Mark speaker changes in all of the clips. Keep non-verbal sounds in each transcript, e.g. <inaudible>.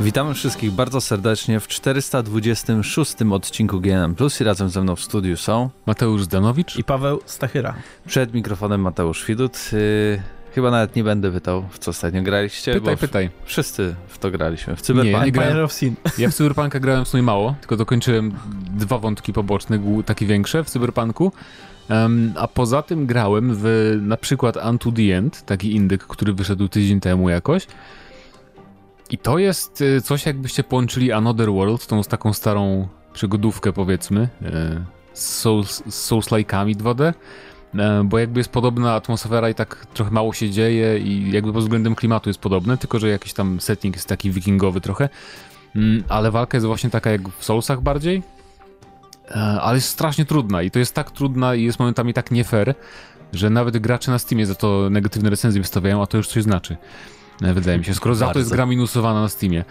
Speaker 1: Witamy wszystkich bardzo serdecznie w 426 odcinku GNM Plus i razem ze mną w studiu są
Speaker 2: Mateusz Zdanowicz?
Speaker 3: i Paweł Stachyra.
Speaker 1: przed mikrofonem Mateusz Widut. Yy, chyba nawet nie będę pytał, w co ostatnio graliście,
Speaker 2: Pytaj,
Speaker 1: bo
Speaker 2: pytaj.
Speaker 1: wszyscy w to graliśmy. W
Speaker 2: Nie,
Speaker 1: Cyberpunk.
Speaker 2: nie grałem.
Speaker 3: Empire of Sin.
Speaker 2: Ja w Cyberpunka grałem w sumie mało, tylko dokończyłem dwa wątki poboczne, głu- takie większe w Cyberpunku. Em, a poza tym grałem w na przykład Unto the End, taki indyk, który wyszedł tydzień temu jakoś. I to jest y, coś jakbyście połączyli Another World, tą z taką starą przygodówkę powiedzmy, e, z Souls- z Souls-like'ami 2D. E, Bo jakby jest podobna atmosfera i tak trochę mało się dzieje i jakby pod względem klimatu jest podobne, tylko że jakiś tam setting jest taki wikingowy trochę. Mm, ale walka jest właśnie taka jak w Soulsach bardziej. E, Ale jest strasznie trudna i to jest tak trudna i jest momentami tak nie fair, że nawet gracze na Steamie za to negatywne recenzje wystawiają, a to już coś znaczy. E, Wydaje mi się, skoro za to jest
Speaker 1: Bardzo.
Speaker 2: gra minusowana na Steamie.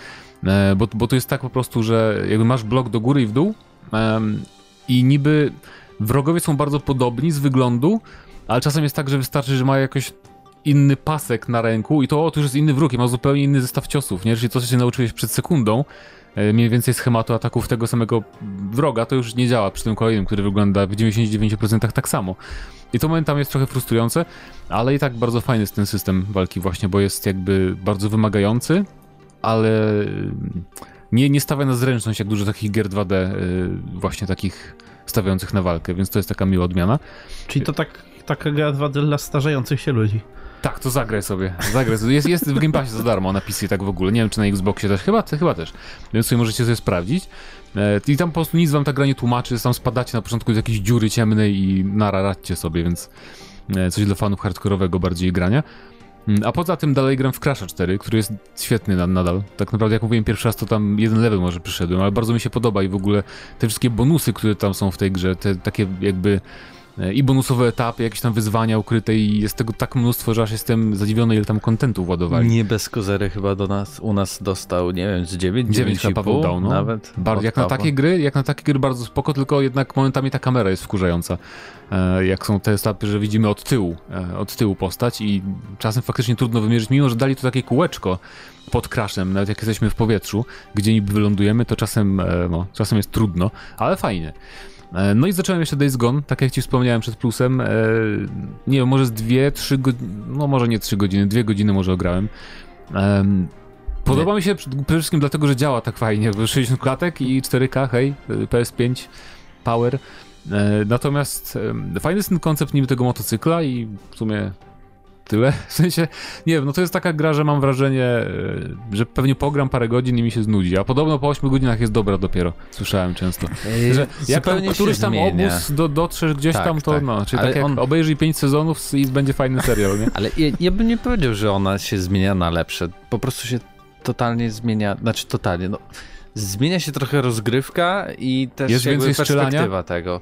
Speaker 2: E, Bo, bo to jest tak po prostu, że jakby masz blok do góry i w dół em, i niby wrogowie są bardzo podobni z wyglądu, ale czasem jest tak, że wystarczy, że ma jakoś inny pasek na ręku i to, o, to już jest inny wróg i ma zupełnie inny zestaw ciosów, nie? Czyli to, co się nauczyłeś przed sekundą, e, mniej więcej schematu ataków tego samego wroga, to już nie działa przy tym kolejnym, który wygląda w 99% tak samo. I to momentami jest trochę frustrujące, ale i tak bardzo fajny jest ten system walki właśnie, bo jest jakby bardzo wymagający, ale nie, nie stawia na zręczność jak dużo takich gier 2D y, właśnie takich stawiających na walkę, więc to jest taka miła odmiana.
Speaker 3: Czyli to tak, taka gra 2D dla starzejących się ludzi.
Speaker 2: Tak, to zagraj sobie. Zagraj sobie. Jest, jest w Game Passie za darmo na PC tak w ogóle. Nie wiem, czy na Xboxie też. Chyba, chyba też. Więc sobie możecie sobie sprawdzić. E, I tam po prostu nic wam ta gra nie tłumaczy. Tam spadacie na początku do jakiejś dziury ciemnej i nararadźcie sobie, więc e, coś dla fanów hardkorowego bardziej grania. Mm, A poza tym dalej gram w Crasha 4, który jest świetny na- nadal. Tak naprawdę, jak mówiłem pierwszy raz, to tam jeden level może przyszedłem, ale bardzo mi się podoba i w ogóle te wszystkie bonusy, które tam są w tej grze, te takie jakby e, i bonusowe etapy, jakieś tam wyzwania ukryte i jest tego tak mnóstwo, że aż jestem zadziwiony, ile tam kontentu władowali.
Speaker 1: Nie bez kozery chyba do nas, u nas dostał, nie wiem, z 9,
Speaker 2: Dziewięć
Speaker 1: 9
Speaker 2: chyba Paweł dał, no.
Speaker 1: nawet.
Speaker 2: Bar-
Speaker 1: od
Speaker 2: jak na
Speaker 1: Pawła.
Speaker 2: takie gry, jak na takie gry bardzo spoko, tylko jednak momentami ta kamera jest wkurzająca. E, jak są te etapy, że widzimy od tyłu, e, od tyłu postać i czasem faktycznie trudno wymierzyć, mimo że dali tu takie kółeczko pod crashem, nawet jak jesteśmy w powietrzu, gdzie niby wylądujemy, to czasem, e, no, czasem jest trudno, ale fajnie. E, No i zacząłem jeszcze Days Gone, tak jak ci wspomniałem przed plusem, e, nie wiem, może z dwie, trzy godziny, no może nie trzy godziny, dwie godziny może ograłem. Em, Podoba mi się przed- przede wszystkim dlatego, że działa tak fajnie, bo 60 klatek i 4K, hej, y, PS5, power. E, Natomiast em, fajny jest ten koncept niby tego motocykla i w sumie tyle. <laughs> W sensie, nie wiem, no to jest taka gra, że mam wrażenie, e, że pewnie pogram parę godzin i mi się znudzi, a podobno po 8 godzinach jest dobra dopiero, słyszałem często.
Speaker 1: Ej,
Speaker 2: Że jak tam
Speaker 1: Yy, zupełnie się
Speaker 2: któryś tam
Speaker 1: zmienia.
Speaker 2: obóz do, dotrzesz gdzieś
Speaker 1: Tak,
Speaker 2: tam, to
Speaker 1: tak.
Speaker 2: no, czyli
Speaker 1: Ale
Speaker 2: tak jak
Speaker 1: on-
Speaker 2: obejrzyj 5 sezonów i będzie fajny serial, nie?
Speaker 1: Ale ja, ja bym nie powiedział, że ona się zmienia na lepsze. Po prostu się totalnie zmienia, znaczy totalnie, no. Zmienia się trochę rozgrywka i też
Speaker 2: Jest
Speaker 1: jakby
Speaker 2: więcej strzelania?
Speaker 1: perspektywa tego.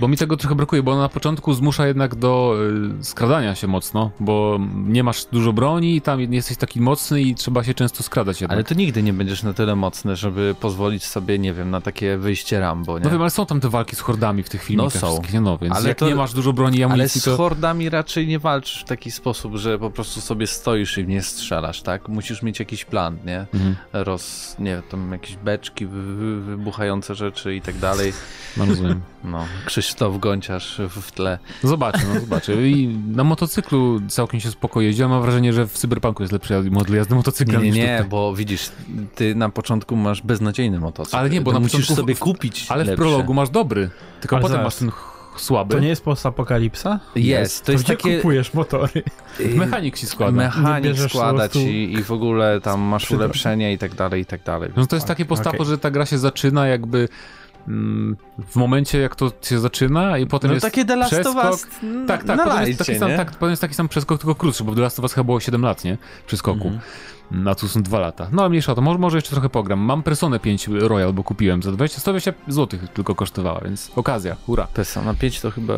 Speaker 2: Bo mi tego trochę brakuje, bo ona na początku zmusza jednak do y, skradania się mocno, bo nie masz dużo broni i tam nie jesteś taki mocny i trzeba się często skradać jednak.
Speaker 1: Ale to nigdy nie będziesz na tyle mocny, żeby pozwolić sobie, nie wiem, na takie wyjście Rambo, nie?
Speaker 2: No wiem, ale są tam te walki z hordami w tych filmikach
Speaker 1: No są.
Speaker 2: wszystkich, no więc
Speaker 1: Ale
Speaker 2: jak
Speaker 1: to-
Speaker 2: nie masz dużo broni i
Speaker 1: Ale
Speaker 2: amunicji,
Speaker 1: z
Speaker 2: to...
Speaker 1: hordami raczej nie walczysz w taki sposób, że po prostu sobie stoisz i w nie strzelasz, tak? Musisz mieć jakiś plan, nie?
Speaker 2: Mhm,
Speaker 1: Roz, nie wiem, tam jakieś beczki, wy- wy- wybuchające rzeczy i tak dalej.
Speaker 2: no rozumiem.
Speaker 1: No, Krzysztof Gąciarz w w tle.
Speaker 2: Zobaczę, no zobaczę. I na motocyklu całkiem się spoko jeździ, ale mam wrażenie, że w Cyberpunku jest lepszy model jazdy
Speaker 1: Nie,
Speaker 2: motocyklem
Speaker 1: nie,
Speaker 2: niż
Speaker 1: nie,
Speaker 2: tutaj.
Speaker 1: bo widzisz, ty na początku masz beznadziejny motocykl.
Speaker 2: Ale nie, bo
Speaker 1: To
Speaker 2: na
Speaker 1: musisz
Speaker 2: początku w-
Speaker 1: sobie kupić
Speaker 2: Ale w
Speaker 1: lepszy.
Speaker 2: prologu masz dobry, tylko
Speaker 3: Ale
Speaker 2: potem
Speaker 3: zaraz.
Speaker 2: masz ten ch- słaby.
Speaker 3: To nie jest postapokalipsa?
Speaker 1: Jest, to jest
Speaker 3: gdzie
Speaker 1: takie...
Speaker 3: kupujesz motory?
Speaker 1: y,
Speaker 2: Mechanik się składa.
Speaker 3: Nie
Speaker 1: Mechanik
Speaker 3: bierzesz
Speaker 1: składa
Speaker 3: po prostu-
Speaker 1: ci i w ogóle tam masz
Speaker 3: Przydrożny.
Speaker 1: ulepszenia i tak dalej, i tak dalej.
Speaker 2: No to jest takie postapo,
Speaker 3: okej.
Speaker 2: że ta gra się zaczyna jakby mm, w momencie jak to się zaczyna i potem
Speaker 1: No
Speaker 2: jest
Speaker 1: takie The Last of
Speaker 2: przeskok.
Speaker 1: Us
Speaker 3: no,
Speaker 1: n-
Speaker 2: Tak, tak,
Speaker 1: na
Speaker 2: potem jest,
Speaker 1: lajcie,
Speaker 2: taki sam,
Speaker 1: nie?
Speaker 2: tak, potem jest taki sam przeskok, tylko krótszy, bo w The Last of Us chyba było 7 lat, nie? Przeskoku. Mm. A tu są 2 lata. No ale mniejsza o to, może, może jeszcze trochę pogram. Mam Personę 5 Royal, bo kupiłem za 20, 120 zł tylko kosztowała, więc okazja, hura.
Speaker 1: Persona 5 to chyba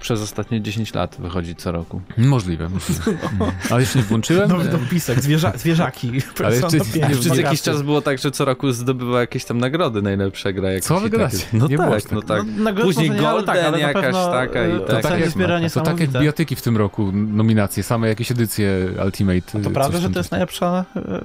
Speaker 1: przez ostatnie 10 lat wychodzi co roku.
Speaker 2: Możliwe, możliwe. Mm. Ale jeszcze nie włączyłem. Tak
Speaker 3: Nowy dopisek, zwierza, zwierzaki. Persona
Speaker 2: jeszcze-
Speaker 3: pięć.
Speaker 2: nie,
Speaker 1: A przez
Speaker 2: Podcast.
Speaker 1: jakiś czas było tak, że co roku zdobywa jakieś tam nagrody najlepsza gra. Jakaś
Speaker 2: Co
Speaker 1: i
Speaker 2: wy
Speaker 1: takie-
Speaker 2: gadacie?
Speaker 1: No
Speaker 2: Nie było
Speaker 1: tak,
Speaker 2: aż tak.
Speaker 1: no tak.
Speaker 3: No, na grę
Speaker 1: Później
Speaker 3: może nie, ale
Speaker 1: Golden
Speaker 3: ale na
Speaker 1: jakaś
Speaker 3: pewno,
Speaker 1: taka i
Speaker 3: e,
Speaker 1: tak.
Speaker 3: ceny
Speaker 2: To tak
Speaker 3: zbierania
Speaker 2: To tak jak
Speaker 3: niesamowite.
Speaker 2: bijatyki w tym roku, nominacje, same jakieś edycje Ultimate. y,
Speaker 3: To
Speaker 2: coś tam
Speaker 3: prawda, że to
Speaker 2: też.
Speaker 3: jest najlepsza e,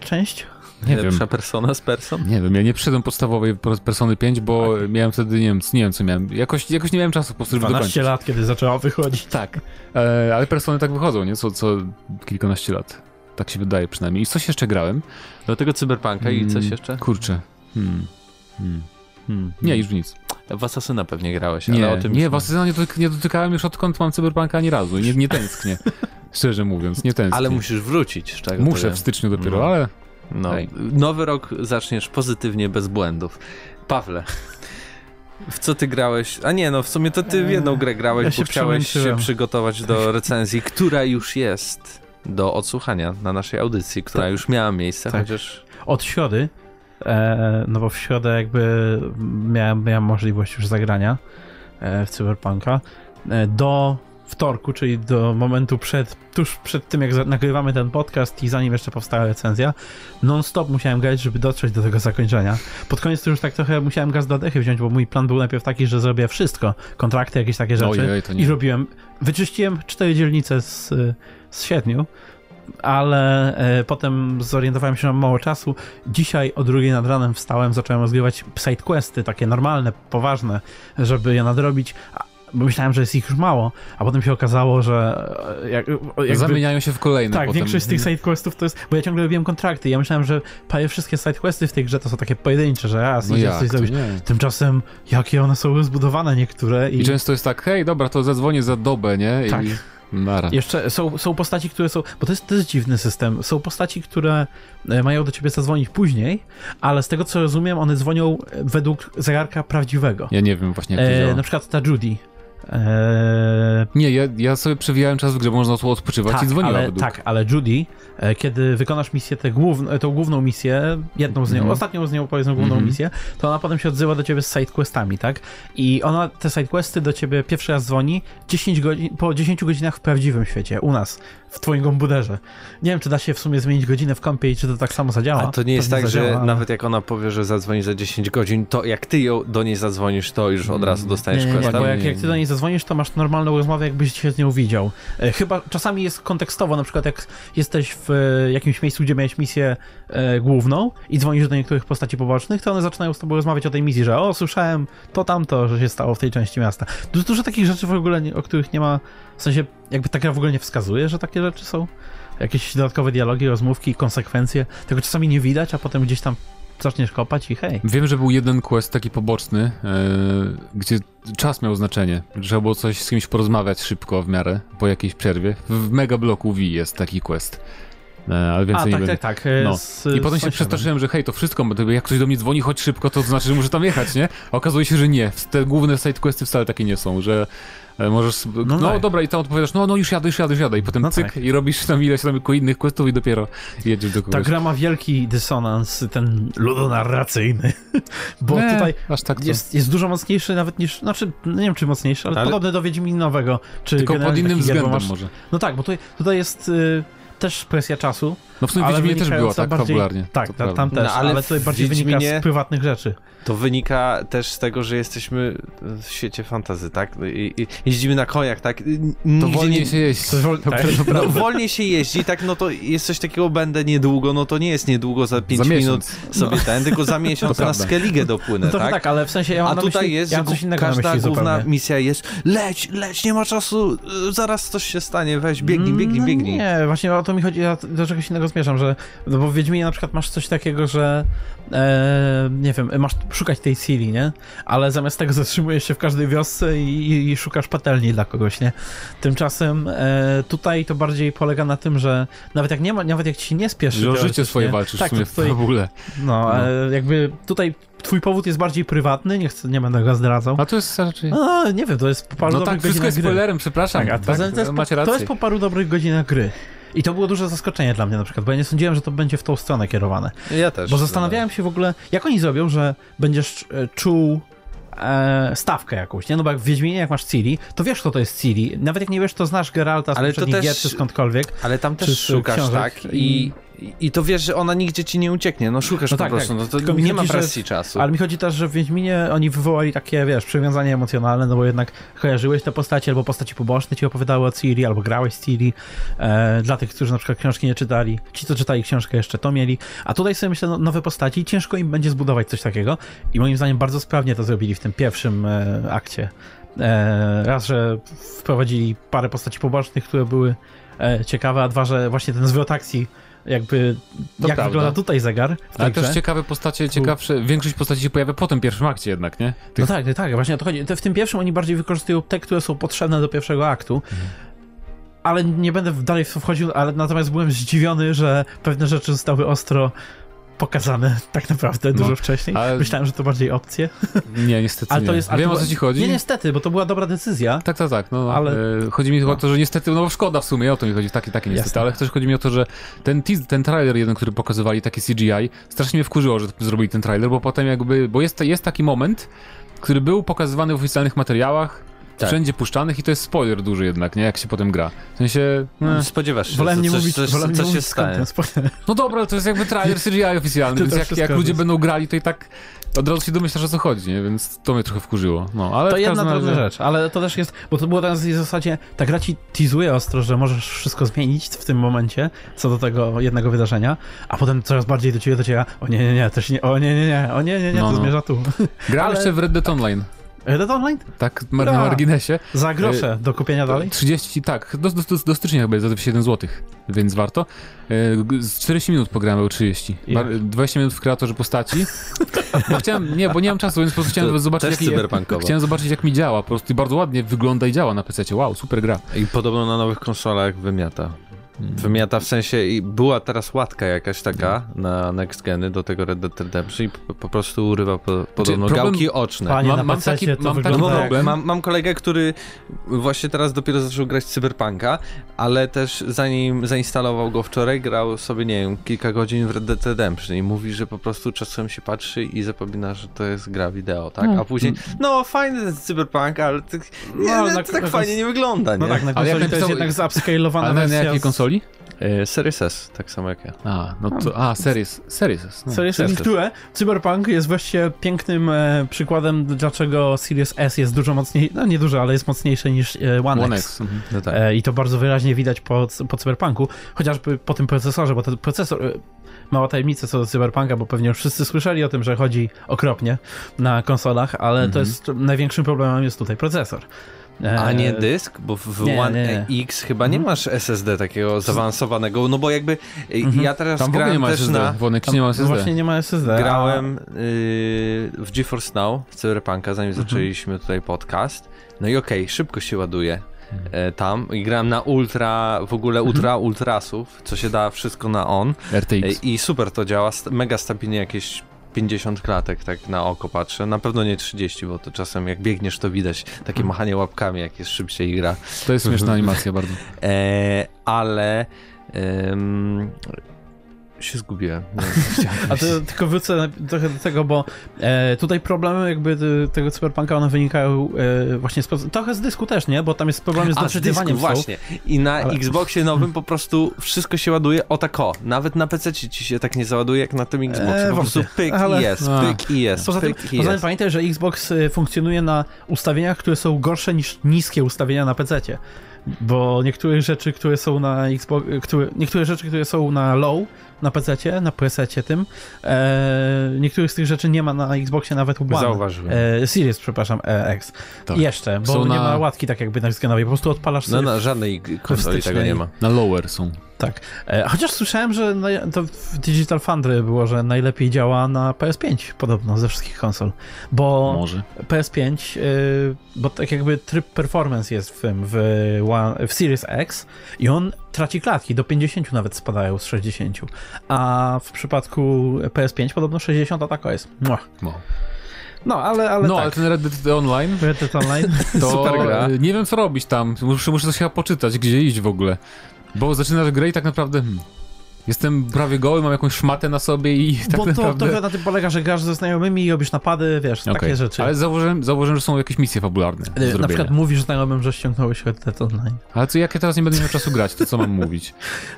Speaker 3: część?
Speaker 2: Nie wiem.
Speaker 1: Lepsza persona z persą?
Speaker 2: Nie wiem, ja nie przyszedłem podstawowej pro- Persony 5, bo miałem wtedy, nie wiem, c- nie wiem co miałem. Jakoś, jakoś nie miałem czasu po prostu, żeby
Speaker 3: 12
Speaker 2: dokończyć.
Speaker 3: lat, kiedy zaczęła wychodzić.
Speaker 2: Tak, e, ale Persony tak wychodzą, nie? Co, co kilkanaście lat. Tak się wydaje przynajmniej. I coś jeszcze grałem.
Speaker 1: Do tego cyberpunka i coś
Speaker 2: Mm,
Speaker 1: jeszcze?
Speaker 2: Kurczę. Hmm. Hmm. Nie, już nic.
Speaker 1: W Asasyna pewnie grałeś, ale
Speaker 2: Nie,
Speaker 1: o tym
Speaker 2: nie,
Speaker 1: już
Speaker 2: w Asesyna nie, dotyk- nie dotykałem już odkąd mam Cyberpunka ani razu i nie, nie tęsknię. Szczerze mówiąc, nie tęsknię.
Speaker 1: Ale musisz wrócić, z czego to
Speaker 2: Muszę
Speaker 1: wiem.
Speaker 2: w styczniu dopiero,
Speaker 1: No.
Speaker 2: ale
Speaker 1: No,
Speaker 2: Ej.
Speaker 1: nowy rok zaczniesz pozytywnie, bez błędów. Pawle, w co ty grałeś? A nie, no w sumie to ty w jedną grę grałeś,
Speaker 3: ja
Speaker 1: bo
Speaker 3: się
Speaker 1: chciałeś się
Speaker 3: przemęczyłem.
Speaker 1: przygotować <laughs> do recenzji, która już jest do odsłuchania na naszej audycji, która już miała miejsce,
Speaker 3: Tak.
Speaker 1: chociaż
Speaker 3: Od środy, e, no bo w środę jakby miałem, miałem możliwość już zagrania e, w Cyberpunka, e, do wtorku, czyli do momentu przed, tuż przed tym, jak za- nagrywamy ten podcast i zanim jeszcze powstała recenzja, non-stop musiałem grać, żeby dotrzeć do tego zakończenia. Pod koniec to już tak trochę musiałem gaz do dechy wziąć, bo mój plan był najpierw taki, że zrobię wszystko, kontrakty, jakieś takie rzeczy.
Speaker 2: ojej, to
Speaker 3: I
Speaker 2: nie.
Speaker 3: robiłem. Wyczyściłem cztery dzielnice z, y, z siedmiu, ale e, potem zorientowałem się, że mam mało czasu. Dzisiaj o drugiej nad ranem wstałem, zacząłem rozgrywać sidequesty, takie normalne, poważne, żeby je nadrobić. a- Bo myślałem, że jest ich już mało, a potem się okazało, że e, jak, jakby,
Speaker 2: Zamieniają się w kolejne
Speaker 3: tak,
Speaker 2: potem.
Speaker 3: większość z tych
Speaker 2: Mhm.
Speaker 3: sidequestów to jest, bo ja ciągle robiłem kontrakty ja myślałem, że prawie wszystkie sidequesty w tej grze to są takie pojedyncze, że raz
Speaker 2: No
Speaker 3: idziesz
Speaker 2: jak,
Speaker 3: coś
Speaker 2: to
Speaker 3: zrobić.
Speaker 2: nie.
Speaker 3: Tymczasem, jakie one są rozbudowane niektóre
Speaker 2: I często jest tak, hej, dobra, to zadzwonię za dobę, nie? I...
Speaker 3: Tak.
Speaker 2: Nara.
Speaker 3: Jeszcze są, są postaci, które są. Bo to jest, to jest dziwny system. Są postaci, które e, mają do ciebie zadzwonić później, ale z tego co rozumiem, one dzwonią e, według zegarka prawdziwego.
Speaker 2: Ja nie wiem właśnie jak to
Speaker 3: E,
Speaker 2: działa.
Speaker 3: na przykład ta Judy. E,
Speaker 2: Nie, ja, ja sobie przewijałem czas w grze, można tu odpoczywać i dzwoniła
Speaker 3: ale,
Speaker 2: według.
Speaker 3: tak, ale Judy, e, kiedy wykonasz misję, tę główną, tą główną misję, jedną z nią,
Speaker 2: Mhm.
Speaker 3: ostatnią z nią, powiedzmy, główną
Speaker 2: Mhm.
Speaker 3: misję, to ona potem się odzywa do ciebie z sidequestami, tak? I ona te sidequesty do ciebie pierwszy raz dzwoni 10 godzin, po 10 godzinach w prawdziwym świecie, u nas, w twoim komputerze. Nie wiem, czy da się w sumie zmienić godzinę w kompie i czy to tak samo zadziała.
Speaker 1: A to nie jest
Speaker 3: Pewnie
Speaker 1: tak, że
Speaker 3: zadziała, ale-
Speaker 1: nawet jak ona powie, że zadzwoni za 10 godzin, to jak ty ją do niej zadzwonisz, to już od razu dostaniesz
Speaker 3: Nie, nie, nie,
Speaker 1: questa.
Speaker 3: bo E, jak,
Speaker 2: nie,
Speaker 3: jak ty
Speaker 2: nie.
Speaker 3: do niej zadzwonisz, to masz normalną rozmowę, jakbyś się z nią widział. E, Chyba czasami jest kontekstowo, na przykład jak jesteś w e, jakimś miejscu, gdzie miałeś misję e, główną i dzwonisz do niektórych postaci pobocznych, to one zaczynają z tobą rozmawiać o tej misji, że o, słyszałem to tamto, że się stało w tej części miasta. Du- Dużo takich rzeczy w ogóle, nie- o których nie ma, w sensie jakby ta gra w ogóle nie wskazuje, że takie rzeczy są. Jakieś dodatkowe dialogi, rozmówki, konsekwencje. Tego czasami nie widać, a potem gdzieś tam zaczniesz kopać i hej.
Speaker 2: Wiem, że był jeden quest taki poboczny, e, gdzie czas miał znaczenie. Trzeba było coś z kimś porozmawiać szybko w miarę, po jakiejś przerwie. W w mega bloku V jest taki quest. E, ale więcej nie
Speaker 3: a, tak,
Speaker 2: będę.
Speaker 3: tak, tak. e,
Speaker 2: No.
Speaker 3: z-
Speaker 2: I
Speaker 3: z
Speaker 2: potem się
Speaker 3: sąsiadem.
Speaker 2: przestraszyłem, że hej, to wszystko, bo to jak ktoś do mnie dzwoni, chodź szybko, to znaczy, że muszę tam jechać, nie? A okazuje się, że nie. Te główne sidequesty wcale takie nie są, że e, możesz... No,
Speaker 3: tak.
Speaker 2: dobra, i tam odpowiadasz, no, no, już jadę, już jadę, już jadę. I potem
Speaker 3: No
Speaker 2: cyk
Speaker 3: tak.
Speaker 2: i robisz tam ileś tam innych questów i dopiero jedziesz do
Speaker 3: Ta
Speaker 2: kogoś.
Speaker 3: Tak, gra ma wielki dysonans, ten ludonarracyjny, <laughs> bo
Speaker 2: Nie,
Speaker 3: tutaj
Speaker 2: Aż tak to...
Speaker 3: jest, jest dużo mocniejszy nawet niż, znaczy no nie wiem czy mocniejszy, ale,
Speaker 1: Ale-
Speaker 3: podobny do Wiedźminowego. Czy
Speaker 2: Tylko pod
Speaker 3: generalnie
Speaker 2: innym
Speaker 3: taki
Speaker 2: względem
Speaker 3: gier, bo masz-
Speaker 2: może.
Speaker 3: No tak, bo tutaj, tutaj jest y, też presja czasu,
Speaker 2: No w sumie
Speaker 3: ale
Speaker 2: Wiedźminie też
Speaker 3: wynikająca
Speaker 2: było, tak,
Speaker 3: bardziej,
Speaker 2: fabularnie.
Speaker 3: Tak,
Speaker 2: To
Speaker 3: ta,
Speaker 2: prawda.
Speaker 3: tam też,
Speaker 1: No, ale
Speaker 3: ale,
Speaker 1: w
Speaker 3: tutaj bardziej wynika
Speaker 1: Wiedźminie-
Speaker 3: z prywatnych rzeczy.
Speaker 1: To wynika też z tego, że jesteśmy w świecie fantazy, tak? I, i, jeździmy na koniach, tak? N-
Speaker 2: To
Speaker 1: nigdzie
Speaker 2: wolniej
Speaker 1: nie-
Speaker 2: się jeść.
Speaker 3: To jest
Speaker 2: <laughs>
Speaker 3: wol- tak.
Speaker 1: <laughs>
Speaker 3: <laughs>
Speaker 1: No, wolniej się jeździ, tak, no to jest coś takiego, będę niedługo, no to nie jest niedługo, za 5
Speaker 2: Za
Speaker 1: minut
Speaker 2: miesiąc.
Speaker 1: sobie ten, tylko
Speaker 3: <laughs>
Speaker 1: za miesiąc na
Speaker 2: prawda.
Speaker 1: Skellige dopłynę,
Speaker 3: No to tak?
Speaker 1: tak?
Speaker 3: ale w sensie ja mam
Speaker 1: A
Speaker 3: na
Speaker 1: tutaj
Speaker 3: myśli,
Speaker 1: jest,
Speaker 3: ja
Speaker 1: że
Speaker 3: mam coś innego
Speaker 1: każda
Speaker 3: na myśli
Speaker 1: główna
Speaker 3: zupełnie.
Speaker 1: misja jest leć, leć, nie ma czasu, y, zaraz coś się stanie, weź, biegnij, biegnij,
Speaker 3: No
Speaker 1: biegnij.
Speaker 3: Nie, właśnie o to mi chodzi, ja do czegoś innego zmierzam, że no bo w Wiedźminie na przykład masz coś takiego, że e, nie wiem, masz szukać tej Cili, nie? Ale zamiast tego zatrzymujesz się w każdej wiosce i, i, i szukasz patelni dla kogoś, nie? Tymczasem e, tutaj to bardziej polega na tym, że nawet jak nie ma, nawet jak ci się nie spieszy...
Speaker 2: Że o życie
Speaker 3: teoretycznie-
Speaker 2: swoje walczysz
Speaker 3: tak,
Speaker 2: w sumie
Speaker 3: to tutaj,
Speaker 2: w <laughs> ogóle.
Speaker 3: No, e, jakby tutaj twój powód jest bardziej prywatny, nie, chcę, nie będę go zdradzał.
Speaker 2: A to jest raczej...
Speaker 3: No, nie wiem, to jest bardzo
Speaker 2: No tak, wszystko jest spoilerem, przepraszam.
Speaker 3: tak, a poza tym to, jest po,
Speaker 2: macie rację.
Speaker 3: to jest po paru dobrych godzinach gry. I to było duże zaskoczenie dla mnie na przykład, bo ja nie sądziłem, że to będzie w tą stronę kierowane.
Speaker 1: Ja też. no.
Speaker 3: Bo zastanawiałem się w ogóle, jak oni zrobią, że będziesz e, czuł e, stawkę jakąś, nie? No bo jak w Wiedźminie, jak masz Ciri, to wiesz, kto to jest Ciri. Nawet jak nie wiesz, to znasz Geralta z
Speaker 1: Ale to
Speaker 3: poprzednich
Speaker 1: też-
Speaker 3: gier czy skądkolwiek.
Speaker 1: Ale tam też
Speaker 3: Czy z, e,
Speaker 1: szukasz,
Speaker 3: książek
Speaker 1: tak? I,
Speaker 3: i-
Speaker 1: I, I to wiesz, że ona nigdzie ci nie ucieknie. No szukasz
Speaker 3: No
Speaker 1: po
Speaker 3: tak,
Speaker 1: prostu,
Speaker 3: tak.
Speaker 1: no to
Speaker 3: Tylko mi
Speaker 1: nie ma
Speaker 3: chodzi, że-
Speaker 1: presji czasu.
Speaker 3: Ale mi chodzi też, że w Wiedźminie oni wywołali takie, wiesz, przywiązanie emocjonalne, no bo jednak kojarzyłeś te postacie, albo postaci poboczne ci opowiadały o Ciri, albo grałeś z Ciri. E, dla tych, którzy na przykład książki nie czytali, ci, co czytali książkę jeszcze, to mieli. A tutaj sobie myślę, no, nowe postaci, ciężko im będzie zbudować coś takiego i moim zdaniem bardzo sprawnie to zrobili w tym pierwszym e, akcie. E, raz, że wprowadzili parę postaci pobocznych, które były e, ciekawe, a dwa, że właśnie ten zwrot akcji, jakby
Speaker 2: To
Speaker 3: jak
Speaker 2: prawda.
Speaker 3: wygląda tutaj zegar. w
Speaker 2: Ale
Speaker 3: tej grze.
Speaker 2: też ciekawe postacie, ciekawsze, większość postaci się pojawia po tym pierwszym akcie jednak, nie? Tych,
Speaker 3: No tak, no tak, właśnie o to chodzi. Te, w tym pierwszym oni bardziej wykorzystują te, które są potrzebne do pierwszego aktu.
Speaker 2: Mhm.
Speaker 3: Ale nie będę w- dalej w to wchodził, ale natomiast byłem zdziwiony, że pewne rzeczy zostały ostro pokazane <laughs> tak naprawdę dużo wcześniej.
Speaker 2: No, ale-
Speaker 3: Myślałem, że to bardziej opcje.
Speaker 2: Nie, niestety
Speaker 3: Ale to
Speaker 2: nie.
Speaker 3: jest. ale
Speaker 2: Wiem
Speaker 3: to
Speaker 2: o co
Speaker 3: była-
Speaker 2: ci chodzi.
Speaker 3: Nie, niestety, bo to była dobra decyzja.
Speaker 2: Tak, tak, tak. No,
Speaker 3: Ale-
Speaker 2: e, chodzi mi chyba o to, że niestety, no szkoda w sumie, o to mi chodzi, takie, takie niestety,
Speaker 3: Jasne.
Speaker 2: ale też chodzi mi o to, że ten, teas- ten trailer jeden, który pokazywali, taki CGI, strasznie mnie wkurzyło, że zrobili ten trailer, bo potem jakby, bo jest, jest taki moment, który był pokazywany w oficjalnych materiałach,
Speaker 1: Tak.
Speaker 2: wszędzie puszczanych i to jest spoiler duży jednak, nie, jak się potem gra. W sensie,
Speaker 1: No, Spodziewasz się,
Speaker 3: Wolałem
Speaker 1: że
Speaker 3: nie
Speaker 1: coś,
Speaker 3: mówić,
Speaker 1: coś,
Speaker 3: wolałem nie
Speaker 1: coś się
Speaker 3: mówić skąd
Speaker 1: stanie.
Speaker 3: ten spoiler.
Speaker 2: no dobra, ale to jest jakby
Speaker 3: <laughs>
Speaker 2: trailer CGI oficjalny,
Speaker 3: To
Speaker 2: więc
Speaker 3: też
Speaker 2: jak,
Speaker 3: wszystko
Speaker 2: jak ludzie
Speaker 3: jest.
Speaker 2: będą grali, to i tak od razu się domyślasz, o co chodzi, nie? więc to mnie trochę wkurzyło. No, ale
Speaker 3: To
Speaker 2: w każdym
Speaker 3: jedna drobna
Speaker 2: razie-
Speaker 3: rzecz, ale to też jest, bo to było teraz w zasadzie, ta gra ci teasuje ostro, że możesz wszystko zmienić w tym momencie, co do tego jednego wydarzenia, a potem coraz bardziej do ciebie dociera, o nie, nie, nie, to się nie, o nie, nie, nie, o nie, nie, nie,
Speaker 2: No,
Speaker 3: to
Speaker 2: no.
Speaker 3: zmierza tu. <laughs>
Speaker 2: Grałem
Speaker 3: Ale-
Speaker 2: jeszcze w Red Dead Online,
Speaker 3: Red Online?
Speaker 2: tak na
Speaker 3: Ura!
Speaker 2: marginesie.
Speaker 3: Za
Speaker 2: Y,
Speaker 3: grosze do kupienia dalej?
Speaker 2: 30, tak, do, do, do, do stycznia chyba jest za 7 zł, więc warto. E, g- Z 40 minut pograłem albo 30. Bar- 20 minut w kreatorze
Speaker 3: <laughs>
Speaker 2: postaci. Bo chciałem, nie, bo nie mam czasu, więc po prostu chciałem
Speaker 1: To
Speaker 2: zobaczyć,
Speaker 1: też
Speaker 2: jak, jak,
Speaker 1: cyberpunkowo.
Speaker 2: chciałem zobaczyć, jak mi działa. Po prostu i bardzo ładnie wygląda i działa na PC. Wow, super gra.
Speaker 1: I podobno na nowych konsolach wymiata. Wymiata w sensie i była teraz łatka jakaś taka na next geny do tego Red Dead Redemption i po, po prostu urywa po, podobno
Speaker 2: problem-
Speaker 1: gałki oczne.
Speaker 3: Panie,
Speaker 2: mam-
Speaker 3: na
Speaker 2: mam
Speaker 3: PC
Speaker 2: taki-
Speaker 3: to
Speaker 2: mam taki
Speaker 1: No
Speaker 3: wygląda
Speaker 1: bo
Speaker 3: jak-
Speaker 2: problem.
Speaker 1: mam, mam kolegę, który właśnie teraz dopiero zaczął grać w Cyberpunka, ale też zanim zainstalował go wczoraj, grał sobie, nie wiem, kilka godzin w Red Dead Redemption i mówi, że po prostu czasem się patrzy i zapomina, że to jest gra wideo, tak? A później, no fajny ten Cyberpunk, ale tak, nie,
Speaker 3: No, ale
Speaker 1: to
Speaker 3: na-
Speaker 1: tak
Speaker 3: na-
Speaker 1: fajnie nie wygląda, nie?
Speaker 3: No tak, na
Speaker 2: Ale jak
Speaker 3: konsoli to jest
Speaker 2: napisał-
Speaker 3: jednak zupscalowana
Speaker 2: Ale na, na
Speaker 3: wersja.
Speaker 2: jakiej
Speaker 3: z-
Speaker 2: konsoli?
Speaker 1: E, Series S, tak samo jak ja.
Speaker 2: A, no to, a, Series, Series. No.
Speaker 3: Series S,
Speaker 1: Series S.
Speaker 3: które Cyberpunk jest właśnie pięknym e, przykładem, dlaczego Series S jest dużo mocniej, no nie dużo, ale jest mocniejsze niż e, One,
Speaker 2: One
Speaker 3: X.
Speaker 2: X. Mhm.
Speaker 1: No tak.
Speaker 3: E, I to bardzo wyraźnie widać po, po Cyberpunku, chociażby po tym procesorze, bo ten procesor, e, mała tajemnica co do Cyberpunka, bo pewnie już wszyscy słyszeli o tym, że chodzi okropnie na konsolach, ale to jest największym problemem jest tutaj procesor. E,
Speaker 1: Mhm. A nie dysk? Bo w- w
Speaker 3: nie, nie,
Speaker 1: One X chyba nie masz SSD takiego zaawansowanego, no bo jakby e, ja teraz
Speaker 2: Tam w ogóle nie
Speaker 1: grałem
Speaker 2: ma
Speaker 1: też
Speaker 2: SSD.
Speaker 1: na...
Speaker 2: W One X
Speaker 3: tam
Speaker 2: nie ma SSD.
Speaker 3: no Właśnie nie ma SSD. a-
Speaker 1: Grałem y, w GeForce Now w Cyberpunka, zanim zaczęliśmy tutaj podcast. No i okej, szybko się ładuje e, tam. I grałem na ultra, w ogóle ultra ultrasów, co się da wszystko na on. E,
Speaker 2: RTX.
Speaker 1: I super to działa, st- mega stabilnie jakieś 50 klatek tak na oko patrzę. Na pewno nie 30, bo to czasem jak biegniesz to widać takie machanie łapkami, jak jest szybciej gra.
Speaker 2: To jest śmieszna animacja bardzo.
Speaker 1: E, ale... em, się zgubiłem. Nie wiem, co chciałem
Speaker 3: A to tylko wrócę na- trochę do tego, bo e, tutaj problemy jakby te- tego cyberpunka one wynikają e, właśnie z proce- trochę z dysku też, nie? Bo tam jest problem z
Speaker 1: A, z dysku,
Speaker 3: doczytywaniem są.
Speaker 1: właśnie. I na
Speaker 3: Ale-
Speaker 1: Xboxie nowym po prostu wszystko się ładuje o tak o. Nawet na PC ci ci się tak nie załaduje jak na tym Xboxie. po prostu
Speaker 3: Eee, wątpię.
Speaker 1: pyk
Speaker 3: Ale-
Speaker 1: i jest,
Speaker 2: A.
Speaker 1: pyk i jest,
Speaker 3: Poza tym,
Speaker 1: pyk i
Speaker 3: poza tym
Speaker 1: jest.
Speaker 3: pamiętaj, że Xbox y, funkcjonuje na ustawieniach, które są gorsze niż niskie ustawienia na PC. Bo niektóre rzeczy, które są na Xbox, y, które, niektóre rzeczy, które są na low na PC, na presecie tym, e, niektórych z tych rzeczy nie ma na Xboxie nawet One.
Speaker 1: Zauważyłem.
Speaker 3: E, Series, przepraszam, e, X.
Speaker 2: Tak.
Speaker 3: Jeszcze, bo
Speaker 2: Są
Speaker 3: nie
Speaker 2: na-
Speaker 3: ma łatki tak jakby na skanowej, po prostu odpalasz
Speaker 1: No
Speaker 3: sobie
Speaker 1: na żadnej konsoli tego nie ma.
Speaker 2: Na lower są.
Speaker 3: Tak. E, Chociaż słyszałem, że naj- to w Digital Foundry było, że najlepiej działa na PS5 podobno ze wszystkich konsol. Bo
Speaker 2: Może.
Speaker 3: PS5, y, bo tak jakby tryb performance jest w tym, w, One- w Series X i on traci klatki, do 50 nawet spadają z 60. A w przypadku PS5 podobno 60 taka jest. Muah.
Speaker 2: No,
Speaker 3: No, ale, ale
Speaker 2: no ale
Speaker 3: tak.
Speaker 2: ten Red Dead Online
Speaker 3: Red Dead Online.
Speaker 2: <laughs> to
Speaker 1: Super gra.
Speaker 2: y, nie wiem co robić tam. Muszę, muszę coś chyba poczytać, gdzie iść w ogóle. Bo zaczynasz grę i tak naprawdę hmm, Jestem prawie goły, mam jakąś szmatę na sobie i <laughs> tak
Speaker 3: Bo to
Speaker 2: naprawdę...
Speaker 3: trochę na tym polega, że grasz ze znajomymi i robisz napady, wiesz,
Speaker 2: Okej.
Speaker 3: takie rzeczy.
Speaker 2: Ale zauważyłem, zauważyłem, że są jakieś misje fabularne do
Speaker 3: E, Na
Speaker 2: zrobienia.
Speaker 3: przykład mówisz znajomym, że ściągnąłeś Red Dead Online.
Speaker 2: Ale co, jak ja teraz nie będę miał czasu grać, to co mam <laughs> mówić?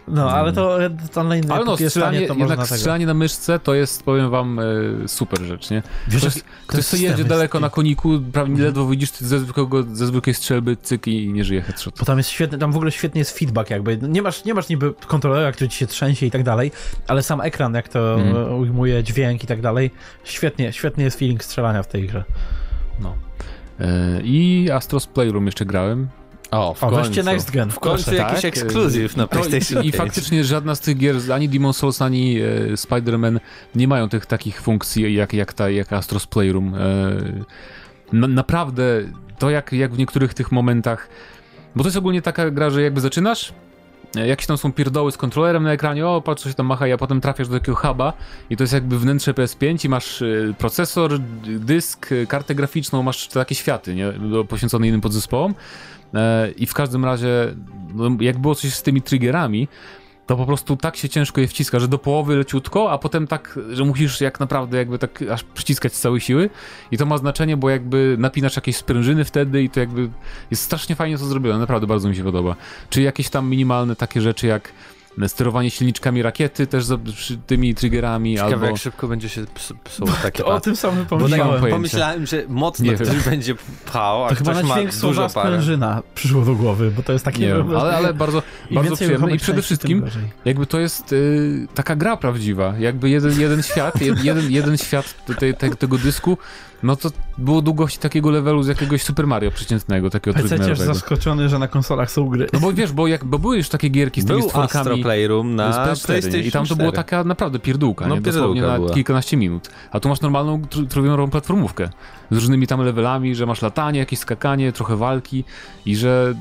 Speaker 3: No, ale to Red Dead Online
Speaker 2: Hmm. Ale no,
Speaker 3: póki jest tanie,
Speaker 2: strzelanie,
Speaker 3: to
Speaker 2: jednak
Speaker 3: można tego.
Speaker 2: strzelanie na myszce to jest, powiem wam, e, super rzecz, nie?
Speaker 3: Wiesz,
Speaker 2: ktoś,
Speaker 3: jaki-
Speaker 2: ktoś co
Speaker 3: system
Speaker 2: jedzie
Speaker 3: jest
Speaker 2: daleko
Speaker 3: taki- Mhm.
Speaker 2: na koniku, prawie ledwo widzisz ty ze, zwykłego, ze zwykłej strzelby, cyk i nie żyje headshot.
Speaker 3: Bo tam jest świetny, tam w ogóle świetnie jest feedback jakby. Nie masz, nie masz niby kontrolera, który ci się trzęsie i tak dalej, ale sam ekran, jak to
Speaker 2: Mhm.
Speaker 3: e, ujmuje dźwięk i tak dalej, świetnie, świetnie jest feeling strzelania w tej grze.
Speaker 2: No. E, I Astros Playroom jeszcze grałem.
Speaker 1: O,
Speaker 3: O, weźcie Next Gen.
Speaker 1: W końcu
Speaker 2: Proszę,
Speaker 1: jakiś
Speaker 2: tak?
Speaker 1: ekskluzyw na
Speaker 2: To
Speaker 1: PlayStation
Speaker 2: I, I
Speaker 1: 5.
Speaker 2: faktycznie żadna z tych gier, ani Demon Souls, ani e, Spider-Man nie mają tych takich funkcji jak, jak, ta, jak Astros Playroom. E, na, naprawdę to jak, jak w niektórych tych momentach, bo to jest ogólnie taka gra, że jakby zaczynasz, e, jakieś tam są pierdoły z kontrolerem na ekranie, o patrz coś tam macha, a potem trafiasz do takiego huba i to jest jakby wnętrze PS5 i masz e, procesor, d- dysk, e, kartę graficzną, masz takie światy nie? Do- poświęcone innym podzespołom E, i w każdym razie no, jak było coś z tymi triggerami, to po prostu tak się ciężko je wciska, że do połowy leciutko, a potem tak, że musisz jak naprawdę jakby tak aż przyciskać z całej siły i to ma znaczenie, bo jakby napinasz jakieś sprężyny wtedy i to jakby jest strasznie fajnie to zrobione, naprawdę bardzo mi się podoba. Czy jakieś tam minimalne takie rzeczy jak sterowanie silniczkami rakiety też za, przy tymi triggerami
Speaker 1: Ciekawe,
Speaker 2: albo...
Speaker 1: jak szybko będzie się ps-
Speaker 3: <laughs>
Speaker 1: psuło takie
Speaker 3: O
Speaker 1: paty.
Speaker 3: tym samym
Speaker 1: Bo tak
Speaker 2: nie mam
Speaker 3: pomyślałem.
Speaker 2: pojęcia.
Speaker 1: pomyślałem, że mocno
Speaker 2: Nie
Speaker 1: ktoś
Speaker 2: wiem.
Speaker 1: będzie pchał, a
Speaker 3: To chyba
Speaker 1: ktoś ma
Speaker 3: najdźwięk
Speaker 1: dużo
Speaker 3: słowa
Speaker 1: parę.
Speaker 3: sprężyna przyszło do głowy, bo to jest takie...
Speaker 2: Nie
Speaker 3: <laughs>
Speaker 2: wiem, ale, ale bardzo,
Speaker 3: Im
Speaker 2: bardzo
Speaker 3: więcej
Speaker 2: przyjemne i przede
Speaker 3: uruchomień części, tym
Speaker 2: wszystkim
Speaker 3: gorzej.
Speaker 2: Jakby to jest y, taka gra prawdziwa, jakby jeden, jeden świat, jed, jeden, jeden świat te, te, tego dysku, no to było długości takiego levelu z jakiegoś Super Mario przeciętnego, takiego
Speaker 3: Pececiarz
Speaker 2: trójwymiarowego.
Speaker 3: zaskoczony, że na konsolach są gry.
Speaker 2: No bo wiesz, bo, jak, bo były już takie gierki z tymi
Speaker 1: Był Astro
Speaker 2: stworkami
Speaker 1: Playroom
Speaker 2: z
Speaker 1: na
Speaker 2: PS4, nie?
Speaker 1: PlayStation
Speaker 2: i tam to było
Speaker 1: 4.
Speaker 2: tak- taka naprawdę pierdółka,
Speaker 1: No,
Speaker 2: nie? dosłownie
Speaker 1: pierdółka
Speaker 2: na
Speaker 1: była.
Speaker 2: kilkanaście minut. A tu masz normalną tr- trójwymiarową platformówkę z różnymi tam levelami, że masz latanie, jakieś skakanie, trochę walki i że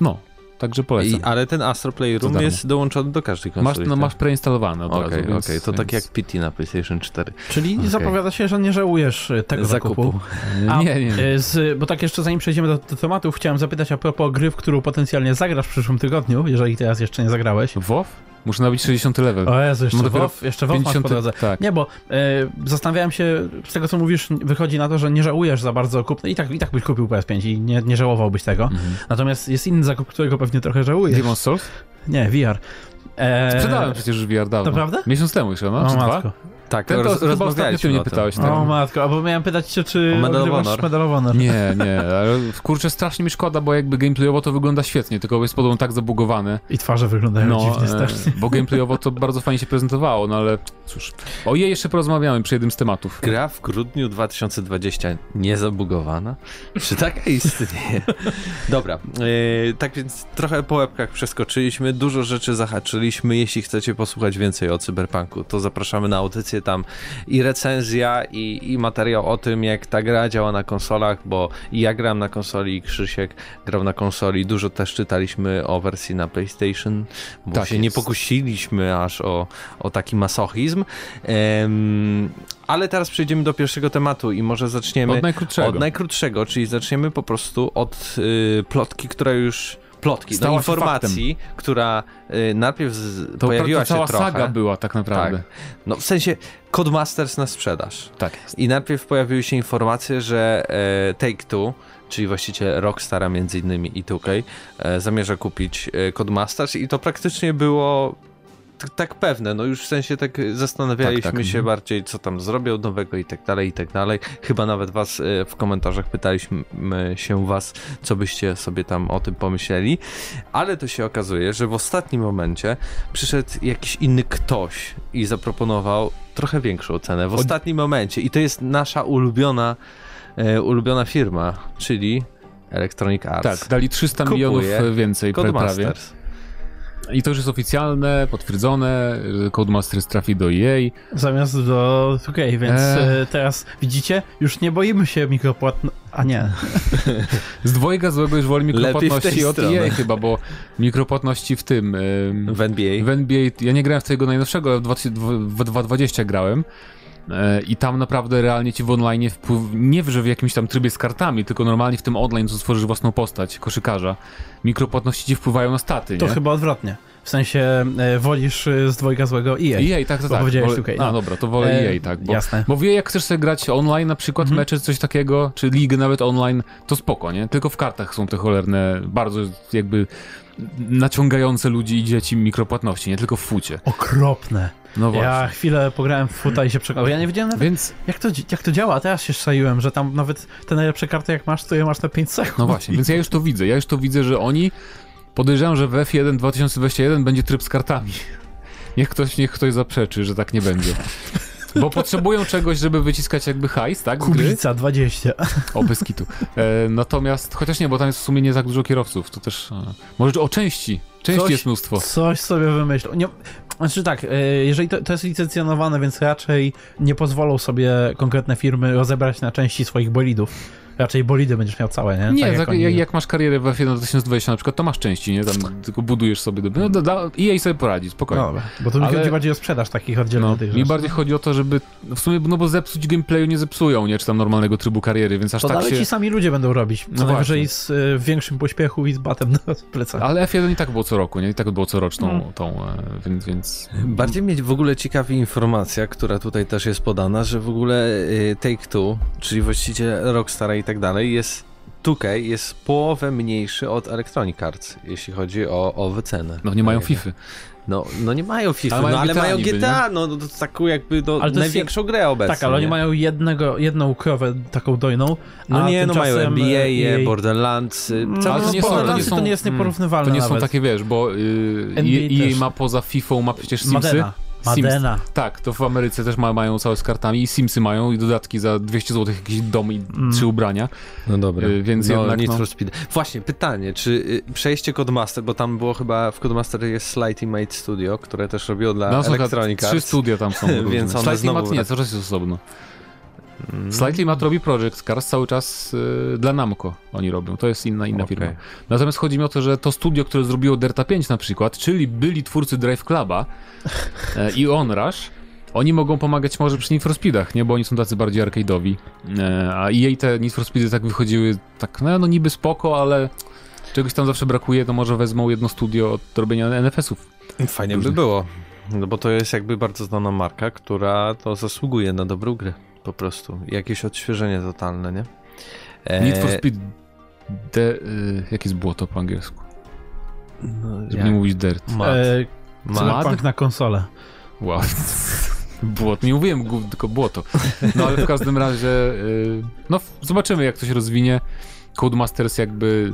Speaker 2: no, także polecam.
Speaker 1: I, ale ten Astro
Speaker 2: To
Speaker 1: Playroom
Speaker 2: darmo.
Speaker 1: jest dołączony do każdej
Speaker 2: Masz,
Speaker 1: konsoli.
Speaker 2: no,
Speaker 1: tak?
Speaker 2: masz preinstalowane od
Speaker 1: Okej,
Speaker 2: razu.
Speaker 1: okej,
Speaker 2: więc-
Speaker 1: to tak
Speaker 2: więc-
Speaker 1: jak PT na PlayStation 4.
Speaker 3: Czyli
Speaker 1: Okej.
Speaker 3: zapowiada się, że nie żałujesz y, tego zakupu.
Speaker 1: Zakupu.
Speaker 3: A,
Speaker 2: Nie, nie.
Speaker 3: y, Z, bo tak jeszcze zanim przejdziemy do, do tematów, chciałem zapytać a propos gry, w którą potencjalnie zagrasz w przyszłym tygodniu, jeżeli teraz jeszcze nie zagrałeś.
Speaker 2: WoW? Muszę nabić 60 level.
Speaker 3: O Jezu, jeszcze
Speaker 2: Mam dopiero
Speaker 3: y, WoW, jeszcze WoW masz po drodze.
Speaker 2: Tak.
Speaker 3: Nie, bo y, zastanawiałem się, z tego co mówisz, wychodzi na to, że nie żałujesz za bardzo kupna i tak, i tak byś kupił PS5 i nie, nie żałowałbyś tego.
Speaker 2: Mhm.
Speaker 3: Natomiast jest inny zakup, którego pewnie trochę żałujesz.
Speaker 2: Demon's Souls?
Speaker 3: Nie, VR. E,
Speaker 2: Sprzedałem przecież już VR dawno.
Speaker 3: Naprawdę?
Speaker 2: Miesiąc temu jeszcze, no,
Speaker 3: O
Speaker 2: czy
Speaker 3: matko.
Speaker 2: dwa?
Speaker 1: Tak,
Speaker 2: Ten to
Speaker 1: roz,
Speaker 2: chyba ostatnio ty
Speaker 1: rozmawialiśmy
Speaker 2: mnie
Speaker 1: o tym.
Speaker 2: pytałeś, tak?
Speaker 3: O matko, albo miałem pytać cię, czy
Speaker 1: O Medal of
Speaker 3: odgrywasz
Speaker 1: Honor.
Speaker 3: Medal of Honor.
Speaker 2: Nie, nie, ale kurczę, strasznie mi szkoda, bo jakby gameplayowo to wygląda świetnie, tylko jest podobno tak zabugowane.
Speaker 3: I twarze wyglądają dziwnie
Speaker 2: e,
Speaker 3: strasznie.
Speaker 2: bo gameplayowo to bardzo fajnie się prezentowało, no ale cóż. O jej jeszcze porozmawiamy przy jednym z tematów.
Speaker 1: Gra w grudniu 2020 niezabugowana? Czy taka istnieje? Dobra, yy, tak więc trochę po łebkach przeskoczyliśmy, dużo rzeczy zahaczyliśmy. Jeśli chcecie posłuchać więcej o Cyberpunku, to zapraszamy na audycję tam i recenzja, i, i materiał o tym, jak ta gra działa na konsolach, bo ja gram na konsoli, i Krzysiek grał na konsoli. Dużo też czytaliśmy o wersji na PlayStation, bo
Speaker 2: Tak
Speaker 1: się
Speaker 2: jest.
Speaker 1: nie pokusiliśmy aż o, o taki masochizm. Em, ale teraz przejdziemy do pierwszego tematu i może zaczniemy
Speaker 2: Od najkrótszego.
Speaker 1: od najkrótszego, czyli zaczniemy po prostu od y, plotki, która już. Plotki,
Speaker 2: Stała
Speaker 1: no,
Speaker 2: się
Speaker 1: informacji, która y, najpierw z,
Speaker 2: to
Speaker 1: pojawiła
Speaker 2: pra-
Speaker 1: się
Speaker 2: cała
Speaker 1: trochę.
Speaker 2: saga była tak
Speaker 1: tak.
Speaker 2: naprawdę.
Speaker 1: No w sensie Codemasters na sprzedaż.
Speaker 2: Tak. jest.
Speaker 1: I najpierw pojawiły się informacje, że e, Take-Two, czyli właściciel Rockstara między innymi i 2K, e, zamierza kupić e, Codemasters i to praktycznie było t- tak pewne, no już w sensie tak e, zastanawialiśmy
Speaker 2: Tak, tak,
Speaker 1: się
Speaker 2: mhm.
Speaker 1: bardziej, co tam zrobią nowego i tak dalej, i tak dalej. Chyba nawet was e, w komentarzach pytaliśmy m, się was, co byście sobie tam o tym pomyśleli, ale to się okazuje, że w ostatnim momencie przyszedł jakiś inny ktoś i zaproponował trochę większą cenę w ostatnim momencie i to jest nasza ulubiona e, ulubiona firma, czyli Electronic Arts.
Speaker 2: Tak, dali 300
Speaker 1: Kupuję
Speaker 2: milionów e, więcej pra- prawie.
Speaker 1: Codemasters.
Speaker 2: I to już jest oficjalne, potwierdzone, że Codemasters trafi do EA.
Speaker 3: Zamiast do 2K, więc
Speaker 2: Eee.
Speaker 3: e, teraz widzicie, już nie boimy się mikropłatno... A nie.
Speaker 2: Z dwojga złego już woli
Speaker 1: Lepiej w tej
Speaker 2: mikropłatności od
Speaker 1: stronie.
Speaker 2: EA chyba, bo mikropłatności w tym... ym,
Speaker 1: W NBA.
Speaker 2: w NBA, ja nie grałem w tego najnowszego, ale w 20 w- w 2020 grałem. E, I tam naprawdę realnie ci w online wpływ, nie w, że w jakimś tam trybie z kartami, tylko normalnie w tym online, co stworzysz własną postać, koszykarza, mikropłatności ci wpływają na staty,
Speaker 3: To
Speaker 2: nie?
Speaker 3: chyba odwrotnie. W sensie e, wolisz e, z dwojga złego EA.
Speaker 2: EA, tak, to
Speaker 3: Bo
Speaker 2: tak.
Speaker 3: powiedziałeś
Speaker 2: Wolę-
Speaker 3: UK,
Speaker 2: A,
Speaker 3: no.
Speaker 2: dobra, to wolę
Speaker 3: E,
Speaker 2: EA, tak. Bo,
Speaker 3: jasne. Mhm.
Speaker 2: Bo w EA jak chcesz sobie grać online na przykład, mecze, coś takiego, czy ligę nawet online, to spoko, nie? Tylko w kartach są te cholerne, bardzo jakby naciągające ludzi i dzieci mikropłatności, nie tylko w fucie.
Speaker 3: Okropne.
Speaker 2: No właśnie.
Speaker 3: Ja chwilę pograłem w futa i się przekonałem. Ja nie wiedziałem nawet,
Speaker 2: Więc,
Speaker 3: jak, to, dzi- jak to działa, teraz się szaiłem, że tam nawet te najlepsze karty jak masz, to je masz na 5 sekund.
Speaker 2: no właśnie, więc ja już to widzę, ja już to widzę, że oni podejrzewam, że w F1 2021 będzie tryb z kartami. Niech ktoś, niech ktoś zaprzeczy, że tak nie będzie. Bo potrzebują czegoś, żeby wyciskać jakby hajs, tak? Z gry.
Speaker 3: Kubica 20.
Speaker 2: O, bez kitu. E, natomiast, chociaż nie, bo tam jest w sumie nie tak dużo kierowców, to też... E, może o części. Części
Speaker 3: Coś- tak
Speaker 2: jest mnóstwo.
Speaker 3: Coś sobie wymyślą. Nie, znaczy tak, e, jeżeli to, to jest licencjonowane, więc raczej nie pozwolą sobie konkretne firmy rozebrać na części swoich bolidów. Raczej bolidy będziesz miał całe, nie?
Speaker 2: Nie, tak, jak,
Speaker 3: oni-
Speaker 2: jak, masz karierę w F1 2020 na przykład, to masz części, nie? Tam tylko budujesz sobie... do- No, da, da, I jej sobie poradzi, spokojnie.
Speaker 3: No dobra, bo tu mi
Speaker 2: Ale-
Speaker 3: chodzi bardziej o sprzedaż takich oddzielnych
Speaker 2: No,
Speaker 3: tych
Speaker 2: mi
Speaker 3: rzeczy.
Speaker 2: bardziej chodzi o to, żeby no w sumie, no bo zepsuć gameplayu nie zepsują, nie, czy tam normalnego trybu kariery, więc aż
Speaker 3: To
Speaker 2: tak
Speaker 3: dalej
Speaker 2: się...
Speaker 3: ci sami ludzie będą robić, co
Speaker 2: No
Speaker 3: najwyżej
Speaker 2: właśnie.
Speaker 3: z y, większym pośpiechu i z batem na plecach.
Speaker 2: Ale F1 i tak było co roku, nie? I tak było coroczną
Speaker 3: Hmm.
Speaker 2: tą, e, więc, więc...
Speaker 1: Bardziej mnie w ogóle ciekawi informacja, która tutaj też jest podana, że w ogóle y, Take-Two, czyli właściciel Rockstara i tak dalej, jest 2K jest połowę mniejszy od Electronic Arts, jeśli chodzi o, o wycenę.
Speaker 2: No nie mają
Speaker 1: Tak,
Speaker 2: FIFA.
Speaker 1: No, no nie mają FIFA,
Speaker 2: Ale mają
Speaker 1: no ale
Speaker 2: GTA
Speaker 1: mają
Speaker 2: niby,
Speaker 1: GTA, no, no to taką jakby no,
Speaker 3: Ale to jest
Speaker 1: największą grę obecnie.
Speaker 3: tak, ale oni
Speaker 1: nie?
Speaker 3: mają jednego, jedną krowę taką dojną.
Speaker 1: No
Speaker 3: a
Speaker 1: nie, no mają
Speaker 3: tymczasem,
Speaker 1: NBA,
Speaker 3: e, EA
Speaker 1: Borderlands, y,
Speaker 3: No,
Speaker 1: całe
Speaker 2: Ale to
Speaker 3: to,
Speaker 2: nie
Speaker 3: nie
Speaker 2: są-
Speaker 1: sporo.
Speaker 2: nie
Speaker 3: to
Speaker 2: są-
Speaker 3: nie jest
Speaker 2: mm,
Speaker 3: nieporównywalne
Speaker 2: To nie są
Speaker 3: nawet.
Speaker 2: takie, wiesz, bo
Speaker 3: NBA
Speaker 2: yy, EA
Speaker 3: też.
Speaker 2: ma poza FIFA, ma przecież Simsy.
Speaker 3: Madena. Madena.
Speaker 2: Tak, to w Ameryce też ma, mają całe z kartami i Simsy mają i dodatki za 200 zł jakiś dom i trzy ubrania.
Speaker 1: No dobra,
Speaker 2: Y, więc
Speaker 1: no,
Speaker 2: jednak,
Speaker 1: Need
Speaker 2: no.
Speaker 1: for Speed. Właśnie, pytanie, czy y, przejście Codemaster, bo tam było chyba, w Codemaster jest Slight Made Studio, które też robiło dla
Speaker 2: No,
Speaker 1: no,
Speaker 2: są taka-
Speaker 1: Electronic
Speaker 2: Trzy
Speaker 1: Arts.
Speaker 2: studia
Speaker 1: <laughs>
Speaker 2: tam są. różne.
Speaker 1: Więc one
Speaker 2: Slightly
Speaker 1: znowu Mm.
Speaker 2: Mat nie,
Speaker 1: wrac-
Speaker 2: to jest osobno. Slightly Mat robi Project Cars cały czas y, dla Namco oni robią, to jest inna, inna
Speaker 1: Okej.
Speaker 2: firma. Natomiast chodzi mi o to, że to studio, które zrobiło Derta 5 na przykład, czyli byli twórcy Drive Cluba e, i Onrush, oni mogą pomagać może przy Need for Speedach, nie? Bo oni są tacy bardziej arcade'owi. E, a jej te Need for Speedy tak wychodziły, tak no, no niby spoko, ale czegoś tam zawsze brakuje, to może wezmą jedno studio od robienia NFS-ów.
Speaker 1: Fajnie by
Speaker 2: Różnych.
Speaker 1: było, no bo to jest jakby bardzo znana marka, która to zasługuje na dobrą grę, po prostu. Jakieś odświeżenie totalne, nie? E,
Speaker 2: Need for Speed... De, y, jakie jest było to po angielsku?
Speaker 1: no,
Speaker 2: Żeby
Speaker 1: jak-
Speaker 2: nie mówić Dirt.
Speaker 1: Mad.
Speaker 3: E,
Speaker 1: Mad.
Speaker 3: Cyberpunk na konsolę.
Speaker 2: Wow.
Speaker 1: <laughs>
Speaker 2: Błot. Nie mówiłem gówno, tylko błoto. No ale w każdym razie, y, no f- zobaczymy jak to się rozwinie. Codemasters jakby...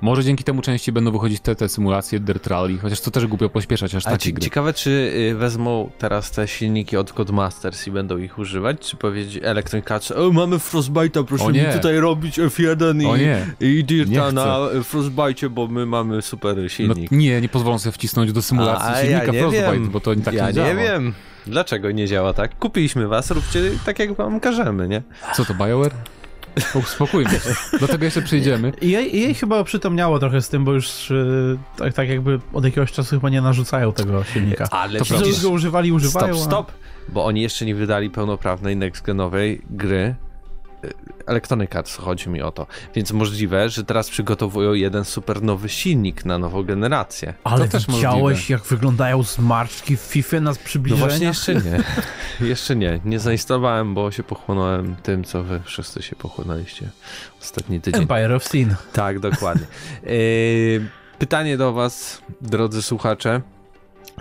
Speaker 2: Może dzięki temu częściej będą wychodzić te, te symulacje Dirt Rally, chociaż to też głupio pośpieszać aż
Speaker 1: A
Speaker 2: takie
Speaker 1: ci,
Speaker 2: gry.
Speaker 1: ciekawe, czy y, wezmą teraz te silniki od Codemasters i będą ich używać, czy powiedzieć Electronic Arts, o, mamy Frostbite'a,
Speaker 2: O
Speaker 1: proszę
Speaker 2: nie.
Speaker 1: mi tutaj robić F1
Speaker 2: O
Speaker 1: i,
Speaker 2: nie.
Speaker 1: i Dirta
Speaker 2: chcę.
Speaker 1: na y, Frostbite'cie, bo my mamy super
Speaker 2: No,
Speaker 1: silnik.
Speaker 2: nie, nie pozwolą sobie wcisnąć do symulacji
Speaker 1: A,
Speaker 2: No, silnika
Speaker 1: nie
Speaker 2: Frostbite,
Speaker 1: wiem.
Speaker 2: bo to tak
Speaker 1: ja
Speaker 2: nie działa.
Speaker 1: wiem. Dlaczego nie działa tak? Kupiliśmy was, róbcie tak, jak wam każemy, nie?
Speaker 2: Co to, Bioware? Uspokójmy się. Do tego jeszcze przyjdziemy.
Speaker 3: I jej,
Speaker 1: Mm.
Speaker 3: jej chyba przytomniało trochę z tym, bo już e, tak, tak jakby od jakiegoś czasu chyba nie narzucają tego silnika.
Speaker 1: Ale
Speaker 2: To
Speaker 3: Że
Speaker 2: prawda.
Speaker 3: już go używali, używają.
Speaker 1: Stop, stop! Bo oni jeszcze nie wydali pełnoprawnej next-genowej gry y, Electronic Arts, chodzi mi o to. Więc możliwe, że teraz przygotowują jeden super nowy silnik na nową generację.
Speaker 3: A, ale
Speaker 2: To też
Speaker 3: widziałeś,
Speaker 2: możliwe.
Speaker 3: jak wyglądają zmarszczki w FIFA na
Speaker 1: No
Speaker 3: przybliżenia?
Speaker 1: właśnie jeszcze
Speaker 2: <laughs>
Speaker 1: nie. jeszcze nie. Nie zainstalowałem, bo się pochłonąłem tym, co wy wszyscy się pochłonęliście ostatni tydzień.
Speaker 3: Empire of Sin.
Speaker 1: Tak, dokładnie. Yy, Pytanie do was, drodzy słuchacze.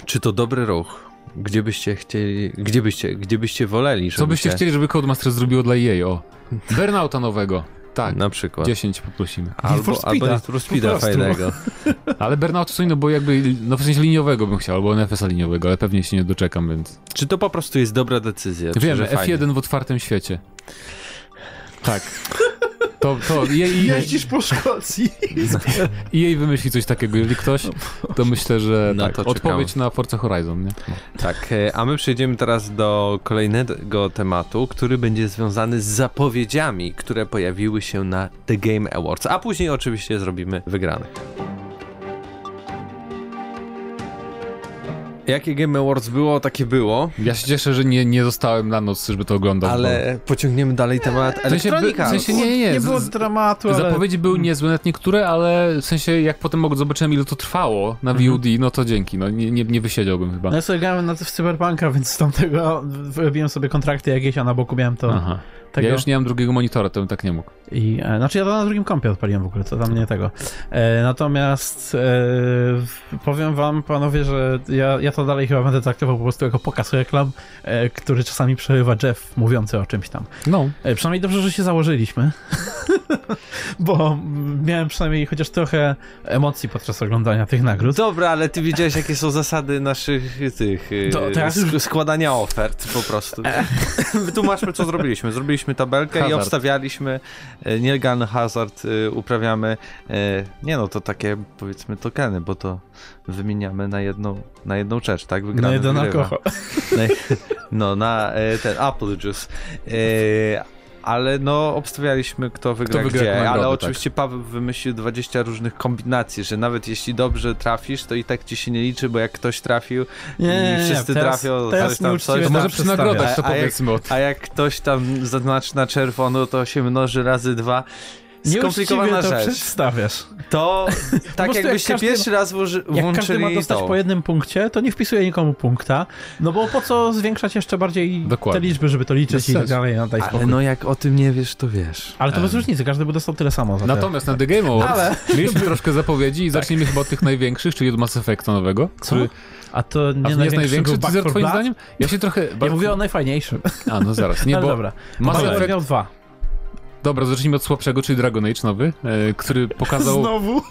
Speaker 1: Czy to dobry ruch? Gdzie byście chcieli, gdzie byście, gdzie byście woleli, żeby
Speaker 2: Co byście
Speaker 1: się-
Speaker 2: chcieli, żeby Codemasters zrobiło dla jej?
Speaker 1: <laughs>
Speaker 2: O, Burnouta nowego. Tak,
Speaker 1: Na przykład.
Speaker 2: 10 poprosimy.
Speaker 3: Need for
Speaker 1: Albo, albo
Speaker 3: Speeda.
Speaker 1: Need for Speeda
Speaker 3: Po prostu.
Speaker 1: fajnego.
Speaker 2: Ale Burnout co innego, bo jakby, no w sensie liniowego bym chciał, albo NFS-a liniowego, ale pewnie się nie doczekam, więc...
Speaker 1: Czy to po prostu jest dobra decyzja?
Speaker 2: Wiem,
Speaker 1: czy,
Speaker 2: że
Speaker 1: że fajnie?
Speaker 2: F1 w otwartym świecie.
Speaker 1: <laughs>
Speaker 2: Tak. To, to jej, jej,
Speaker 3: po Szkocji.
Speaker 2: jej wymyśli coś takiego, jeżeli ktoś, to myślę, że
Speaker 1: Na
Speaker 2: tak,
Speaker 1: No to czekamy.
Speaker 2: odpowiedź na Forza Horizon, nie? No.
Speaker 1: <laughs> Tak, e, a my przejdziemy teraz do kolejnego tematu, który będzie związany z zapowiedziami, które pojawiły się na The Game Awards, a później oczywiście zrobimy wygranych. Jakie Game Awards było, takie było,
Speaker 2: Ja się cieszę, że nie, nie zostałem na noc, żeby to oglądać.
Speaker 1: ale pociągniemy dalej temat
Speaker 2: sensie by-
Speaker 1: Electronic
Speaker 2: w
Speaker 1: Arts.
Speaker 2: sensie nie, nie, nie.
Speaker 3: Nie
Speaker 2: Z-
Speaker 3: było
Speaker 2: z-
Speaker 3: dramatu,
Speaker 2: bo
Speaker 3: ale... Mm.
Speaker 2: Zapowiedzi były niezłe, nawet niektóre, ale w sensie jak potem og- zobaczyłem ile to trwało na
Speaker 3: Mhm.
Speaker 2: VOD, no to dzięki, no nie, nie, nie wysiedziałbym chyba.
Speaker 3: No ja sobie grałem na w Cyberpunka, więc z tamtego wyrobiłem sobie kontrakty jakieś, a na boku miałem to.
Speaker 2: Aha.
Speaker 3: Tego.
Speaker 2: Ja już nie mam drugiego monitora, to bym tak nie mógł.
Speaker 3: I, e, znaczy ja to na drugim kompie odpaliłem w ogóle, to tam nie tego. E, natomiast e, w- powiem wam, panowie, że ja, ja to dalej chyba będę traktował po prostu jako pokaz reklam, e, który czasami przerywa Jeff mówiący o czymś tam.
Speaker 2: No,
Speaker 3: E, Przynajmniej dobrze, że się założyliśmy, <laughs> bo mm, miałem przynajmniej chociaż trochę emocji podczas oglądania tych nagród.
Speaker 1: Dobra, ale ty wiedziałeś, jakie są zasady naszych y, tych y,
Speaker 3: To teraz
Speaker 1: sk-
Speaker 3: już- E.
Speaker 1: składania ofert po prostu. <laughs> Wytłumaczmy, co zrobiliśmy. Zrobiliśmy tabelkę i
Speaker 2: Hazard.
Speaker 1: obstawialiśmy y, nielegalny hazard, y, uprawiamy. y, Nie no, to takie powiedzmy tokeny, bo to wymieniamy na jedną, na jedną rzecz, tak? Wygrany
Speaker 3: No jeden
Speaker 1: wygrywa.
Speaker 3: alkohol.
Speaker 1: No, i- <laughs> no na y, ten Apple Juice. Y, ale no, obstawialiśmy, kto wygra,
Speaker 2: Kto wygra
Speaker 1: gdzie.
Speaker 2: jaką nagrodę,
Speaker 1: ale
Speaker 2: tak.
Speaker 1: oczywiście Paweł wymyślił 20 różnych kombinacji, że nawet jeśli dobrze trafisz, to i tak ci się nie liczy, bo jak ktoś trafił, I wszyscy
Speaker 3: teraz,
Speaker 1: trafią, coś
Speaker 3: Teraz
Speaker 1: tam,
Speaker 3: nieuczciwie
Speaker 1: coś
Speaker 2: to
Speaker 1: tam.
Speaker 2: może
Speaker 3: tam
Speaker 2: przy
Speaker 3: przedstawiam.
Speaker 2: nagrodach to
Speaker 1: Tak, A- a jak-
Speaker 2: powiedzmy o tym.
Speaker 1: a jak ktoś tam zaznaczy na czerwono, to się mnoży razy dwa. Skomplikowana
Speaker 3: Nieuczciwie to
Speaker 1: rzecz.
Speaker 3: przedstawiasz. <laughs>
Speaker 1: To tak
Speaker 3: prostu jak
Speaker 1: jakbyście
Speaker 3: każdy
Speaker 1: pierwszy raz włoży,
Speaker 3: Jak każdy ma
Speaker 1: włączyli
Speaker 3: dostać
Speaker 1: tą.
Speaker 3: po jednym punkcie, to nie wpisuje nikomu punkta, no bo po co zwiększać jeszcze bardziej
Speaker 2: Dokładnie.
Speaker 3: te liczby, żeby to liczyć
Speaker 2: Bez
Speaker 3: i tak
Speaker 2: sensu.
Speaker 3: dalej, no daj
Speaker 1: Ale
Speaker 3: spokój.
Speaker 1: no jak o tym nie wiesz, to wiesz.
Speaker 2: E.
Speaker 3: Ale to bez różnicy, każdy by dostał tyle samo
Speaker 1: tak.
Speaker 3: za te-
Speaker 2: Natomiast na The Game Awards
Speaker 3: Ale- <laughs> Tak.
Speaker 2: mieliśmy troszkę zapowiedzi i zaczniemy chyba od tych największych, czyli od Mass Effecta nowego, który
Speaker 3: A to nie,
Speaker 2: a nie jest największy,
Speaker 3: był Back
Speaker 2: teaser
Speaker 3: for
Speaker 2: twoim
Speaker 3: Blood?
Speaker 2: zdaniem? Ja się trochę...
Speaker 3: Ja
Speaker 2: bardzo-
Speaker 3: mówię o najfajniejszym.
Speaker 2: A, no zaraz, nie,
Speaker 3: <laughs> Ale
Speaker 2: bo
Speaker 3: dobra.
Speaker 2: Mass
Speaker 3: Paweł
Speaker 2: Effect...
Speaker 3: miał dwa.
Speaker 2: Dobra, zacznijmy od słabszego, czyli Dragon Age nowy, e, który pokazał...
Speaker 3: Znowu.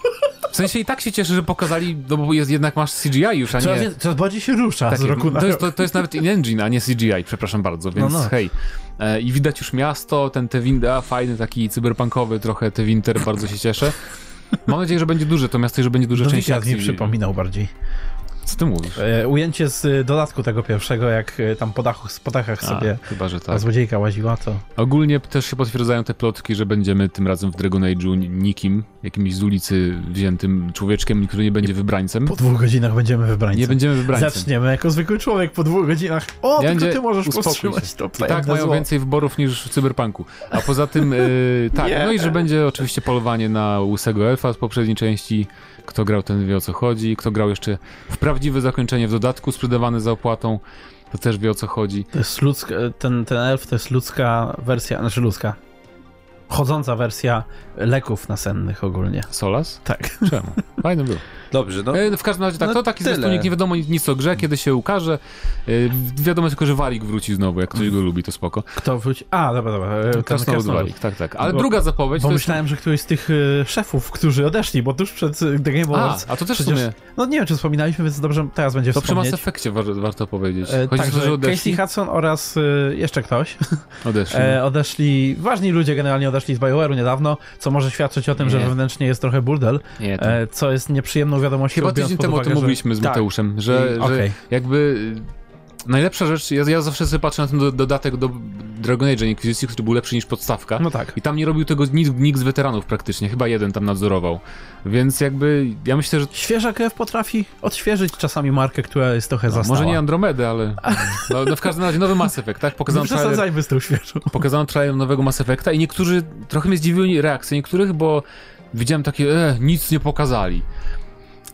Speaker 2: W sensie i tak się cieszę, że pokazali, no bo jest, jednak masz CGI już, a No nie...
Speaker 3: Coraz, więcej- coraz bardziej się rusza
Speaker 2: Tak,
Speaker 3: z roku na
Speaker 2: to, jest,
Speaker 3: rok.
Speaker 2: to, to jest nawet in-engine, a nie CGI, przepraszam bardzo, więc
Speaker 3: No, no.
Speaker 2: hej. E, I widać już miasto, ten te winda, fajny taki cyberpunkowy trochę, te winter, bardzo się cieszę. Mam nadzieję, że będzie duże to miasto i że będzie dużo
Speaker 3: Do
Speaker 2: części
Speaker 3: Wika mi
Speaker 2: akcji.
Speaker 3: przypominał bardziej.
Speaker 2: Co ty mówisz?
Speaker 3: E, ujęcie z y, dodatku tego pierwszego, jak y, tam po, dachu, po dachach sobie
Speaker 2: A, chyba, że
Speaker 3: ta
Speaker 2: tak.
Speaker 3: złodziejka łaziła, to...
Speaker 2: Ogólnie też się potwierdzają te plotki, że będziemy tym razem w Dragon Age'u nikim, jakimś z ulicy wziętym człowieczkiem, który nie będzie wybrańcem.
Speaker 3: Po dwóch godzinach będziemy wybrańcem.
Speaker 2: Nie będziemy wybrańcem.
Speaker 3: Zaczniemy jako zwykły człowiek po dwóch godzinach. O,
Speaker 2: Ja
Speaker 3: tylko
Speaker 2: będzie-
Speaker 3: ty możesz
Speaker 2: uspokój
Speaker 3: powstrzymać
Speaker 2: się.
Speaker 3: to
Speaker 2: I tak
Speaker 3: pędne
Speaker 2: mają
Speaker 3: zło.
Speaker 2: więcej wyborów niż w cyberpunku. A poza tym,
Speaker 3: <laughs>
Speaker 2: yy, tak,
Speaker 3: Nie.
Speaker 2: no i że będzie oczywiście polowanie na łysego elfa z poprzedniej części. Kto grał, ten wie o co chodzi. Kto grał jeszcze w prawdziwe zakończenie w dodatku sprzedawane za opłatą, to też wie o co chodzi.
Speaker 3: To jest ludzka, ten, ten elf to jest ludzka wersja, znaczy ludzka. Chodząca wersja leków nasennych ogólnie.
Speaker 2: Solas?
Speaker 3: Tak.
Speaker 2: Czemu? Fajne było.
Speaker 1: Dobrze, no.
Speaker 2: E, W każdym razie tak,
Speaker 1: No
Speaker 2: to taki
Speaker 1: tyle.
Speaker 2: zwiastunik, nie wiadomo nic, nic o grze, kiedy się ukaże. E, Wiadomo tylko, że Warik wróci znowu, jak ktoś go lubi, to spoko.
Speaker 3: Kto wróci? A, dobra, dobra. e, ten
Speaker 2: Krasnolud
Speaker 3: krasnolud.
Speaker 2: Warik, tak, tak. Ale
Speaker 3: Bo-
Speaker 2: druga zapowiedź
Speaker 3: Bo
Speaker 2: to jest...
Speaker 3: myślałem, że któryś z tych e, szefów, którzy odeszli, bo tuż przed e, The Game
Speaker 2: A,
Speaker 3: Awards...
Speaker 2: a to też w
Speaker 3: przecież-
Speaker 2: sumie,
Speaker 3: No nie wiem, czy wspominaliśmy, więc dobrze teraz będzie
Speaker 2: to przy Mass
Speaker 3: wspomnieć.
Speaker 2: Effectie war, warto powiedzieć.
Speaker 3: E,
Speaker 2: Chodzi
Speaker 3: tak,
Speaker 2: o to,
Speaker 3: że
Speaker 2: że odeszli.
Speaker 3: Casey Hudson oraz e, jeszcze ktoś
Speaker 2: Odeszli.
Speaker 3: e, odeszli, ważni ludzie generalnie odeszli z BioWare'u niedawno, co może świadczyć o tym, że
Speaker 2: Nie.
Speaker 3: wewnętrznie jest trochę burdel,
Speaker 2: no. nie, to...
Speaker 3: e, co jest nieprzyjemną wiadomością.
Speaker 2: Chyba
Speaker 3: biorąc
Speaker 2: tydzień
Speaker 3: pod
Speaker 2: temu o
Speaker 3: uwagę,
Speaker 2: tym
Speaker 3: że-
Speaker 2: mówiliśmy z
Speaker 1: Tak.
Speaker 2: Mateuszem, że,
Speaker 3: I-
Speaker 2: że
Speaker 3: okej.
Speaker 2: jakby y, najlepsza rzecz, ja, ja zawsze sobie patrzę na ten do, dodatek do Dragon Age Inquisition, który był lepszy niż podstawka.
Speaker 3: No tak.
Speaker 2: I tam nie robił tego nikt, nikt z weteranów praktycznie, chyba jeden tam nadzorował. Więc jakby ja myślę, że
Speaker 3: Świeża krew potrafi odświeżyć czasami markę, która jest trochę
Speaker 2: no,
Speaker 3: zastała.
Speaker 2: może nie Andromedę, ale no, no w każdym razie nowy Mass Effect, tak?
Speaker 3: Nie
Speaker 2: Pokazano trailer,
Speaker 3: przesadzajmy z tą świeżą.
Speaker 2: pokazano trailer nowego Mass Effecta i niektórzy, trochę mnie zdziwiły reakcje niektórych, bo widziałem takie, e, nic nie pokazali.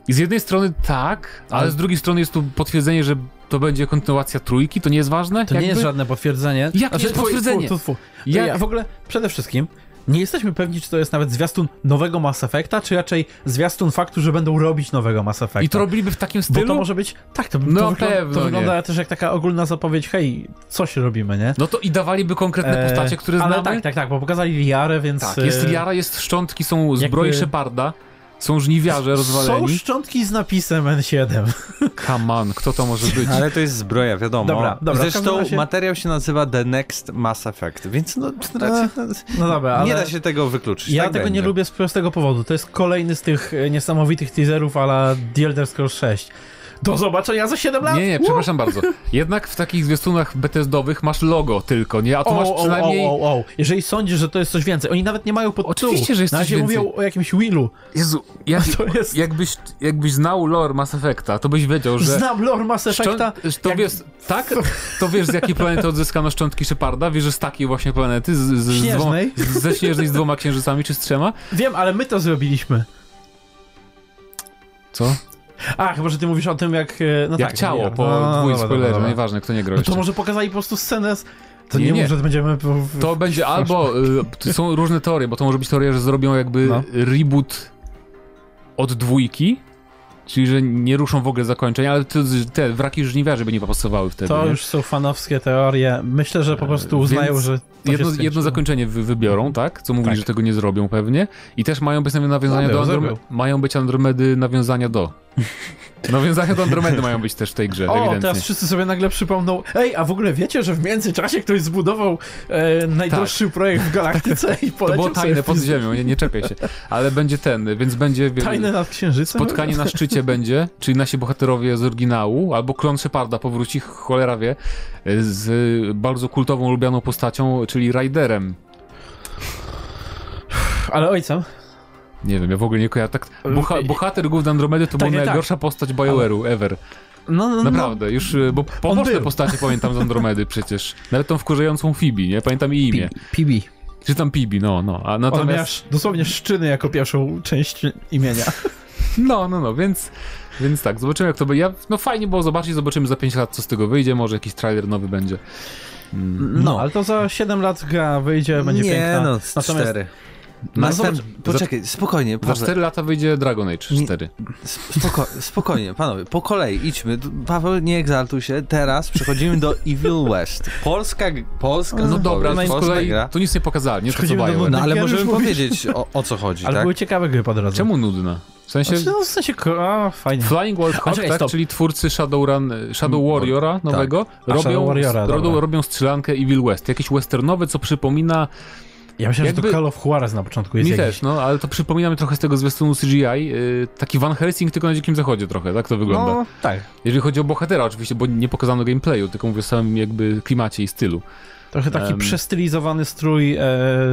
Speaker 2: I z jednej strony tak, ale,
Speaker 3: Ale-
Speaker 2: z drugiej strony jest tu potwierdzenie, że to będzie kontynuacja trójki, to nie jest Znaczy, ważne?
Speaker 3: To nie jest żadne potwierdzenie.
Speaker 2: nie jest
Speaker 3: tfu,
Speaker 2: potwierdzenie?
Speaker 3: tfu, tfu, tfu. To
Speaker 2: Jak-
Speaker 3: Ja w ogóle przede wszystkim nie jesteśmy pewni, czy to jest nawet zwiastun nowego Mass Effecta, czy raczej zwiastun faktu, że będą robić nowego Mass Effecta.
Speaker 2: I to robiliby w takim
Speaker 3: tak, Bo
Speaker 2: stylu?
Speaker 3: to może być. Tak, to,
Speaker 2: No
Speaker 3: to,
Speaker 2: pewno
Speaker 3: to
Speaker 2: nie.
Speaker 3: wygląda też jak taka ogólna zapowiedź, hej, coś robimy, nie?
Speaker 2: No to i dawaliby konkretne postacie,
Speaker 3: E,
Speaker 2: które
Speaker 3: ale
Speaker 2: znamy?
Speaker 3: tak, tak, tak, bo pokazali Liarę, więc...
Speaker 2: Tak, jest
Speaker 3: e,
Speaker 2: Liara, jest szczątki, są zbroje
Speaker 3: jakby-
Speaker 2: Sheparda, są żniwiarze
Speaker 3: Są
Speaker 2: rozwaleni.
Speaker 3: szczątki z napisem N7.
Speaker 2: Come on, kto to może być?
Speaker 1: No, Ale to jest zbroja, wiadomo.
Speaker 3: Dobra, dobra, w każdym
Speaker 1: Zresztą
Speaker 3: razie-
Speaker 1: materiał się nazywa The Next Mass Effect, więc no,
Speaker 2: Tak.
Speaker 3: <laughs> No dobra, ale...
Speaker 1: nie da się tego wykluczyć.
Speaker 3: Ja
Speaker 1: tak
Speaker 3: tego
Speaker 1: będzie.
Speaker 3: nie lubię z prostego powodu. To jest kolejny z tych e, niesamowitych teaserów a la The Elder Scrolls 6. Do zobaczenia za 7 lat!
Speaker 2: Nie, nie, przepraszam bardzo. Jednak w takich zwiastunach Bethesdowych masz logo tylko, nie? A tu
Speaker 3: O,
Speaker 2: masz
Speaker 3: o,
Speaker 2: przynajmniej...
Speaker 3: o, o, o. Jeżeli sądzisz, że to jest coś więcej, oni nawet nie mają pod
Speaker 2: Oczywiście, że jest
Speaker 3: Na
Speaker 2: coś
Speaker 3: razie
Speaker 2: więcej.
Speaker 3: mówią o jakimś Willu. <laughs>
Speaker 2: Jezu, jak,
Speaker 3: To jest-
Speaker 2: jakbyś, jakbyś znał lore Mass Effecta, to byś wiedział, że...
Speaker 3: Znam lore Mass Effecta.
Speaker 2: Szczą- to
Speaker 3: jak-
Speaker 2: wiesz, tak? To wiesz, z jakiej planety odzyskano szczątki Szeparda? Wiesz, że z takiej właśnie planety? Z, z, z dwoma,
Speaker 3: Śnieżnej.
Speaker 2: z- ze śnieżnej z dwoma księżycami czy z trzema?
Speaker 3: Wiem, ale my to zrobiliśmy.
Speaker 2: Co?
Speaker 3: A, chyba, że ty mówisz o tym, jak... e, No
Speaker 2: Jak
Speaker 3: tak,
Speaker 2: ciało,
Speaker 3: jak-
Speaker 2: po no,
Speaker 3: no, no,
Speaker 2: dwóch
Speaker 3: dobra,
Speaker 2: spoilerze,
Speaker 3: dobra.
Speaker 2: nieważne, kto nie grał
Speaker 3: No to
Speaker 2: jeszcze.
Speaker 3: może pokazali po prostu scenę z... To
Speaker 2: Nie,
Speaker 3: nie,
Speaker 2: nie.
Speaker 3: mów, że będziemy... w- w-
Speaker 2: To będzie albo, y, to są różne teorie, bo to może być teoria, że zrobią jakby
Speaker 3: No.
Speaker 2: reboot od dwójki, czyli że nie ruszą w ogóle zakończenia, ale te, te wraki żniwiarzy by nie popasowały wtedy.
Speaker 3: To
Speaker 2: nie?
Speaker 3: już są fanowskie teorie. Myślę, że po prostu uznają,
Speaker 2: więc
Speaker 3: że. to się
Speaker 2: Jedno,
Speaker 3: skończyło.
Speaker 2: jedno zakończenie wy, wybiorą, tak? Co mówili,
Speaker 3: Tak.
Speaker 2: że tego nie zrobią pewnie. I też mają być nawiązania
Speaker 3: Zrobią,
Speaker 2: do
Speaker 3: zrobią.
Speaker 2: Andromedy. Mają być Andromedy nawiązania do. <laughs> Nawiązania do Andromedy mają być też w tej grze,
Speaker 3: O,
Speaker 2: ewidentnie.
Speaker 3: teraz wszyscy sobie nagle przypomną, ej, a w ogóle wiecie, że w międzyczasie ktoś zbudował e, najdroższy projekt w galaktyce i
Speaker 2: Tak. <laughs> To
Speaker 3: poleciał
Speaker 2: było tajne
Speaker 3: sobie w
Speaker 2: pod
Speaker 3: pizdę.
Speaker 2: ziemią, nie, nie czepiaj się. Ale będzie ten, więc będzie wie-
Speaker 3: Tajne nad księżycem?
Speaker 2: spotkanie na szczycie będzie, czyli nasi bohaterowie z oryginału, albo klon Sheparda powróci, cholera wie, z bardzo kultową, lubianą postacią, czyli Riderem.
Speaker 3: Ale ojcem.
Speaker 2: Nie wiem, ja w ogóle nie kojarzę. Tak, bucha, bohater główny Andromedy to
Speaker 3: Tak,
Speaker 2: była
Speaker 3: tak.
Speaker 2: najgorsza postać BioWare'u ever.
Speaker 3: No, no, no.
Speaker 2: Naprawdę, już, y, bo poboczne
Speaker 3: był.
Speaker 2: postacie pamiętam z Andromedy przecież. Nawet tą wkurzającą Fibi, nie? Pamiętam jej imię.
Speaker 3: Pibi.
Speaker 2: Czy tam Pibi, no, no. A
Speaker 3: Ona miała
Speaker 2: natomiast...
Speaker 3: sz- dosłownie szczyny jako pierwszą część imienia.
Speaker 2: No, no, no, więc... Więc tak, zobaczymy jak to będzie. Ja, no fajnie było zobaczyć, zobaczymy za 5 lat co z tego wyjdzie, może jakiś trailer nowy będzie.
Speaker 3: No, ale to za 7 lat gra wyjdzie, będzie
Speaker 1: nie,
Speaker 3: piękna.
Speaker 1: no,
Speaker 3: Natomiast-
Speaker 1: cztery.
Speaker 2: No,
Speaker 1: Następ...
Speaker 2: zobacz-
Speaker 1: Poczekaj, spokojnie,
Speaker 2: Za
Speaker 1: Paweł.
Speaker 2: 4 lata wyjdzie Dragon Age
Speaker 1: Nie-
Speaker 2: 4.
Speaker 1: Spoko... Spokojnie, panowie, po kolei idźmy. D- Paweł, nie egzaltuj się. Teraz przechodzimy do <laughs> Evil West. Polska, g- Polska
Speaker 2: No dobra, no i
Speaker 1: polska
Speaker 2: z kolei
Speaker 1: gra.
Speaker 2: tu nic nie pokazali, nie to co
Speaker 3: Przechodzimy do
Speaker 2: BioWare.
Speaker 1: No ale
Speaker 3: Ja już
Speaker 1: możemy <laughs>
Speaker 3: mówię.
Speaker 1: powiedzieć o, o co chodzi,
Speaker 3: Ale
Speaker 1: tak?
Speaker 3: były ciekawe gry pod razem.
Speaker 2: Czemu nudna? W sensie...
Speaker 3: Znaczy, no, w sensie, ko- a, fajnie.
Speaker 2: Flying Wild Hog, tak,
Speaker 3: czekaj, stop. Mm, tak.
Speaker 2: czyli twórcy Shadowrun, Shadow Warriora nowego,
Speaker 3: A,
Speaker 2: robią,
Speaker 3: Shadow Warriora,
Speaker 2: robią,
Speaker 3: dobra.
Speaker 2: robią strzelankę Evil West. Jakieś westernowe, co przypomina,
Speaker 3: Ja myślałem, że
Speaker 2: Jakby-
Speaker 3: to Call of Juarez na początku jest
Speaker 2: mi
Speaker 3: jakiś.
Speaker 2: też, no, ale to przypomina mi trochę z tego zwiastunu CGI, y, taki Van Helsing tylko na Dzikim Zachodzie trochę, tak to wygląda.
Speaker 3: No, tak.
Speaker 2: Jeżeli chodzi o bohatera oczywiście, bo nie pokazano gameplayu, tylko mówię o samym jakby klimacie i stylu.
Speaker 3: Trochę taki
Speaker 2: Em.
Speaker 3: przestylizowany strój e,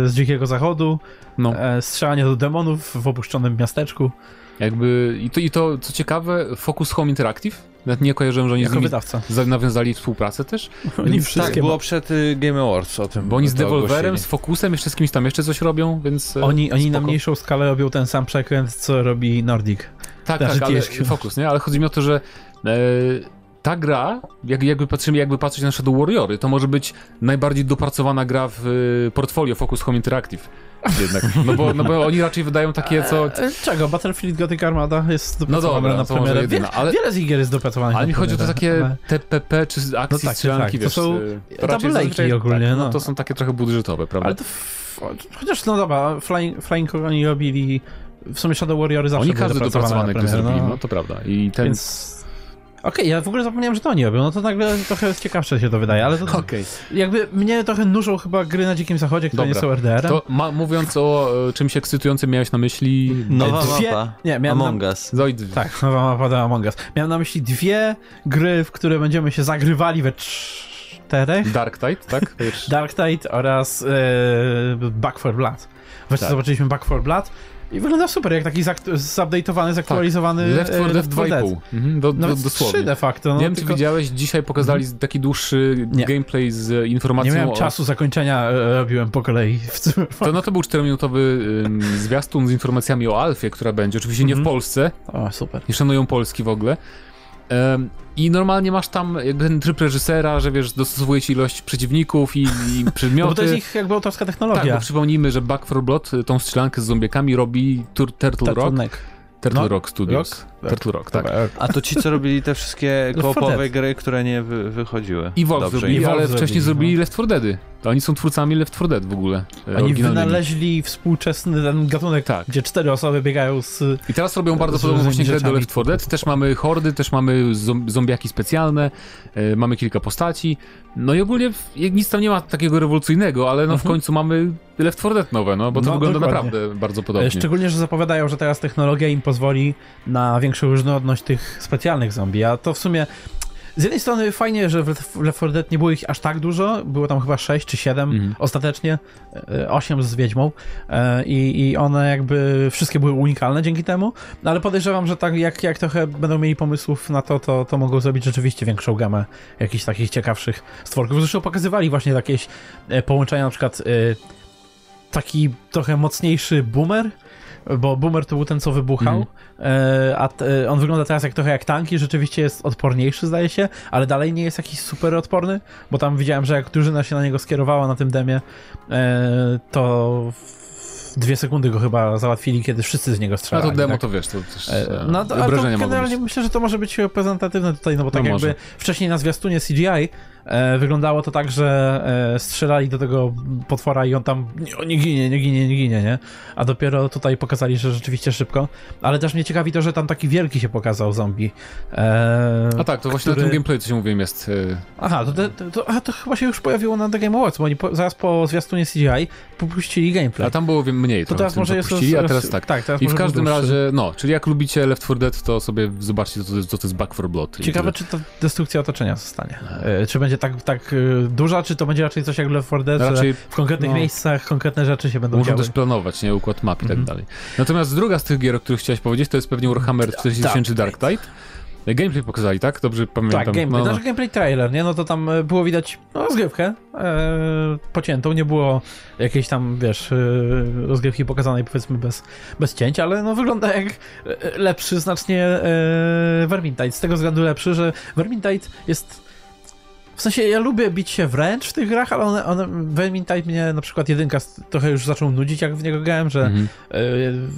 Speaker 3: z Dzikiego Zachodu,
Speaker 2: No,
Speaker 3: e, strzelanie do demonów w opuszczonym miasteczku,
Speaker 2: jakby, i to, i to co ciekawe, Focus Home Interactive, nawet nie kojarzyłem, że oni z
Speaker 3: jako
Speaker 2: nimi
Speaker 3: wydawca.
Speaker 2: za- nawiązali współpracę też,
Speaker 3: <laughs> Oni No
Speaker 1: Tak,
Speaker 3: wszystkie...
Speaker 1: było przed y, Game Awards o tym.
Speaker 2: bo oni z
Speaker 1: to
Speaker 2: Devolverem,
Speaker 1: ogłosili.
Speaker 2: z Focusem, jeszcze z kimś tam jeszcze coś robią, więc... e,
Speaker 3: Oni, oni na
Speaker 2: spoko.
Speaker 3: mniejszą skalę robią ten sam przekręt, co robi Nordic.
Speaker 2: Tak,
Speaker 3: Znaczy,
Speaker 2: tak, ale
Speaker 3: THQ.
Speaker 2: fokus, nie? Ale chodzi mi o to, że e, ta gra, jak, jakby patrzymy, jakby patrzeć na Shadow Warriory, to może być najbardziej dopracowana gra w e, portfolio Focus Home Interactive.
Speaker 3: <laughs>
Speaker 2: Jednak, no bo, no bo oni raczej wydają takie, co...
Speaker 3: E, Czego? Battlefield Gothic Armada jest dopracowana
Speaker 2: No dobra,
Speaker 3: na
Speaker 2: to może
Speaker 3: premierę.
Speaker 2: jedyna,
Speaker 3: Wiele,
Speaker 2: ale-
Speaker 3: wiele z gier jest dopracowanych
Speaker 2: Ale mi
Speaker 3: na
Speaker 2: chodzi o to
Speaker 3: premierę, No.
Speaker 2: takie
Speaker 3: ale-
Speaker 2: TPP czy z akcji
Speaker 3: tak,
Speaker 2: strzelanki,
Speaker 3: tak, to
Speaker 2: wiesz,
Speaker 3: są
Speaker 2: e,
Speaker 3: double
Speaker 2: raczej
Speaker 3: Ake'i
Speaker 2: zazwyczaj-
Speaker 3: ogólnie,
Speaker 2: tak, no.
Speaker 3: no.
Speaker 2: To są takie trochę budżetowe, prawda?
Speaker 3: Ale to... f- Chociaż, no dobra, Flying, Flying Hog oni robili... W sumie Shadow Warriory zawsze
Speaker 2: Oni
Speaker 3: były
Speaker 2: każdy
Speaker 3: dopracowane na
Speaker 2: dopracowany gry
Speaker 3: premierę,
Speaker 2: zrobili, no to prawda. I ten...
Speaker 3: Więc. Okej, ja w ogóle zapomniałem, że to oni robią. No to nagle trochę ciekawsze się to wydaje, ale to.
Speaker 2: Okej.
Speaker 3: Jakby mnie trochę nużą chyba gry na Dzikim Zachodzie, które
Speaker 2: Dobra.
Speaker 3: nie są RDR-em.
Speaker 2: To ma, mówiąc o e, czymś ekscytującym miałeś na myśli...
Speaker 1: Nowa
Speaker 3: Dwie-
Speaker 1: mapa.
Speaker 3: nie, miałem
Speaker 1: Among Us.
Speaker 2: Zoid.
Speaker 3: No. Tak, nowa mapa do Among Us. Miałem na myśli dwie gry, w które będziemy się zagrywali we czterech.
Speaker 2: Dark Tide, tak?
Speaker 3: <laughs> Dark Tide oraz e, Back for Blood. Właśnie
Speaker 2: Tak.
Speaker 3: zobaczyliśmy Back for Blood i wygląda super, jak taki zakt- zupdate'owany, zaktualizowany
Speaker 2: Tak. Left 4
Speaker 3: e,
Speaker 2: Dead 2,5. Mhm, do, do,
Speaker 3: Nawet
Speaker 2: dosłownie.
Speaker 3: trzy de facto. No,
Speaker 2: nie wiem,
Speaker 3: tylko Mhm.
Speaker 2: czy widziałeś, dzisiaj pokazali taki dłuższy
Speaker 3: Nie.
Speaker 2: gameplay z e, informacją
Speaker 3: nie miałem
Speaker 2: o...
Speaker 3: czasu zakończenia, e, robiłem po kolei. <laughs> W tym
Speaker 2: To, no to był 4-minutowy ym, zwiastun z informacjami o Alfie, która będzie. Oczywiście nie w
Speaker 3: Mhm.
Speaker 2: Polsce,
Speaker 3: O, super.
Speaker 2: nie szanują Polski w ogóle. Em, I normalnie masz tam jakby ten tryb reżysera, że wiesz, dostosowuje ci ilość przeciwników i,
Speaker 3: <laughs>
Speaker 2: i
Speaker 3: No
Speaker 2: przedmioty.
Speaker 3: bo to jest ich jakby autorska
Speaker 2: e, tak, bo
Speaker 3: technologia.
Speaker 2: przypomnijmy, że Back 4 Blood y, tą strzelankę z zombiekami robi Tur- Turtle,
Speaker 3: Tak,
Speaker 2: Rock.
Speaker 3: Turtleneck.
Speaker 2: Turtle
Speaker 3: No,
Speaker 2: Rock Studios.
Speaker 3: Rock?
Speaker 2: Turtle Rock, tak.
Speaker 1: A to ci, co robili te wszystkie
Speaker 3: Left 4
Speaker 1: koopowe
Speaker 3: Dead.
Speaker 1: gry, które nie wy, wychodziły.
Speaker 2: No, I Wolf
Speaker 1: Dobrze,
Speaker 2: zrobili,
Speaker 1: i-
Speaker 3: Evolve
Speaker 2: ale wcześniej
Speaker 3: zrobili,
Speaker 2: zrobili
Speaker 3: no.
Speaker 2: Left 4 Deady. To oni są twórcami Left 4 Dead w ogóle. e,
Speaker 3: Oni
Speaker 2: oryginalnymi.
Speaker 3: wynaleźli współczesny ten gatunek,
Speaker 2: Tak.
Speaker 3: gdzie cztery osoby biegają z...
Speaker 2: I teraz robią bardzo
Speaker 3: Z
Speaker 2: podobną właśnie grę do
Speaker 3: rzeczami.
Speaker 2: Left 4 Dead. Też mamy hordy, też mamy zom- zombiaki specjalne, e, mamy kilka postaci. No i ogólnie w- nic tam nie ma takiego rewolucyjnego, ale no w końcu mamy Left 4 Dead nowe, no bo to
Speaker 3: Mhm. No,
Speaker 2: wygląda
Speaker 3: dokładnie.
Speaker 2: naprawdę bardzo podobnie.
Speaker 3: E, Szczególnie, że zapowiadają, że teraz technologia im pozwoli na większą różnorodność tych specjalnych zombie, a to w sumie... Z jednej strony fajnie, że w Left- w Left 4 Dead nie było ich aż tak dużo, było tam chyba 6 czy 7
Speaker 2: Mhm.
Speaker 3: ostatecznie, 8 z Wiedźmą e, i, i one jakby wszystkie były unikalne dzięki temu, no ale podejrzewam, że tak jak, jak trochę będą mieli pomysłów na to, to, to mogą zrobić rzeczywiście większą gamę jakichś takich ciekawszych stworków. Zresztą pokazywali właśnie jakieś e, połączenia, na przykład e, taki trochę mocniejszy boomer, bo boomer to był ten, co wybuchał,
Speaker 2: Mhm.
Speaker 3: e, a t, e, on wygląda teraz jak trochę jak tanki, rzeczywiście jest odporniejszy, zdaje się, ale dalej nie jest jakiś super odporny, bo tam widziałem, że jak drużyna się na niego skierowała na tym demie, e, to w dwie sekundy go chyba załatwili, kiedy wszyscy z niego
Speaker 2: A
Speaker 3: strzelali.
Speaker 2: to demo
Speaker 3: tak?
Speaker 2: to wiesz, to też
Speaker 3: E,
Speaker 2: e,
Speaker 3: No to, ale to
Speaker 2: obrażenia mogą
Speaker 3: generalnie
Speaker 2: być.
Speaker 3: myślę, że to może być reprezentatywne tutaj, no bo tak
Speaker 2: No
Speaker 3: jakby
Speaker 2: może.
Speaker 3: wcześniej na zwiastunie CGI e, wyglądało to tak, że e, strzelali do tego potwora i on tam nie, nie ginie, nie ginie, nie ginie, nie? A dopiero tutaj pokazali, że rzeczywiście szybko. Ale też mnie ciekawi to, że tam taki wielki się pokazał zombie. E,
Speaker 2: A tak, to właśnie na
Speaker 3: który-
Speaker 2: tym gameplayu, co się mówiłem, jest... e,
Speaker 3: Aha, to, to, to, aha, to chyba się już pojawiło na The Game Awards, bo oni po, zaraz po zwiastunie CGI popuścili gameplay.
Speaker 2: A tam było wiem, mniej
Speaker 3: to
Speaker 2: trochę
Speaker 3: teraz
Speaker 2: tym
Speaker 3: może jest...
Speaker 2: zapuścili,
Speaker 3: roz-
Speaker 2: a teraz
Speaker 3: roz-
Speaker 2: tak.
Speaker 3: tak teraz
Speaker 2: I w
Speaker 3: może był
Speaker 2: każdym
Speaker 3: dłuższy.
Speaker 2: razie, no, czyli jak lubicie Left 4 Dead, to sobie zobaczcie, co to, jest- co to jest Back 4 Blood. i tyle.
Speaker 3: Ciekawe, czy to destrukcja otoczenia zostanie. E, Czy będzie tak, tak e, duża, czy to będzie raczej coś jak Left 4 Dead, że
Speaker 2: Raczej
Speaker 3: w konkretnych
Speaker 2: no.
Speaker 3: miejscach konkretne rzeczy się będą
Speaker 2: Muszą
Speaker 3: działy.
Speaker 2: też planować, nie? Układ map i
Speaker 3: Mhm.
Speaker 2: tak dalej. Natomiast druga z tych gier, o których chciałeś powiedzieć, to jest pewnie Warhammer
Speaker 3: Tak,
Speaker 2: 40 Dark Tide. Gameplay pokazali, tak? Dobrze pamiętam.
Speaker 3: Tak, gameplay,
Speaker 2: No, no.
Speaker 3: znaczy gameplay trailer, nie? No to tam e, było widać no, rozgrywkę e, pociętą, nie było jakiejś tam, wiesz, e, rozgrywki pokazanej powiedzmy bez, bez cięć, ale no wygląda jak e, e, lepszy znacznie e, Vermintide, z tego względu lepszy, że Vermintide jest... W sensie ja lubię bić się wręcz w tych grach, ale one, one, Vermintide mnie na przykład jedynka s- trochę już zaczął nudzić, jak w niego grałem, że
Speaker 2: Mhm.
Speaker 3: Yy,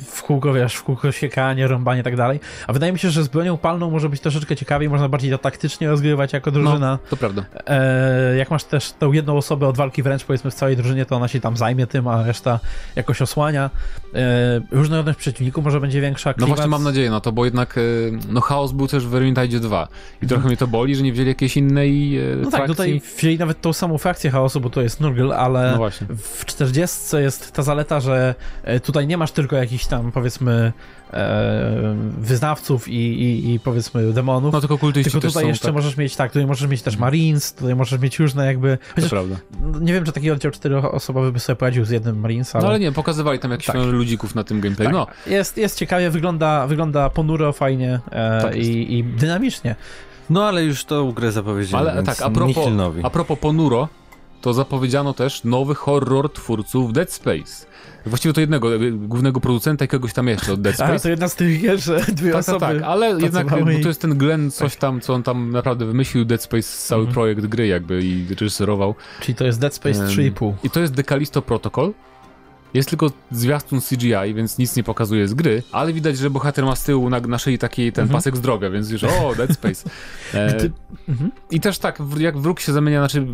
Speaker 3: w kółko, wiesz, w kółko siekanie, rąbanie i tak dalej. A wydaje mi się, że z bronią palną może być troszeczkę ciekawiej, można bardziej to taktycznie rozgrywać
Speaker 2: No.
Speaker 3: jako drużyna.
Speaker 2: To prawda. No
Speaker 3: E, jak masz też tą jedną osobę od walki wręcz, powiedzmy w całej drużynie, to ona się tam zajmie tym, a reszta jakoś osłania. E, różnorodność przeciwników może będzie większa.
Speaker 2: No
Speaker 3: klimat-
Speaker 2: właśnie mam nadzieję na to, bo jednak e, no chaos był też w Vermintide 2 i trochę mnie to boli, że nie wzięli jakiejś innej e,
Speaker 3: Mhm. No tak,
Speaker 2: frakcji.
Speaker 3: tutaj wzięli nawet tą samą frakcję chaosu, bo to jest Nurgle, ale
Speaker 2: No właśnie.
Speaker 3: W 40 jest ta zaleta, że e, tutaj nie masz tylko jakichś tam powiedzmy e, wyznawców i, i, i powiedzmy demonów.
Speaker 2: No tylko kultyści
Speaker 3: tylko
Speaker 2: też
Speaker 3: tutaj
Speaker 2: są,
Speaker 3: jeszcze
Speaker 2: tak,
Speaker 3: możesz mieć tak, tutaj możesz mieć też Marines, tutaj możesz mieć różne jakby.
Speaker 2: to
Speaker 3: Chociaż
Speaker 2: prawda.
Speaker 3: nie wiem, czy taki oddział czteroosobowy by sobie poradził z jednym Marines, ale.
Speaker 2: No ale nie, pokazywali tam jakichś
Speaker 3: Tak.
Speaker 2: tak. ludzików na tym gameplayu.
Speaker 3: Tak.
Speaker 2: No,
Speaker 3: Jest, jest ciekawie, wygląda, wygląda ponuro, fajnie e,
Speaker 2: Tak jest.
Speaker 3: i, i dynamicznie.
Speaker 1: No ale już tą grę zapowiedzieli,
Speaker 2: ale
Speaker 1: więc
Speaker 2: tak, a propos,
Speaker 1: Nihilnowi.
Speaker 2: a propos ponuro, to zapowiedziano też nowy horror twórców Dead Space. Właściwie to jednego, e, głównego producenta i kogoś tam jeszcze od Dead Space.
Speaker 3: <laughs> Ale to jedna z tych gier, że dwie
Speaker 2: Tak, tak,
Speaker 3: osoby.
Speaker 2: tak, ale jednak
Speaker 3: pracowały
Speaker 2: bo
Speaker 3: i- Tak.
Speaker 2: to jest ten Glenn coś tam, co on tam naprawdę wymyślił, Dead Space, cały
Speaker 3: Mhm.
Speaker 2: projekt gry jakby i reżyserował.
Speaker 3: Czyli to jest Dead Space
Speaker 2: Em,
Speaker 3: 3,5.
Speaker 2: I to jest Decalisto Protocol. Jest tylko zwiastun CGI, więc nic nie pokazuje z gry, ale widać, że bohater ma z tyłu na, na szyi taki ten
Speaker 3: Mhm.
Speaker 2: pasek zdrowia, więc już o, Dead Space. E,
Speaker 3: <laughs> Gdy- Mhm.
Speaker 2: I też tak, w- jak wróg się zamienia, znaczy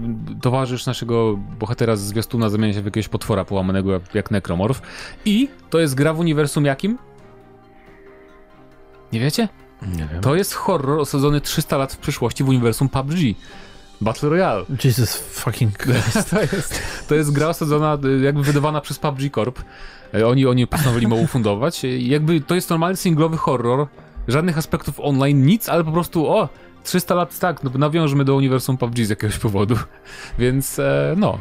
Speaker 2: towarzysz naszego bohatera z zwiastuna zamienia się w jakiegoś potwora połamanego jak, jak nekromorf. I to jest gra w uniwersum jakim? Nie wiecie?
Speaker 1: Nie wiem.
Speaker 2: To jest horror osadzony 300 lat w przyszłości w uniwersum PUBG. Battle Royale.
Speaker 3: Jesus fucking Christ.
Speaker 2: To jest, to jest gra osadzona, y, jakby wydawana przez PUBG Corp. Y, Oni, oni postanowili mało fundować. Y, Jakby to jest normalny singlowy horror. Żadnych aspektów online, nic, ale po prostu o, 300 lat tak, no, nawiążmy do uniwersum PUBG z jakiegoś powodu. Więc e, no,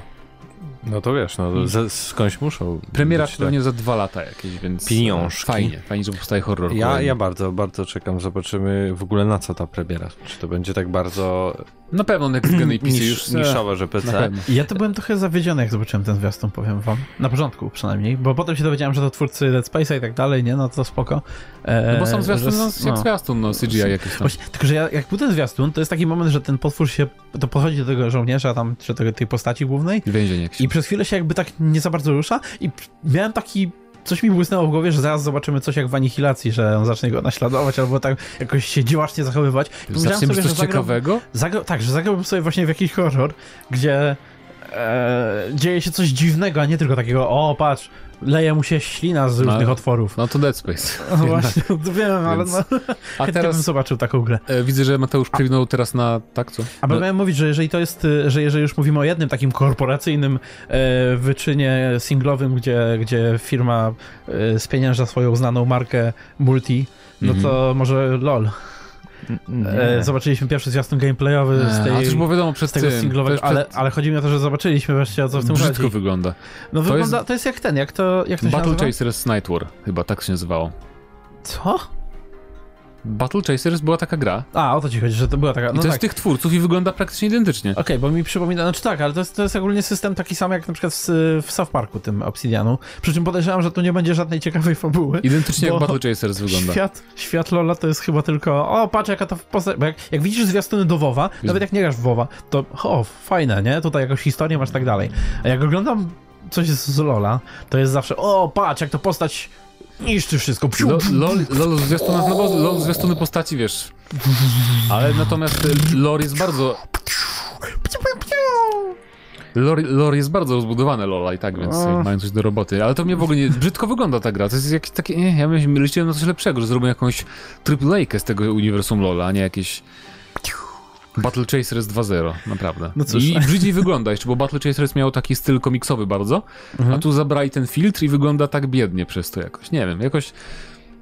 Speaker 1: No to wiesz, no to ze, skądś muszą.
Speaker 2: Mm. premiera
Speaker 1: być, tak.
Speaker 2: pewnie za dwa lata jakieś, więc... e,
Speaker 1: Pieniążki.
Speaker 2: Fajnie, fajnie, że powstaje horror.
Speaker 1: Ja,
Speaker 2: kolejny.
Speaker 1: ja bardzo, bardzo czekam. Zobaczymy w ogóle na co ta premiera. Czy to będzie tak bardzo
Speaker 2: Na pewno Next Gen i PC już... e,
Speaker 1: nisz, niszowe, że
Speaker 2: Na
Speaker 1: PC.
Speaker 2: pewno.
Speaker 3: Ja to byłem trochę zawiedziony, jak zobaczyłem ten zwiastun, powiem wam. Na początku przynajmniej, bo potem się dowiedziałem, że to twórcy Dead Space'a i tak dalej, nie? No to spoko. E,
Speaker 2: No bo sam zwiastun,
Speaker 3: że-
Speaker 2: no, jak
Speaker 3: no.
Speaker 2: zwiastun, no CGI jakieś tam.
Speaker 3: Właśnie, tylko, że ja, jak był ten zwiastun, to jest taki moment, że ten potwór się, to podchodzi do tego żołnierza tam, czy tego, tej postaci głównej
Speaker 2: Więzienie jakieś.
Speaker 3: i przez chwilę się jakby tak nie za bardzo rusza i p- miałem taki, coś mi błysnęło w głowie, że zaraz zobaczymy coś jak w Anihilacji, że on zacznie go naśladować albo tak jakoś się dziwacznie zachowywać. I pomyślałem
Speaker 2: Zaczniemy
Speaker 3: sobie,
Speaker 2: coś
Speaker 3: że zagram-
Speaker 2: ciekawego?
Speaker 3: Zagra- tak, że zagrałbym sobie właśnie w jakiś horror, gdzie e, dzieje się coś dziwnego, a nie tylko takiego, o patrz, leje mu się ślina z różnych
Speaker 2: No.
Speaker 3: otworów.
Speaker 2: No to Dead Space.
Speaker 3: No właśnie, <laughs> wiem, ale
Speaker 2: Więc-
Speaker 3: no,
Speaker 2: A
Speaker 3: chętnie bym
Speaker 2: teraz
Speaker 3: zobaczył taką grę.
Speaker 2: e, widzę, że Mateusz przewinął teraz na tak, co?
Speaker 3: A
Speaker 2: No,
Speaker 3: no. miałem mówić, że jeżeli to jest, y, że jeżeli już mówimy o jednym takim korporacyjnym e, wyczynie singlowym, gdzie, gdzie firma e, spienięża swoją znaną markę multi, no
Speaker 2: Mhm.
Speaker 3: to może LOL. E, zobaczyliśmy pierwszy zwiastun gameplayowy z,
Speaker 2: e,
Speaker 3: tej,
Speaker 2: A też było wiadomo
Speaker 3: z
Speaker 2: przez
Speaker 3: tego
Speaker 2: tym,
Speaker 3: singlowego,
Speaker 2: też przed-
Speaker 3: ale, ale chodzi mi o to, że zobaczyliśmy wreszcie o co w tym
Speaker 2: Brzydko
Speaker 3: chodzi.
Speaker 2: wygląda.
Speaker 3: No
Speaker 2: To
Speaker 3: wygląda, to jest jak ten, jak to, jak to się
Speaker 2: Battle
Speaker 3: nazywa?
Speaker 2: Chasers Night War, chyba tak się nazywało.
Speaker 3: Co?
Speaker 2: Battle Chasers była taka gra.
Speaker 3: A, o to ci chodzi, że to była taka,
Speaker 2: I
Speaker 3: no
Speaker 2: to
Speaker 3: tak.
Speaker 2: jest tych twórców i wygląda praktycznie identycznie.
Speaker 3: Okej, bo mi przypomina, znaczy tak, ale to jest, to jest ogólnie system taki sam jak na przykład w, w South Parku tym Obsidianu, przy czym podejrzewam, że tu nie będzie żadnej ciekawej fabuły.
Speaker 2: Identycznie jak
Speaker 3: Bo-
Speaker 2: Battle Chasers wygląda.
Speaker 3: Świat, świat Lola to jest chyba tylko, o patrz jaka to postać, bo jak, jak widzisz zwiastuny do WoWa, nawet jak nie grasz w WoWa, to o, fajne, nie? Tutaj jakąś historię masz tak dalej. A jak oglądam coś z, z Lola, to jest zawsze, o patrz jak to postać niszczy wszystko, psiu,
Speaker 2: Lo-
Speaker 3: psiu.
Speaker 2: LOL, LOL, zwiastuna, no bo LOL zwiastuny postaci, wiesz. Ale natomiast e, lore jest bardzo... Lore, lore jest bardzo rozbudowane Lola i tak, więc
Speaker 3: O.
Speaker 2: mają coś do roboty. Ale to mnie w ogóle nie... Brzydko wygląda ta gra. To jest jakieś takie... Nie, ja myślałem, liczyłem na coś lepszego, że zrobią jakąś triple z tego uniwersum Lola, a nie jakieś... Battle Chasers 2.0, naprawdę.
Speaker 3: No cóż.
Speaker 2: I brzydziej wygląda jeszcze, bo Battle Chasers miał taki styl komiksowy bardzo,
Speaker 3: Mhm.
Speaker 2: a tu zabrali ten filtr i wygląda tak biednie przez to jakoś. Nie wiem, jakoś...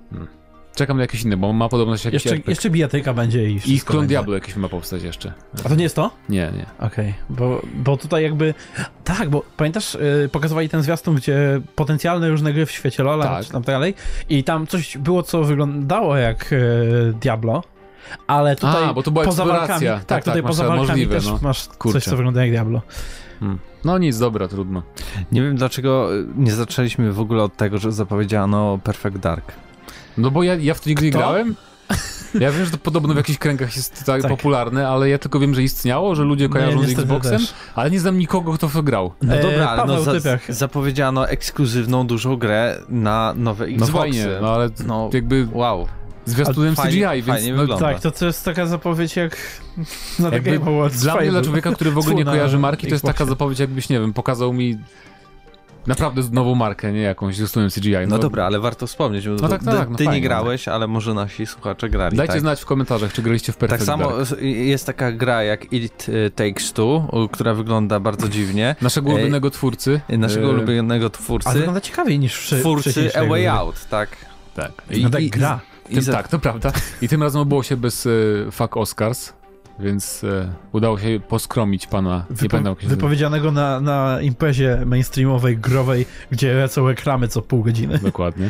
Speaker 2: Hmm. Czekam na jakieś inne, bo ma podobno się jakiś
Speaker 3: Jeszcze,
Speaker 2: RPG.
Speaker 3: jeszcze bijatyka będzie i
Speaker 2: I
Speaker 3: wszystko
Speaker 2: Klon
Speaker 3: będzie.
Speaker 2: Diablo jakiś ma powstać jeszcze.
Speaker 3: A to nie jest to?
Speaker 2: Nie, nie.
Speaker 3: Okej, bo, bo tutaj jakby. Tak, bo pamiętasz, yy, pokazywali ten zwiastun, gdzie potencjalne różne gry w świecie Lola
Speaker 2: Tak.
Speaker 3: czy tam dalej. I tam coś było, co wyglądało jak yy, Diablo. Ale tutaj
Speaker 2: A, bo to była
Speaker 3: poza
Speaker 2: eksploracja.
Speaker 3: walkami,
Speaker 2: Tak, tak,
Speaker 3: tak, tutaj
Speaker 2: masz
Speaker 3: poza
Speaker 2: rację,
Speaker 3: walkami
Speaker 2: możliwe,
Speaker 3: też
Speaker 2: no.
Speaker 3: masz
Speaker 2: Kurczę.
Speaker 3: coś, co wygląda jak Diablo.
Speaker 2: Hmm. No nic, dobra, trudno.
Speaker 1: Nie wiem dlaczego y, nie zaczęliśmy w ogóle od tego, że zapowiedziano Perfect Dark.
Speaker 2: No bo ja, ja w to nigdy nie
Speaker 3: Kto?
Speaker 2: grałem. Ja wiem, że to podobno w jakichś kręgach jest tak,
Speaker 3: Tak.
Speaker 2: popularne, ale ja tylko wiem, że istniało, że ludzie
Speaker 3: No
Speaker 2: kojarzą
Speaker 3: ja
Speaker 2: z
Speaker 3: niestety
Speaker 2: Xboxem,
Speaker 3: też.
Speaker 2: ale nie znam nikogo, kto w to grał.
Speaker 1: No
Speaker 3: E,
Speaker 1: dobra, ale
Speaker 3: Paweł, tak.
Speaker 1: no, za,
Speaker 3: typiak.
Speaker 1: zapowiedziano ekskluzywną dużą grę na nowe
Speaker 2: No
Speaker 1: Xboxy.
Speaker 2: fajnie, no ale
Speaker 1: No,
Speaker 2: jakby
Speaker 1: wow.
Speaker 2: zwiastunem
Speaker 1: fajnie-
Speaker 2: CGI, więc
Speaker 1: fajnie
Speaker 2: no,
Speaker 1: wygląda.
Speaker 3: Tak, to, to jest taka zapowiedź jak na The
Speaker 2: Jakby
Speaker 3: Game Awards.
Speaker 2: Dla mnie,
Speaker 3: Fajny.
Speaker 2: dla człowieka, który w ogóle
Speaker 3: Tfu,
Speaker 2: nie
Speaker 3: na
Speaker 2: kojarzy marki, to jest
Speaker 3: Xboxie.
Speaker 2: taka zapowiedź, jakbyś, nie wiem, pokazał mi naprawdę nową markę, nie jakąś ze studium CGI.
Speaker 1: No dobra, ale warto wspomnieć, bo
Speaker 2: No tak,
Speaker 1: ty,
Speaker 2: tak, no
Speaker 1: ty
Speaker 2: fajnie.
Speaker 1: nie grałeś, ale może nasi słuchacze grali.
Speaker 2: Dajcie
Speaker 1: tak.
Speaker 2: znać w komentarzach, czy graliście w
Speaker 1: Tak
Speaker 2: Perfect Dark.
Speaker 1: samo s- jest taka gra jak It y, Takes Two, u- która wygląda bardzo dziwnie.
Speaker 2: Naszego
Speaker 1: Ej, y,
Speaker 2: ulubionego twórcy.
Speaker 1: Naszego
Speaker 2: e,
Speaker 1: ulubionego
Speaker 3: A
Speaker 1: twórcy,
Speaker 3: wygląda ciekawiej niż przy,
Speaker 1: twórcy
Speaker 3: wcześniejszej
Speaker 1: A Way
Speaker 3: gry.
Speaker 1: Out, tak.
Speaker 2: Tak.
Speaker 3: No tak, gra.
Speaker 1: I,
Speaker 2: Tym,
Speaker 1: za-
Speaker 2: Tak, to prawda. I tym razem obyło się bez e, fuck Oscars, więc e, udało się poskromić pana, nie
Speaker 3: Wypo-
Speaker 2: pamiętam jak się nazywa.
Speaker 3: wypowiedzianego na, na imprezie mainstreamowej, growej, gdzie lecą reklamy co pół godziny.
Speaker 2: Dokładnie.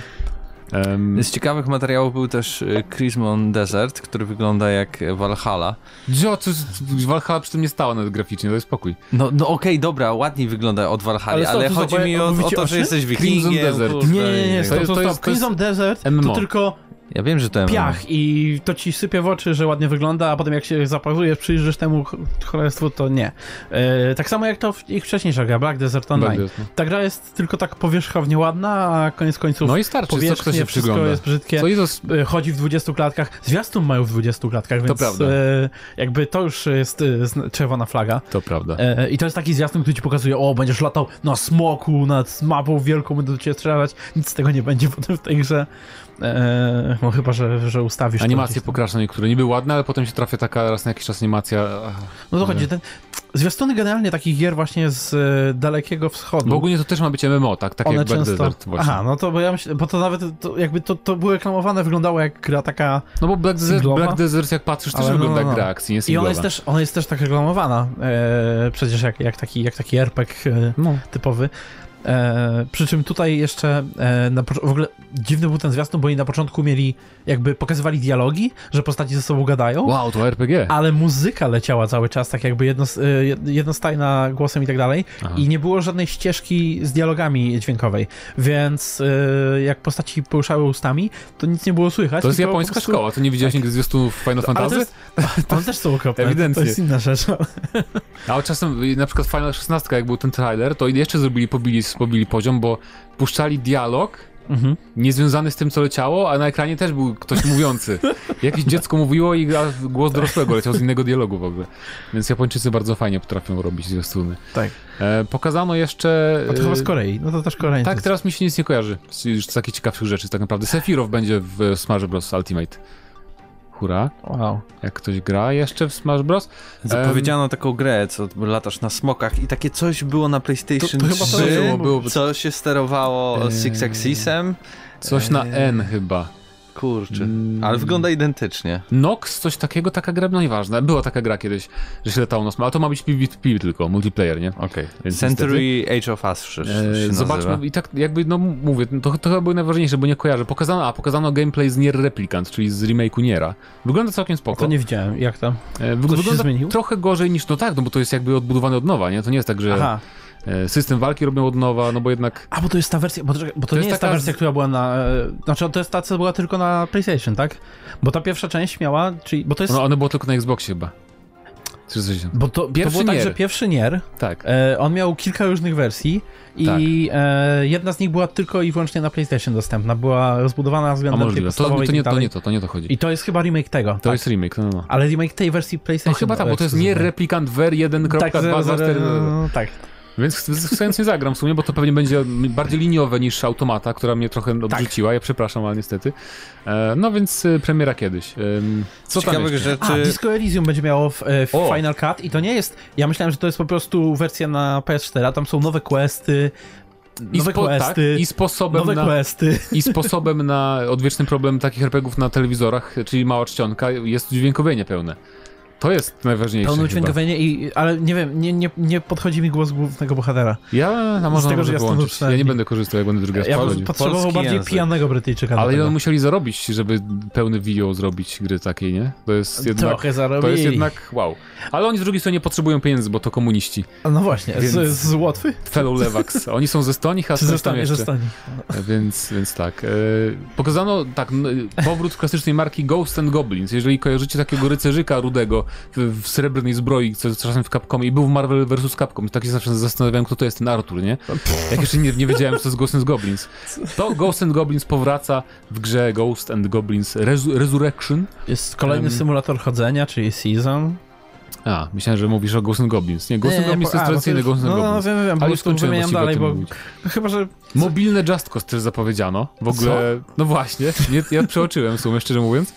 Speaker 2: Em,
Speaker 1: Z ciekawych materiałów był też y, Crimson Desert, który wygląda jak y, Valhalla.
Speaker 2: Dzio, co, co- Valhalla przy tym nie stała nawet graficznie, daj spokój.
Speaker 1: No, no okej, dobra, ładnie wygląda od Valhalla, ale,
Speaker 3: Ale co, tu
Speaker 1: chodzi mi
Speaker 3: zobaczy-
Speaker 1: o, o
Speaker 3: mówicie
Speaker 1: to,
Speaker 3: o
Speaker 1: że
Speaker 3: czym?
Speaker 1: jesteś wikingiem.
Speaker 2: Crimson Desert.
Speaker 1: kurde,
Speaker 3: Nie, nie, nie,
Speaker 1: i tak
Speaker 2: to
Speaker 3: stop,
Speaker 1: dalej.
Speaker 2: jest- to jest-
Speaker 3: stop, stop.
Speaker 2: to jest
Speaker 3: Crimson Desert
Speaker 2: MMO.
Speaker 3: to tylko
Speaker 1: Ja wiem, że to MMO.
Speaker 3: piach i to ci sypie w oczy, że ładnie wygląda, a potem jak się zaparujesz, przyjrzysz temu ch- cholerstwu, to nie. E, tak samo jak to w ich wcześniejsza gra, Black Desert Online.
Speaker 2: Bardzo-
Speaker 3: Ta gra jest tylko tak powierzchownie ładna, a koniec końców
Speaker 2: No i starczy, co kto się
Speaker 3: powierzchnie, wszystko
Speaker 2: przygląda.
Speaker 3: jest brzydkie.
Speaker 2: Co Jezus,
Speaker 3: E, Chodzi w 20 klatkach. Zwiastun mają w 20 klatkach, więc
Speaker 2: prawda.
Speaker 3: e, jakby to już jest e, zna- czerwona flaga.
Speaker 2: to prawda.
Speaker 3: E, I to jest taki zwiastun, który ci pokazuje, o, będziesz latał na smoku, nad mapą wielką, będą do ciebie strzelać. Nic z tego nie będzie <laughs> potem w tej grze. E, no chyba, że, że ustawisz. to
Speaker 2: Animacje
Speaker 3: gdzieś tam.
Speaker 2: pokraczne niektóre niby ładne, ale potem się trafia taka raz na jakiś czas animacja. ach.
Speaker 3: No to chodzi, ten... Zwiastuny generalnie takich gier właśnie z e, dalekiego wschodu.
Speaker 2: Bo ogólnie to też ma być MMO, tak? Tak jak Black Desert właśnie.
Speaker 3: Aha, no to bo ja myślę, bo to nawet to, jakby to, to było reklamowane, wyglądało jak gra taka.
Speaker 2: No bo Black Desert,
Speaker 3: Singlowa?
Speaker 2: Black Desert jak patrzysz, też
Speaker 3: Ale no,
Speaker 2: wygląda
Speaker 3: no,
Speaker 2: jak
Speaker 3: no.
Speaker 2: gra akcji, nie
Speaker 3: I
Speaker 2: singlowa.
Speaker 3: ona jest też, ona jest też tak reklamowana. E, przecież jak, jak taki, jak taki RPG. E,
Speaker 2: No.
Speaker 3: typowy. E, przy czym tutaj jeszcze e, na, pocz- w ogóle dziwny był ten zwiastun, bo oni na początku mieli, jakby pokazywali dialogi, że postaci ze sobą gadają,
Speaker 2: Wow, to RPG.
Speaker 3: ale muzyka leciała cały czas, tak jakby jednos, e, jed- jednostajna głosem i tak dalej
Speaker 2: Aha.
Speaker 3: i nie było żadnej ścieżki z dialogami dźwiękowej, więc e, jak postaci poruszały ustami, to nic nie było słychać.
Speaker 2: To jest
Speaker 3: tylko po
Speaker 2: japońska
Speaker 3: prostu-
Speaker 2: szkoła, to nie widziałeś nigdy zwiastunów Final
Speaker 3: Tak. Ale to
Speaker 2: Fantasy?
Speaker 3: jest, one też są okropne,
Speaker 2: Ewidentnie.
Speaker 3: to jest inna rzecz. ale-
Speaker 2: A czasem y, na przykład Final 16, jak był ten trailer, to jeszcze zrobili, pobili, pobili poziom, bo puszczali dialog
Speaker 3: Mhm.
Speaker 2: niezwiązany z tym, co leciało, a na ekranie też był ktoś mówiący. Jakieś dziecko mówiło i gra- głos dorosłego leciał z innego dialogu w ogóle. Więc Japończycy bardzo fajnie potrafią robić zwiastuny.
Speaker 3: Tak.
Speaker 2: E, pokazano jeszcze...
Speaker 3: A to chyba
Speaker 2: e,
Speaker 3: z Korei. No to też Koreańcy.
Speaker 2: Tak, teraz mi się nic nie kojarzy. Z, już z takich ciekawszych rzeczy tak naprawdę. Sephiroth będzie w Smash Bros. Ultimate. Hura,
Speaker 3: Wow.
Speaker 2: jak ktoś gra jeszcze w Smash Bros.
Speaker 1: Zapowiedziano taką grę, co latasz na smokach i takie coś było na PlayStation
Speaker 3: To- to chyba to
Speaker 1: 3,
Speaker 3: było,
Speaker 2: było.
Speaker 1: co się sterowało
Speaker 2: Eee.
Speaker 1: Six Axisem.
Speaker 2: Coś na
Speaker 3: E.
Speaker 2: N chyba.
Speaker 1: Kurczę,
Speaker 2: Mm.
Speaker 1: ale wygląda identycznie.
Speaker 2: Nox, coś takiego, taka gra, no nieważne. Była taka gra kiedyś, że się latało na Smash, ale to ma być PvP tylko, multiplayer, nie?
Speaker 1: Okej.
Speaker 2: Więc
Speaker 1: Century Age of Ashes.
Speaker 2: E, Zobaczmy,
Speaker 1: Nazywa.
Speaker 2: i tak jakby, no mówię, to, to chyba były najważniejsze, bo nie kojarzę. Pokazano, a pokazano gameplay z Nier Replicant, czyli z remake'u Niera. Wygląda całkiem spoko.
Speaker 3: To nie widziałem. Jak tam?
Speaker 2: E, wyg-
Speaker 3: Coś się
Speaker 2: wygląda
Speaker 3: zmieniło?
Speaker 2: trochę gorzej niż, no tak, no bo to jest jakby odbudowane od nowa, nie? To nie jest tak, że
Speaker 3: Aha.
Speaker 2: e, system walki robią od nowa, no bo jednak...
Speaker 3: A, bo to jest ta wersja, bo, czekaj, bo to, nie
Speaker 2: jest
Speaker 3: jest, ta
Speaker 2: taka z-
Speaker 3: wersja, która była na... e, Znaczy, to jest ta, co była tylko na PlayStation, tak? Bo ta pierwsza część miała, czyli... Bo to jest...
Speaker 2: No, ono było tylko na Xboxie chyba. 360.
Speaker 3: Bo to,
Speaker 2: Pierwszy
Speaker 3: to było tak,
Speaker 2: Nier.
Speaker 3: że pierwszy Nier,
Speaker 2: Tak.
Speaker 3: e, on miał kilka różnych wersji i e, jedna z nich była tylko i wyłącznie na PlayStation dostępna. Była rozbudowana
Speaker 2: A
Speaker 3: względem tej
Speaker 2: możliwe. To, to,
Speaker 3: podstawowej
Speaker 2: nie,
Speaker 3: i tak
Speaker 2: to
Speaker 3: dalej.
Speaker 2: nie to, to nie to chodzi.
Speaker 3: I to jest chyba remake tego.
Speaker 2: To
Speaker 3: tak.
Speaker 2: jest remake, no, no, no.
Speaker 3: Ale remake tej wersji
Speaker 2: No
Speaker 3: PlayStation.
Speaker 2: chyba tak, bo to jest Nier Replicant Ver 1.2.2.
Speaker 3: tak, zero, zero, no, tak.
Speaker 2: Więc ch- z- z- chętnie nie zagram w sumie, bo to pewnie będzie m- bardziej liniowe niż automata, która mnie trochę
Speaker 3: Tak.
Speaker 2: odrzuciła. Ja przepraszam, ale niestety. E, no więc e, premiera kiedyś. Ym, co tam
Speaker 1: Ciekawych
Speaker 2: jeszcze?
Speaker 1: rzeczy.
Speaker 3: A, Disco Elysium będzie miało w, e, w
Speaker 2: O.
Speaker 3: Final Cut i to nie jest... Ja myślałem, że to jest po prostu wersja na PS4, a tam są nowe questy,
Speaker 2: I,
Speaker 3: nowe
Speaker 2: spo, tak,
Speaker 3: questy,
Speaker 2: i, sposobem
Speaker 3: nowe
Speaker 2: na,
Speaker 3: questy.
Speaker 2: I sposobem na odwieczny problem takich RPGów na telewizorach, czyli mała czcionka, jest dźwiękowienie pełne. To jest najważniejsze.
Speaker 3: Pełne
Speaker 2: chyba.
Speaker 3: dźwiękowienie i... Ale nie wiem, nie, nie, nie podchodzi mi głos głównego bohatera.
Speaker 2: Ja na
Speaker 3: Z
Speaker 2: można
Speaker 3: tego,
Speaker 2: może
Speaker 3: że ja jestem
Speaker 2: wyłączyć. Ja nie
Speaker 3: dostępny.
Speaker 2: będę korzystał, jak będę drugi raz
Speaker 3: Ja bym
Speaker 2: przechodził.
Speaker 3: potrzebował
Speaker 1: Polski
Speaker 3: bardziej
Speaker 1: język.
Speaker 3: pijanego Brytyjczyka. do
Speaker 2: Ale
Speaker 3: tego.
Speaker 2: on musieli zarobić, żeby pełny video zrobić gry takiej, nie? To jest jednak...
Speaker 3: Trochę zarobili.
Speaker 2: To jest jednak wow. Ale oni z drugiej strony nie potrzebują pieniędzy, bo to komuniści.
Speaker 3: No właśnie,
Speaker 2: Więc-
Speaker 3: z, z Łotwy?
Speaker 2: Fellow Lewax. Oni są ze Stonich, a
Speaker 3: Czy
Speaker 2: skądś tam
Speaker 3: zostanie,
Speaker 2: jeszcze.
Speaker 3: zostanie?
Speaker 2: Więc, więc tak. E, pokazano tak n- powrót klasycznej marki Ghost and Goblins. Jeżeli kojarzycie takiego rycerzyka rudego w, w srebrnej zbroi, co czasem w Capcomie i był w Marvel vs. Capcom, tak się zawsze zastanawiałem, kto to jest ten Arthur, nie? Jak jeszcze nie, nie wiedziałem, co to jest Ghost and Goblins. To Ghost and Goblins powraca w grze Ghost and Goblins Resu- Resurrection.
Speaker 3: Jest kolejny
Speaker 2: Em.
Speaker 3: symulator chodzenia, czyli Season.
Speaker 2: A, myślałem, że mówisz o Ghost and Goblins. Nie, Ghost and
Speaker 3: Nie,
Speaker 2: Goblins to
Speaker 3: po-
Speaker 2: jest
Speaker 3: a, bo
Speaker 2: tradycyjny
Speaker 3: już-
Speaker 2: Ghost and
Speaker 3: No,
Speaker 2: Goblins.
Speaker 3: no wiem, wiem,
Speaker 2: Ale
Speaker 3: po
Speaker 2: już
Speaker 3: prostu
Speaker 2: skończyłem
Speaker 3: wymieniam
Speaker 2: właściwie o tym
Speaker 3: dalej, bo
Speaker 2: mówić.
Speaker 3: chyba, że...
Speaker 2: Mobilne Just Cause też zapowiedziano. W ogóle, no właśnie, nie, ja przeoczyłem w sumie, szczerze mówiąc.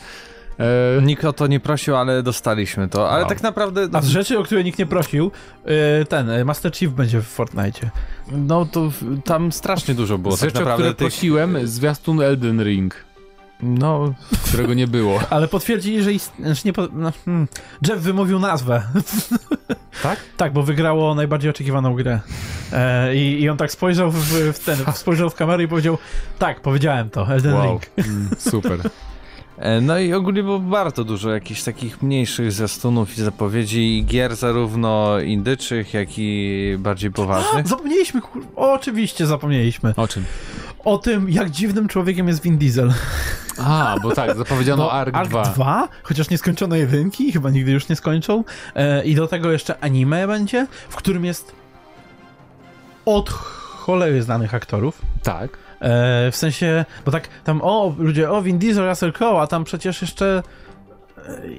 Speaker 2: E,
Speaker 1: Nikt o to nie prosił, ale dostaliśmy to. Ale
Speaker 2: Wow.
Speaker 1: tak naprawdę.
Speaker 3: A z rzeczy, o które nikt nie prosił, yy, ten, y, Master Chief będzie w Fortnite.
Speaker 1: No to w- tam strasznie dużo było
Speaker 2: z
Speaker 1: tak
Speaker 2: rzeczy, o które
Speaker 1: naprawdę. Tych,
Speaker 2: prosiłem, zwiastun Elden Ring,
Speaker 1: no,
Speaker 2: którego nie było.
Speaker 3: Ale potwierdzili, że ist... znaczy nie po... no, hmm. Jeff wymówił nazwę.
Speaker 2: Tak?
Speaker 3: Tak, bo wygrało najbardziej oczekiwaną grę. E, i, I on tak spojrzał w, w ten, spojrzał w kamerę i powiedział, tak, powiedziałem to, Elden Ring.
Speaker 2: Mm, super.
Speaker 1: E, No i ogólnie było bardzo dużo jakichś takich mniejszych zwiastunów i zapowiedzi i gier zarówno indyczych, jak i bardziej
Speaker 3: A,
Speaker 1: poważnych.
Speaker 3: zapomnieliśmy, kur... o, oczywiście zapomnieliśmy.
Speaker 2: O czym?
Speaker 3: O tym, jak dziwnym człowiekiem jest Vin Diesel.
Speaker 2: A, bo tak, zapowiedziano
Speaker 3: Bo
Speaker 2: Ark, 2.
Speaker 3: 2, chociaż nieskończone jedynki, chyba nigdy już nie skończą. E, I do tego jeszcze anime będzie, w którym jest od cholery znanych aktorów.
Speaker 2: Tak.
Speaker 3: E, w sensie, bo tak tam, o, ludzie, o, Vin Diesel, Russell Crowe, a tam przecież jeszcze e,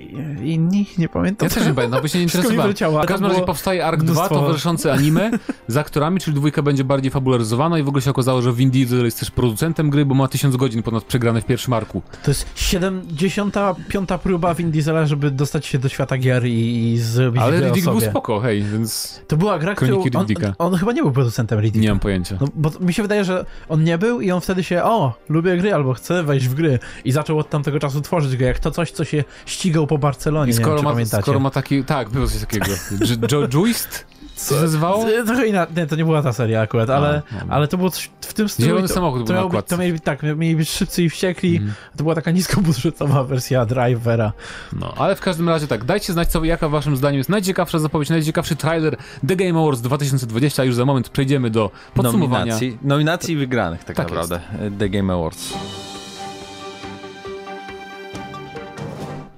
Speaker 3: inni, nie pamiętam.
Speaker 2: Ja też nie będę, bo się nie
Speaker 3: Wszystko mi
Speaker 2: interesowałem.
Speaker 3: wyleciało, a
Speaker 2: W każdym
Speaker 3: tam
Speaker 2: razie
Speaker 3: było
Speaker 2: powstaje Ark 2,
Speaker 3: mnóstwo-
Speaker 2: towarzyszące anime z aktorami, czyli dwójka będzie bardziej fabularyzowana i w ogóle się okazało, że Vin Diesel jest też producentem gry, bo ma 1000 godzin ponad przegrane w pierwszym Arku.
Speaker 3: To jest 75. próba Vin Diesela, żeby dostać się do świata gier i, i zrobić
Speaker 2: Ale
Speaker 3: grę o
Speaker 2: Riddick był
Speaker 3: sobie.
Speaker 2: spoko, hej, więc
Speaker 3: To była gra, którą
Speaker 2: Kroniki
Speaker 3: on,
Speaker 2: Riddicka.
Speaker 3: on chyba nie był producentem Riddicka.
Speaker 2: nie mam pojęcia.
Speaker 3: No, bo mi się wydaje, że on nie był i on wtedy się, o, lubię gry albo chcę wejść w gry i zaczął od tamtego czasu tworzyć gry, jak to coś, co się ścigał po Barcelonie,
Speaker 2: I
Speaker 3: nie wiem,
Speaker 2: skoro
Speaker 3: czy
Speaker 2: ma,
Speaker 3: pamiętacie.
Speaker 2: skoro ma taki. Tak, było coś takiego. Dż- Jo, Joist? Co się nazywało?
Speaker 3: Z- Trochę inaczej, nie, to nie była ta seria akurat, ale,
Speaker 2: dobra.
Speaker 3: ale to było coś w tym stylu.
Speaker 2: Zielony
Speaker 3: i to,
Speaker 2: samochód
Speaker 3: to
Speaker 2: był na
Speaker 3: miało być,
Speaker 2: okładce. Mhm.
Speaker 3: to mieli być, tak, mieli być szybcy i wściekli, to była taka niskobudżetowa wersja Drivera.
Speaker 2: No, ale w każdym razie tak, dajcie znać, co, jaka waszym zdaniem jest najciekawsza zapowiedź, najciekawszy trailer The Game Awards 2020, a już za moment przejdziemy do podsumowania.
Speaker 1: Nominacji, nominacji i wygranych tak,
Speaker 2: Tak
Speaker 1: naprawdę. The Game Awards.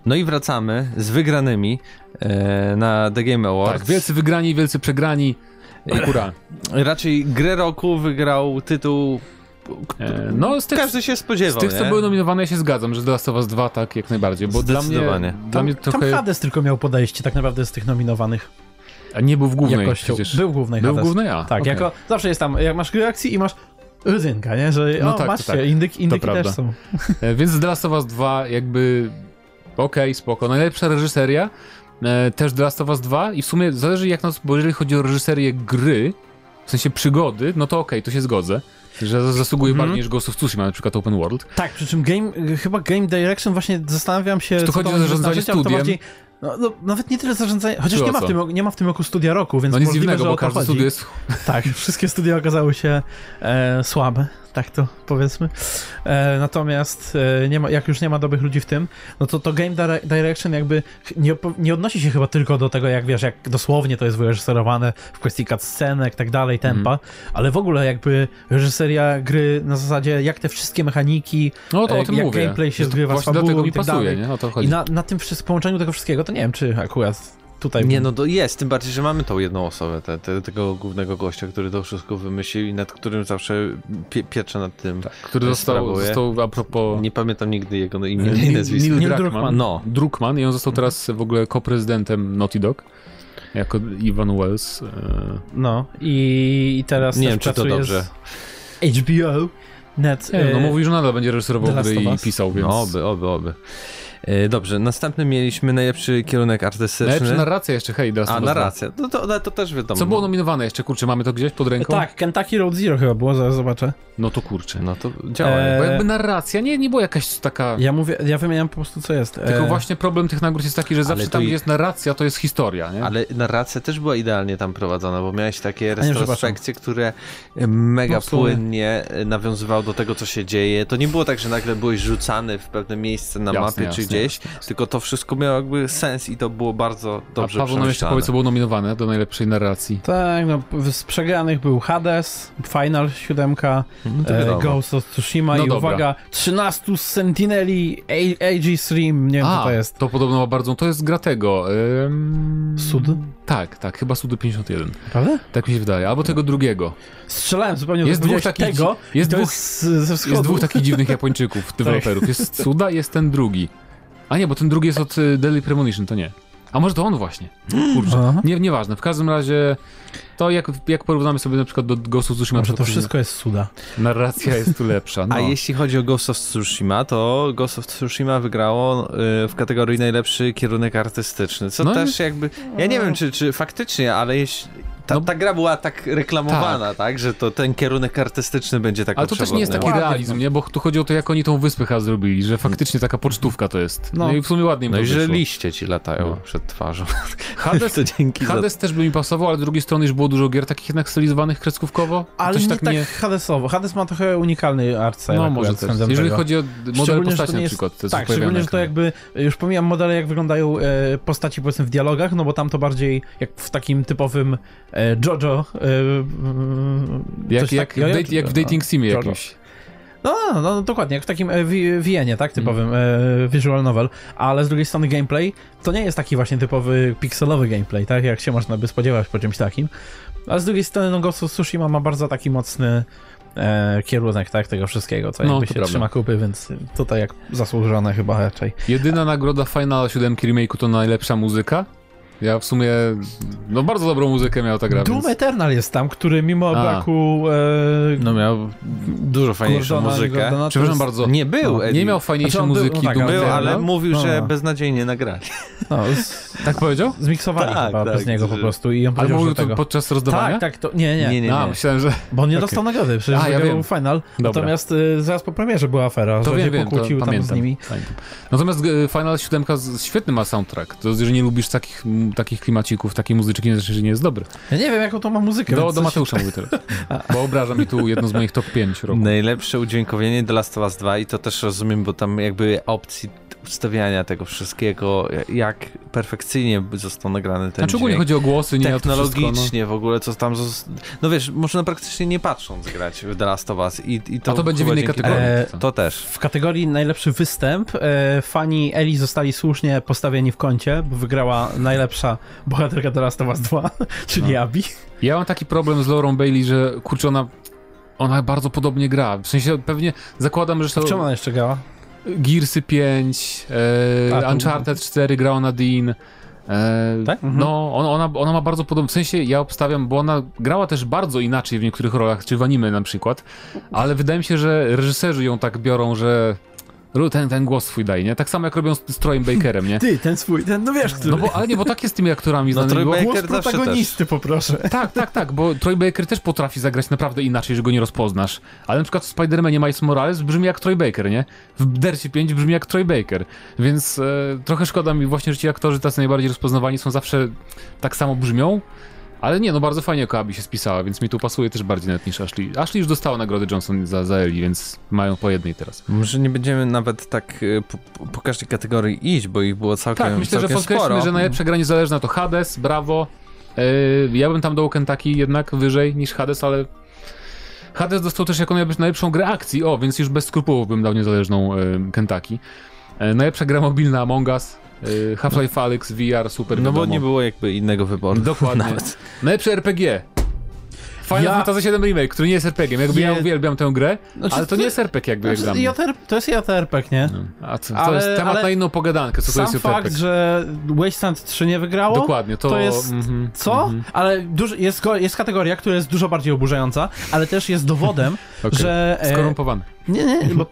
Speaker 1: No i wracamy z wygranymi e, na The Game Awards.
Speaker 2: Tak, wielcy wygrani, wielcy przegrani. Kura.
Speaker 1: Raczej grę roku wygrał tytuł
Speaker 2: E, No, z tych,
Speaker 1: Każdy się
Speaker 2: z
Speaker 1: spodziewał,
Speaker 2: tych co
Speaker 1: nie?
Speaker 2: były nominowane, ja się zgadzam, że The Last of Us 2 tak jak najbardziej, bo dla mnie,
Speaker 1: Zdecydowanie.
Speaker 2: dla
Speaker 3: Tam,
Speaker 2: mnie
Speaker 3: tam
Speaker 2: trochę
Speaker 3: Hades tylko miał podejście tak naprawdę z tych nominowanych
Speaker 2: a nie był w głównej
Speaker 3: jakością.
Speaker 2: przecież.
Speaker 3: Był główny
Speaker 2: Był
Speaker 3: Hades.
Speaker 2: główny, a,
Speaker 3: Tak,
Speaker 2: okej.
Speaker 3: jako zawsze jest tam, jak masz reakcji i masz rydynka, nie? Że
Speaker 2: No
Speaker 3: o,
Speaker 2: tak, to
Speaker 3: masz się,
Speaker 2: tak.
Speaker 3: indyk, indyki też
Speaker 2: prawda.
Speaker 3: są.
Speaker 2: E, Więc The Last of Us 2 jakby okej, spoko. Najlepsza reżyseria e, też The Last of Us 2 i w sumie zależy jak nas, bo jeżeli chodzi o reżyserię gry, w sensie przygody, no to okej, tu się zgodzę. Że zasługuje
Speaker 3: Mhm.
Speaker 2: bardziej niż Ghost of Tsushima, na przykład Open World.
Speaker 3: Tak, przy czym game, chyba Game Direction właśnie zastanawiam się...
Speaker 2: tu
Speaker 3: co
Speaker 2: chodzi o
Speaker 3: będzie
Speaker 2: zarządzanie
Speaker 3: znaczyć, ale to
Speaker 2: studiem.
Speaker 3: no, no, nawet nie tyle zarządzanie, chociaż
Speaker 2: Czy o
Speaker 3: nie ma, w
Speaker 2: co?
Speaker 3: tym, nie ma w tym roku studia roku, więc
Speaker 2: No nic
Speaker 3: możliwe,
Speaker 2: dziwnego,
Speaker 3: że
Speaker 2: bo
Speaker 3: o to
Speaker 2: każdy
Speaker 3: chodzi.
Speaker 2: studio jest
Speaker 3: Tak, wszystkie studia okazały się e, słabe, tak to powiedzmy. E, natomiast e, nie ma, jak już nie ma dobrych ludzi w tym, no to to Game Dire- Direction jakby ch- nie, opo- nie odnosi się chyba tylko do tego, jak wiesz, jak dosłownie to jest wyreżyserowane w kwestii cutscenek, tak dalej, tempa,
Speaker 2: Mhm.
Speaker 3: ale w ogóle jakby reżyseria gry na zasadzie, jak te wszystkie mechaniki,
Speaker 2: No to
Speaker 3: e,
Speaker 2: o tym
Speaker 3: jak
Speaker 2: mówię.
Speaker 3: gameplay się
Speaker 2: Że to
Speaker 3: zgrywa z
Speaker 2: właśnie
Speaker 3: fabułą
Speaker 2: dlatego mi
Speaker 3: i tak
Speaker 2: pasuje,
Speaker 3: dalej.
Speaker 2: nie? O to
Speaker 3: I
Speaker 2: chodzi.
Speaker 3: na, na tym przy, połączeniu tego wszystkiego, to nie wiem, czy akurat tutaj...
Speaker 1: Nie, no to jest, tym bardziej, że mamy tą jedną osobę, te, te, tego głównego gościa, który to wszystko wymyślił i nad którym zawsze pie, pieczę nad tym.
Speaker 2: Który został,
Speaker 1: sprawuje.
Speaker 2: został a propos...
Speaker 1: Nie pamiętam nigdy jego imienia i
Speaker 2: E, Neil-
Speaker 1: nazwiska.
Speaker 2: Neil
Speaker 3: Neil
Speaker 2: Druckmann.
Speaker 3: Druckmann. Mhm.
Speaker 1: No.
Speaker 2: Druckmann i on został teraz w ogóle koprezydentem Naughty Dog. Jako Ivan Wells. e,
Speaker 3: No i, i teraz
Speaker 1: Nie
Speaker 3: też
Speaker 1: wiem, czy to
Speaker 3: pracuje
Speaker 1: dobrze.
Speaker 3: Z HBO net.
Speaker 2: Nie, no
Speaker 3: e,
Speaker 2: mówi, że nadal będzie
Speaker 3: The
Speaker 2: reżyserował
Speaker 3: Last
Speaker 2: gry
Speaker 3: of
Speaker 2: i
Speaker 3: Us.
Speaker 2: pisał, więc...
Speaker 1: No, oby, oby, oby. E, Dobrze, następny mieliśmy najlepszy kierunek
Speaker 2: Najlepsza
Speaker 1: artystyczny.
Speaker 2: narracja jeszcze, hej, The Last
Speaker 1: A,
Speaker 2: of Us 2.
Speaker 1: narracja. No to, to, to też wiadomo.
Speaker 2: Co było nominowane jeszcze, kurczę, mamy to gdzieś pod ręką?
Speaker 3: Tak, Kentucky Road Zero chyba było, zaraz zobaczę.
Speaker 2: No to kurczę.
Speaker 1: No to działa.
Speaker 2: Bo
Speaker 3: E,
Speaker 2: jakby narracja nie, nie była jakaś taka...
Speaker 3: Ja mówię, ja wymieniam po prostu co jest. E,
Speaker 2: Tylko właśnie problem tych nagród jest taki, że zawsze
Speaker 1: to
Speaker 2: tam,
Speaker 1: i-
Speaker 2: gdzie jest narracja, to jest historia, nie?
Speaker 1: Ale narracja też była idealnie tam prowadzona, bo miałeś takie
Speaker 3: przepraszam.
Speaker 1: retrospekcje, które e, mega
Speaker 3: No, w sumie.
Speaker 1: płynnie e, nawiązywały do tego, co się dzieje. To nie było tak, że nagle byłeś rzucany w pewne miejsce na
Speaker 2: Jasne,
Speaker 1: mapie czy
Speaker 2: jasne,
Speaker 1: gdzieś, tylko to wszystko miało jakby sens i to było bardzo dobrze
Speaker 2: A Paweł nam jeszcze
Speaker 1: przemyślane.
Speaker 2: powie, co było nominowane do najlepszej narracji.
Speaker 3: Tak, no z przegranych był Hades, Final 7,
Speaker 1: No to
Speaker 3: e,
Speaker 1: wiadomo.
Speaker 3: Ghost of Tsushima
Speaker 2: No
Speaker 3: i
Speaker 2: dobra.
Speaker 3: uwaga, 13 Sentineli A- Aegis Rim, nie wiem
Speaker 2: A,
Speaker 3: co to jest.
Speaker 2: podobno ma bardzo. To jest gra tego. ym,
Speaker 3: Sud?
Speaker 2: Tak, tak, chyba Sud 51.
Speaker 3: Prawda?
Speaker 2: Tak mi się wydaje. Albo tego drugiego.
Speaker 3: Strzelałem zupełnie
Speaker 2: Jest
Speaker 3: to
Speaker 2: dwóch
Speaker 3: powiedziałeś
Speaker 2: takich-
Speaker 3: tego,
Speaker 2: jest
Speaker 3: i to
Speaker 2: dwóch-
Speaker 3: jest z, ze wschodu.
Speaker 2: Jest dwóch takich dziwnych
Speaker 3: <laughs> Tak.
Speaker 2: Japończyków, deweloperów. Jest Suda, jest ten drugi. A nie, bo ten drugi jest od y, Deadly Premonition, to nie. A może to on właśnie. Kurczę.
Speaker 3: Aha.
Speaker 2: Nie, nieważne. W każdym razie to jak, jak porównamy sobie na przykład do Ghost of Tsushima,
Speaker 3: Może to
Speaker 2: przykład,
Speaker 3: wszystko jest cuda.
Speaker 2: Narracja jest tu lepsza. No.
Speaker 1: A jeśli chodzi o Ghost of Tsushima, to Ghost of Tsushima wygrało y, w kategorii najlepszy kierunek artystyczny, co
Speaker 2: No i-
Speaker 1: też jakby, ja nie wiem czy, czy faktycznie, ale jeśli ta,
Speaker 2: No-
Speaker 1: ta gra była tak reklamowana, tak. że to ten kierunek artystyczny będzie tak
Speaker 2: Ale to też nie jest taki
Speaker 3: Ładnie.
Speaker 2: realizm, nie? Bo tu chodzi o to, jak oni tą wyspę chyba zrobili, że faktycznie taka pocztówka to jest. No,
Speaker 3: No.
Speaker 2: i w sumie ładnie im
Speaker 1: No
Speaker 2: to
Speaker 1: i że
Speaker 2: wyszło.
Speaker 1: liście ci latają
Speaker 2: No.
Speaker 1: przed <laughs> twarzą.
Speaker 2: Hades,
Speaker 1: to dzięki
Speaker 2: Hades też by mi pasował, ale z drugiej strony już było dużo gier takich jednak stylizowanych kreskówkowo.
Speaker 3: Ale
Speaker 2: to się
Speaker 3: nie tak, Hadesowo. Hades ma trochę unikalny art style
Speaker 2: No
Speaker 3: akurat
Speaker 2: może też.
Speaker 3: względem
Speaker 2: Jeżeli
Speaker 3: tego.
Speaker 2: chodzi o model
Speaker 3: Szczególnie, że
Speaker 2: postaci
Speaker 3: to nie
Speaker 2: na
Speaker 3: jest-
Speaker 2: przykład. co
Speaker 3: Tak,
Speaker 2: się pojawia na
Speaker 3: szczególnie, że to
Speaker 2: ekranie.
Speaker 3: jakby, już pomijam modele, jak wyglądają e, postaci powiedzmy w dialogach, no bo tam to bardziej jak w takim typowym e, JoJo. E, mm,
Speaker 2: Jak,
Speaker 3: coś
Speaker 2: jak,
Speaker 3: takiego,
Speaker 2: w date, jak w dating simie
Speaker 3: Jojo.
Speaker 2: jakimś.
Speaker 3: No, no, no dokładnie, jak w takim e, wi- Wienie, tak, typowym
Speaker 2: Mm.
Speaker 3: e, visual novel, ale z drugiej strony gameplay to nie jest taki właśnie typowy pikselowy gameplay, tak, jak się można by spodziewać po czymś takim. Ale z drugiej strony no, Ghost of Tsushima ma bardzo taki mocny e, kierunek, tak, tego wszystkiego, co
Speaker 2: No,
Speaker 3: jakby
Speaker 2: to
Speaker 3: się
Speaker 2: prawda.
Speaker 3: trzyma kupy, więc tutaj jak zasłużone chyba raczej.
Speaker 2: Jedyna nagroda Final 7 remake'u to najlepsza muzyka. Ja w sumie, no bardzo dobrą muzykę miała ta gra,
Speaker 3: Doom
Speaker 2: więc...
Speaker 3: Eternal jest tam, który mimo
Speaker 2: A.
Speaker 3: braku e,
Speaker 1: No miał dużo fajniejszą muzykę.
Speaker 2: Przepraszam bardzo,
Speaker 1: Nie był,
Speaker 3: No,
Speaker 1: Eddie.
Speaker 2: nie miał fajniejszej
Speaker 3: Znaczy on był-
Speaker 2: muzyki
Speaker 3: no tak,
Speaker 2: Doom
Speaker 3: ale
Speaker 1: był,
Speaker 2: Eternal.
Speaker 1: ale mówił,
Speaker 3: No,
Speaker 1: że
Speaker 3: no.
Speaker 1: beznadziejnie nagrali.
Speaker 3: No, z,
Speaker 2: Tak powiedział? <laughs>
Speaker 3: zmiksowali
Speaker 1: Tak,
Speaker 3: chyba
Speaker 1: tak,
Speaker 3: bez niego po
Speaker 1: że-
Speaker 3: prostu i on
Speaker 2: Ale
Speaker 3: powiedział,
Speaker 2: mówił
Speaker 3: że tego.
Speaker 2: to podczas rozdawania?
Speaker 3: tak, tak, to, nie, nie,
Speaker 1: Nie, nie,
Speaker 2: A,
Speaker 1: nie.
Speaker 2: myślałem, że...
Speaker 3: bo on nie dostał nagrody, przecież
Speaker 2: A, ja
Speaker 3: wygrał
Speaker 2: wiem.
Speaker 3: final,
Speaker 2: Dobra.
Speaker 3: natomiast y, zaraz po premierze była afera,
Speaker 2: To
Speaker 3: że
Speaker 2: wiem,
Speaker 3: się
Speaker 2: wiem, to
Speaker 3: pokłócił tam z
Speaker 2: pamiętam.
Speaker 3: nimi.
Speaker 2: Pamiętam. Natomiast e, Final 7 z- świetny ma soundtrack. To, jeżeli nie lubisz takich, m, takich klimacików, takiej muzyczki, to znaczy, że nie jest dobry.
Speaker 3: Ja nie wiem, jaką to ma muzykę.
Speaker 2: Do,
Speaker 3: więc
Speaker 2: do
Speaker 3: coś-
Speaker 2: Mateusza mówię
Speaker 3: <laughs>
Speaker 2: teraz. Bo obraża mi tu jedno z moich top 5
Speaker 3: No,
Speaker 2: roku.
Speaker 1: Najlepsze udźwiękowienie The Last of Us 2 i to też rozumiem, bo tam jakby opcji wstawiania tego wszystkiego, jak perfekcyjnie został nagrany ten
Speaker 2: Znaczy ogólnie
Speaker 1: dźwięk.
Speaker 2: chodzi o głosy, nie o to wszystko,
Speaker 1: Technologicznie
Speaker 2: no.
Speaker 1: w ogóle, co tam. Zos... No wiesz, można praktycznie nie patrząc grać w The Last of Us. I, i to
Speaker 2: A to będzie w
Speaker 1: chyba
Speaker 2: innej
Speaker 1: dzięki
Speaker 2: kategorii.
Speaker 1: temu.
Speaker 3: E,
Speaker 2: to.
Speaker 1: To też.
Speaker 3: W kategorii najlepszy występ e, fani Eli zostali słusznie postawieni w kącie, bo wygrała najlepsza
Speaker 2: No.
Speaker 3: bohaterka The Last of Us 2, <laughs> czyli Abby.
Speaker 2: Ja mam taki problem z Laurą Bailey, że kurczę, ona ona bardzo podobnie gra. W sensie pewnie zakładam, że
Speaker 3: W czym
Speaker 2: to
Speaker 3: ona jeszcze grała?
Speaker 2: Gearsy 5,
Speaker 3: A,
Speaker 2: e,
Speaker 3: to-
Speaker 2: Uncharted 4 grała na Dean. E,
Speaker 3: Tak? Mhm.
Speaker 2: No, on, ona, ona ma bardzo podobny, w sensie ja obstawiam, bo ona grała też bardzo inaczej w niektórych rolach, czy w anime na przykład, ale wydaje mi się, że reżyserzy ją tak biorą, że ru- ten, ten głos swój daje, nie? Tak samo jak robią z, z Troyem Bakerem, nie?
Speaker 3: Ty, ten swój, ten, no wiesz, który.
Speaker 2: No bo, ale nie, bo tak jest z tymi aktorami
Speaker 1: No,
Speaker 2: znanymi.
Speaker 1: Troy
Speaker 2: bo-
Speaker 1: Baker
Speaker 3: Głos
Speaker 1: zawsze
Speaker 3: protagonisty, poproszę.
Speaker 2: tak, tak, tak, bo Troy Baker też potrafi zagrać naprawdę inaczej, że go nie rozpoznasz. Ale na przykład w Spider-Manie Miles Morales brzmi jak Troy Baker, nie? W Dercie 5 brzmi jak Troy Baker. Więc e, trochę szkoda mi właśnie, że ci aktorzy tacy najbardziej rozpoznawani są zawsze tak samo brzmią. Ale nie, no bardzo fajnie Koabi się spisała, więc mi tu pasuje też bardziej nawet niż Ashley. Ashley już dostała nagrody Johnson za, za Eli, więc mają po jednej teraz.
Speaker 1: Może nie będziemy nawet tak e, po, po- po każdej kategorii iść, bo ich było całkiem
Speaker 2: Tak, myślę, że
Speaker 1: całkiem
Speaker 2: podkreślmy,
Speaker 1: sporo.
Speaker 2: że najlepsza gra niezależna to Hades, brawo. Yy, ja bym tam dał Kentucky jednak wyżej niż Hades, ale Hades dostał też jako najlepsz- najlepszą grę akcji, o, więc już bez skrupułów bym dał niezależną yy, Kentucky. Yy, najlepsza gra mobilna Among Us, yy, Half-Life Alyx, VR, super
Speaker 1: No bo
Speaker 2: wiadomo.
Speaker 1: nie było jakby innego wyboru.
Speaker 2: Dokładnie.
Speaker 1: Nawet.
Speaker 2: Najlepsze RPG. Final
Speaker 3: Ja-
Speaker 2: Fantasy VII Remake, który nie jest RPG, jakby ja
Speaker 3: Je-
Speaker 2: uwielbiam tę grę,
Speaker 3: Znaczy,
Speaker 2: ale to nie
Speaker 3: ty-
Speaker 2: jest RPG jakby jak dla
Speaker 3: Znaczy,
Speaker 2: mnie.
Speaker 3: JR, to jest JRPG, nie?
Speaker 2: A co, No. to
Speaker 3: Ale-
Speaker 2: jest temat
Speaker 3: ale-
Speaker 2: na inną pogadankę, co to
Speaker 3: Sam
Speaker 2: jest
Speaker 3: fakt,
Speaker 2: RPG.
Speaker 3: że Wasteland 3 nie wygrało,
Speaker 2: Dokładnie, to...
Speaker 3: to jest-
Speaker 2: mhm,
Speaker 3: co?
Speaker 2: mhm.
Speaker 3: Ale duż, jest, ko- jest kategoria, która jest dużo bardziej oburzająca, ale też jest dowodem,
Speaker 2: <laughs> Okej.
Speaker 3: że... e,
Speaker 2: Skorumpowany.
Speaker 3: Nie, nie,
Speaker 2: <laughs>
Speaker 3: nie, bo...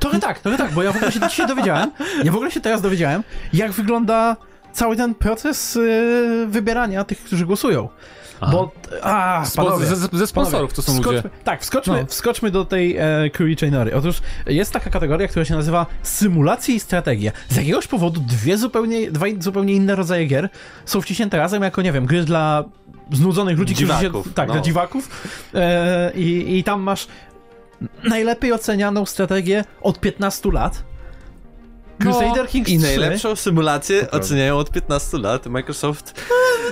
Speaker 3: Trochę tak, trochę tak, bo ja w ogóle się dzisiaj dowiedziałem, ja w ogóle się teraz dowiedziałem, jak wygląda cały ten proces y, wybierania tych, którzy głosują. Bo... A,
Speaker 2: Spo-
Speaker 3: panowie.
Speaker 2: ze, ze- ze sponsorów to są
Speaker 3: Wskoczmy,
Speaker 2: ludzie.
Speaker 3: Tak, wskoczmy,
Speaker 2: No.
Speaker 3: wskoczmy do tej e, Curie Chainery. Otóż jest taka kategoria, która się nazywa symulacje i strategia. Z jakiegoś powodu dwie zupełnie, dwa zupełnie inne rodzaje gier są wciśnięte razem jako, nie wiem, gry dla znudzonych ludzi, którzy
Speaker 1: Dziwaków,
Speaker 3: się... Tak,
Speaker 1: no.
Speaker 3: dla dziwaków. E, i, I tam masz najlepiej ocenianą strategię od 15 lat.
Speaker 2: No,
Speaker 3: Crusader Kings
Speaker 1: I
Speaker 3: 3.
Speaker 1: najlepszą symulację
Speaker 2: prawda.
Speaker 1: oceniają od 15 lat Microsoft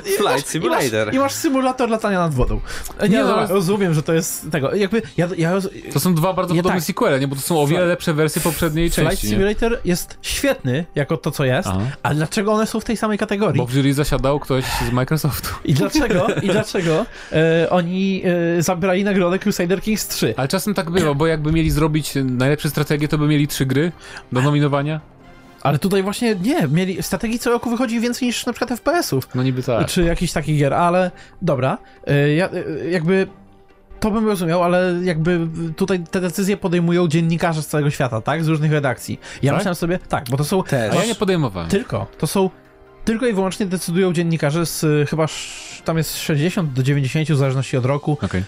Speaker 1: Flight
Speaker 3: <laughs> I masz,
Speaker 1: Simulator.
Speaker 3: I masz symulator latania nad wodą. Nie,
Speaker 2: Nie,
Speaker 3: no,
Speaker 2: no.
Speaker 3: dobra, rozumiem, że to jest tego. Jakby ja, ja roz...
Speaker 2: To są dwa bardzo
Speaker 3: Nie,
Speaker 2: podobne
Speaker 3: tak.
Speaker 2: sequele, nie? Bo to są o wiele lepsze wersje poprzedniej
Speaker 3: Flight
Speaker 2: części. Nie?
Speaker 3: Simulator jest świetny jako to, co jest,
Speaker 2: Aha.
Speaker 3: ale dlaczego one są w tej samej kategorii?
Speaker 2: Bo w jury zasiadał ktoś z Microsoftu. <laughs>
Speaker 3: I dlaczego, i dlaczego e, oni e, zabrali nagrodę Crusader Kings 3?
Speaker 2: Ale czasem tak było, bo jakby mieli zrobić najlepsze strategie, to by mieli trzy gry do nominowania.
Speaker 3: Ale tutaj właśnie nie, mieli strategii co roku wychodzi więcej niż na przykład FPS-ów,
Speaker 2: No niby tak.
Speaker 3: czy jakichś takich gier, ale dobra, e, ja, e, jakby to bym rozumiał, ale jakby tutaj te decyzje podejmują dziennikarze z całego świata, tak? Z różnych redakcji. Ja
Speaker 2: Tak?
Speaker 3: myślałem sobie, tak, bo to są...
Speaker 1: Też.
Speaker 2: A ja nie podejmowałem.
Speaker 3: Tylko. To są. Tylko i wyłącznie decydują dziennikarze z y, chyba sz, tam jest 60 do 90 w zależności od roku
Speaker 2: Okej.
Speaker 3: y,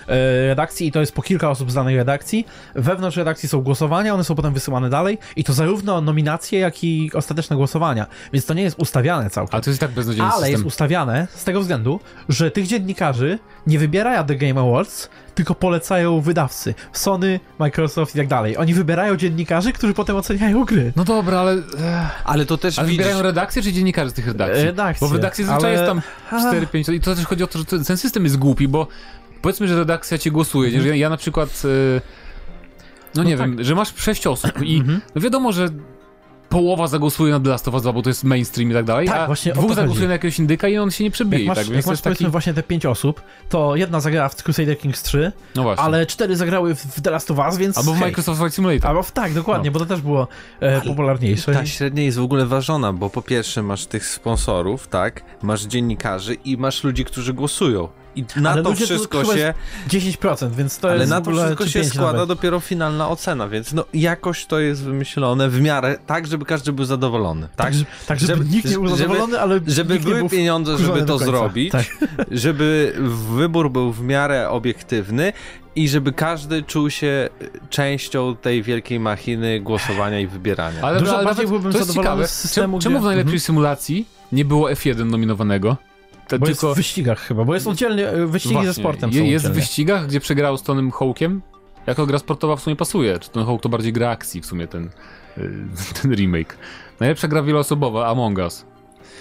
Speaker 3: redakcji i to jest po kilka osób z danej redakcji. Wewnątrz redakcji są głosowania, one są potem wysyłane dalej i to zarówno nominacje, jak i ostateczne głosowania. Więc to nie jest ustawiane całkiem.
Speaker 2: Ale to jest tak beznadziejny
Speaker 3: Ale jest
Speaker 2: system.
Speaker 3: ustawiane z tego względu, że tych dziennikarzy nie wybiera The Game Awards, tylko polecają wydawcy. Sony, Microsoft i tak dalej. Oni wybierają dziennikarzy, którzy potem oceniają gry.
Speaker 2: No dobra, ale... eh,
Speaker 1: Ale to też
Speaker 2: Ale
Speaker 1: widzisz,
Speaker 2: wybierają redakcję czy dziennikarzy z tych redakcji?
Speaker 3: Redakcje,
Speaker 2: Bo w redakcji zazwyczaj
Speaker 3: ale-
Speaker 2: jest tam 4-5 i to też chodzi o to, że ten ten system jest głupi, bo powiedzmy, że redakcja cię głosuje, nie? że ja- ja na przykład y, no nie wiem,
Speaker 3: tak.
Speaker 2: że masz 6 osób i
Speaker 3: Mhm.
Speaker 2: no wiadomo, że połowa zagłosuje na The Last of Us 2, bo to jest mainstream i tak dalej,
Speaker 3: Tak,
Speaker 2: a
Speaker 3: właśnie o to
Speaker 2: dwóch
Speaker 3: chodzi.
Speaker 2: zagłosuje na jakiegoś indyka i on się nie przebije,
Speaker 3: Jak masz,
Speaker 2: tak? Więc
Speaker 3: jak
Speaker 2: to
Speaker 3: masz
Speaker 2: jest taki...
Speaker 3: powiedzmy właśnie te pięć osób, to jedna zagrała w Crusader Kings 3,
Speaker 2: No właśnie.
Speaker 3: ale cztery zagrały w w The Last of Us, więc
Speaker 2: Albo w
Speaker 3: hej.
Speaker 2: Microsoft Flight Simulator.
Speaker 3: Albo w tak,
Speaker 1: No.
Speaker 3: dokładnie, bo to też było e, popularniejsze.
Speaker 1: ta średnia jest w ogóle ważona, bo po pierwsze masz tych sponsorów, tak, masz dziennikarzy i masz ludzi, którzy głosują. I na
Speaker 3: Ale
Speaker 1: to
Speaker 3: ludzie to
Speaker 1: wszystko
Speaker 3: chyba
Speaker 1: się,
Speaker 3: 10%, więc to
Speaker 1: ale
Speaker 3: jest
Speaker 1: na
Speaker 3: w
Speaker 1: to
Speaker 3: ogóle
Speaker 1: wszystko
Speaker 3: czy
Speaker 1: się
Speaker 3: pięć
Speaker 1: składa
Speaker 3: nawet.
Speaker 1: dopiero finalna ocena, więc no jakoś to jest wymyślone w miarę tak, żeby każdy był zadowolony, tak?
Speaker 3: Tak, że- tak żeby,
Speaker 1: Żeby-
Speaker 3: nikt nie był
Speaker 1: żeby-
Speaker 3: zadowolony, ale
Speaker 1: Żeby
Speaker 3: nikt nie
Speaker 1: były
Speaker 3: był
Speaker 1: pieniądze,
Speaker 3: wkurzony
Speaker 1: żeby
Speaker 3: do
Speaker 1: to
Speaker 3: końca.
Speaker 1: zrobić,
Speaker 3: Tak.
Speaker 1: żeby wybór był w miarę obiektywny i żeby każdy czuł się częścią tej wielkiej machiny głosowania i wybierania.
Speaker 2: Ale,
Speaker 3: Dużo
Speaker 2: ale
Speaker 3: bardziej
Speaker 2: nawet-
Speaker 3: byłbym
Speaker 2: to jest
Speaker 3: zadowolony
Speaker 2: ciekawe,
Speaker 3: z systemu,
Speaker 2: czemu, czemu
Speaker 3: gdzie- Mhm.
Speaker 2: w najlepszej symulacji nie było F1 nominowanego? To
Speaker 3: Bo jest w wyścigach chyba, bo jest oddzielnie, e, wyścigi
Speaker 2: Właśnie,
Speaker 3: ze sportem
Speaker 2: je-
Speaker 3: są
Speaker 2: Jest w
Speaker 3: oddzielnie.
Speaker 2: wyścigach, gdzie przegrał z Tonym Hołkiem. Jako gra sportowa w sumie pasuje. Czy ten Hołk to bardziej <laughs> gra akcji w sumie ten, y, ten remake. Najlepsza gra wieloosobowa, Among Us.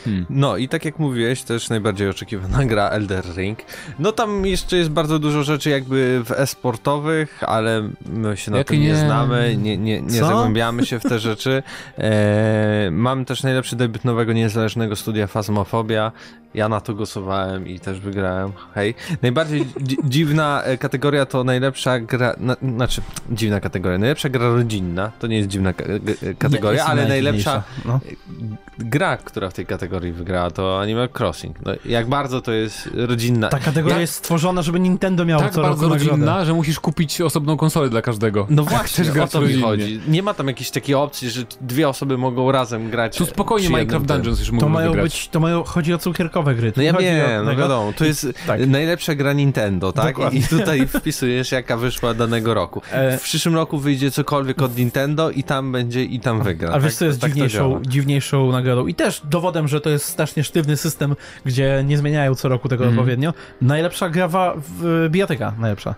Speaker 2: Hmm.
Speaker 1: No i tak jak mówiłeś, też najbardziej oczekiwana gra Elder Ring. No tam jeszcze jest bardzo dużo rzeczy jakby w e-sportowych, ale my się na
Speaker 2: Jak
Speaker 1: tym nie,
Speaker 2: nie?
Speaker 1: znamy, nie, nie, nie
Speaker 3: Co?
Speaker 1: zagłębiamy się w te rzeczy. E, mam też najlepszy debiut nowego niezależnego studia Fazmofobia. Ja na to głosowałem i też wygrałem. Hej. Najbardziej dzi- <laughs> dziwna e, kategoria to najlepsza gra, na, znaczy dziwna kategoria, najlepsza gra rodzinna. To nie jest dziwna ka- g- kategoria,
Speaker 3: Jest
Speaker 1: ale
Speaker 3: najdziwniejsza.
Speaker 1: najlepsza
Speaker 3: No.
Speaker 1: gra, która w tej kategorii wygrała, to Animal Crossing. No, jak bardzo to jest rodzinna.
Speaker 3: Ta kategoria
Speaker 1: Ja-
Speaker 3: jest stworzona, żeby Nintendo miało
Speaker 2: Tak
Speaker 3: co
Speaker 2: bardzo
Speaker 3: roku nagrodę.
Speaker 2: rodzinna, że musisz kupić osobną konsolę dla każdego.
Speaker 3: Tak
Speaker 1: No
Speaker 2: chcesz
Speaker 1: właśnie, o
Speaker 2: grać
Speaker 1: to mi
Speaker 2: rodzinnie.
Speaker 1: chodzi. Nie ma tam jakiejś takiej opcji, że dwie osoby mogą razem grać.
Speaker 2: Tu spokojnie
Speaker 1: przy jednym
Speaker 2: Minecraft
Speaker 1: tym.
Speaker 2: Dungeons już
Speaker 3: To
Speaker 2: mogą
Speaker 3: mają
Speaker 2: wygrać.
Speaker 3: być, to mają, chodzi o cukierkowe gry. Tu
Speaker 1: No
Speaker 3: nie
Speaker 1: ja
Speaker 3: chodzi o
Speaker 1: wiem, no
Speaker 3: tego.
Speaker 1: wiadomo, to jest
Speaker 3: tak.
Speaker 1: najlepsza gra Nintendo, tak? I
Speaker 3: Dokładnie.
Speaker 1: tutaj wpisujesz, jaka wyszła danego roku.
Speaker 3: E,
Speaker 1: W przyszłym roku wyjdzie cokolwiek od Nintendo i tam będzie i tam wygra.
Speaker 3: A wiesz,
Speaker 1: Tak-
Speaker 3: co jest
Speaker 1: tak to działa.
Speaker 3: dziwniejszą, dziwniejszą nagrodą? I też dowodem, że to jest strasznie sztywny system, gdzie nie zmieniają co roku tego
Speaker 2: Mhm.
Speaker 3: odpowiednio. Najlepsza gra wa- w, e, bijatyka, najlepsza.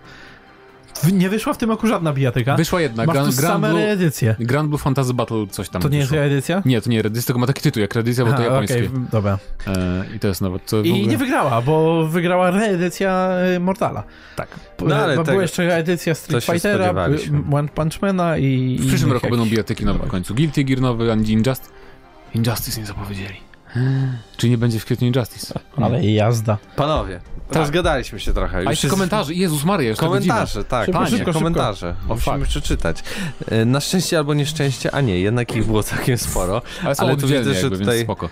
Speaker 3: W- Nie wyszła w tym roku żadna bijatyka.
Speaker 2: Wyszła jedna,
Speaker 3: Masz tu
Speaker 2: Grand, Grand,
Speaker 3: same
Speaker 2: Blue,
Speaker 3: reedycje.
Speaker 2: Grand Blue Fantasy Battle coś tam
Speaker 3: To nie jest
Speaker 2: wyszło.
Speaker 3: reedycja?
Speaker 2: Nie, to nie reedycja, tylko ma taki tytuł jak reedycja, bo to
Speaker 3: Aha,
Speaker 2: japońskie.
Speaker 3: okej, dobra.
Speaker 2: E, I to jest nawet... To w ogóle...
Speaker 3: I nie wygrała, bo wygrała reedycja e, Mortala.
Speaker 2: Tak.
Speaker 3: P-
Speaker 1: No, ale
Speaker 3: bo
Speaker 1: tego-
Speaker 3: była jeszcze reedycja Street
Speaker 1: się
Speaker 3: Fightera,
Speaker 1: spodziewaliśmy.
Speaker 3: b- One Punch Mana i...
Speaker 2: W przyszłym
Speaker 3: i-
Speaker 2: roku będą bijatyki nowe w końcu. Guilty Gear nowy, ani Injustice. Injustice nie zapowiedzieli. Czy nie będzie w kwietniu Injustice?
Speaker 3: Ale jazda.
Speaker 1: Panowie,
Speaker 3: Tak.
Speaker 1: rozgadaliśmy się trochę.
Speaker 2: A
Speaker 1: Już
Speaker 2: jeszcze
Speaker 1: jest
Speaker 2: komentarze. Jezus Maria, jeszcze
Speaker 1: Komentarze, tak,
Speaker 3: Szybko,
Speaker 1: panie,
Speaker 3: szybko, szybko.
Speaker 1: komentarze.
Speaker 2: O,
Speaker 1: Musimy
Speaker 2: fuck.
Speaker 1: przeczytać. E, Na szczęście albo nieszczęście, a nie, jednak ich było całkiem sporo.
Speaker 2: godzina. <laughs> Ale są
Speaker 1: Ale
Speaker 2: ale
Speaker 1: tu
Speaker 2: oddzielnie
Speaker 1: widzę, że
Speaker 2: jakby,
Speaker 1: tutaj-
Speaker 2: więc spoko.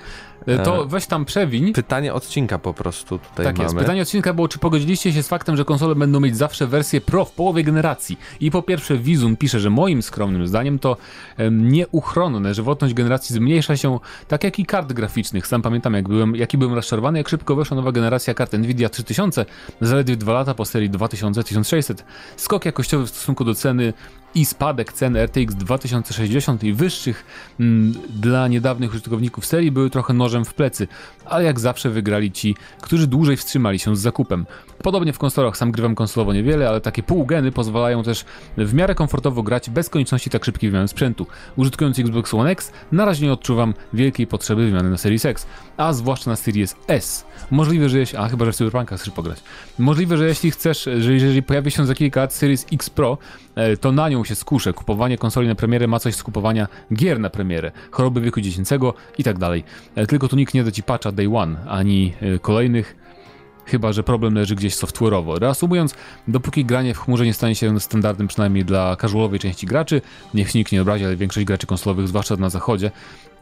Speaker 2: E, To
Speaker 1: E,
Speaker 2: weź tam przewiń.
Speaker 1: Pytanie odcinka po prostu tutaj
Speaker 2: Tak
Speaker 1: mamy.
Speaker 2: jest. Pytanie odcinka było, czy pogodziliście się z faktem, że konsole będą mieć zawsze wersję Pro w połowie generacji? I po pierwsze, Wizum pisze, że moim skromnym zdaniem to em, nieuchronne, żywotność generacji zmniejsza się, tak jak i kart graficznych. Sam pamiętam, jak byłem, jaki byłem rozczarowany, jak szybko weszła nowa generacja kart Nvidia 3000, zaledwie dwa lata po serii 2000-1600. Skok jakościowy w stosunku do ceny i spadek cen RTX 2060 i wyższych mm, dla niedawnych użytkowników serii były trochę nożem w plecy, ale jak zawsze wygrali ci, którzy dłużej wstrzymali się z zakupem. Podobnie w konsolach, sam grywam konsolowo niewiele, ale takie półgeny pozwalają też w miarę komfortowo grać bez konieczności tak szybkiej wymiany sprzętu. Użytkując Xbox One X, na razie nie odczuwam wielkiej potrzeby wymiany na Series X, a zwłaszcza na Series S. Możliwe, że jeśli... A, chyba, że w Cyberpunka chcesz pograć. Możliwe, że jeśli chcesz, że jeżeli pojawi się za kilka lat Series X Pro, e, to na nią się skuszę. Kupowanie konsoli na premierę ma coś z kupowania gier na premierę, choroby wieku dziecięcego i tak dalej. E, Tylko tu nikt nie da ci patcha day one, ani e, kolejnych, chyba że problem leży gdzieś software'owo. Reasumując, dopóki granie w chmurze nie stanie się standardem przynajmniej dla casualowej części graczy, niech się nikt nie obrazi, ale większość graczy konsolowych, zwłaszcza na zachodzie,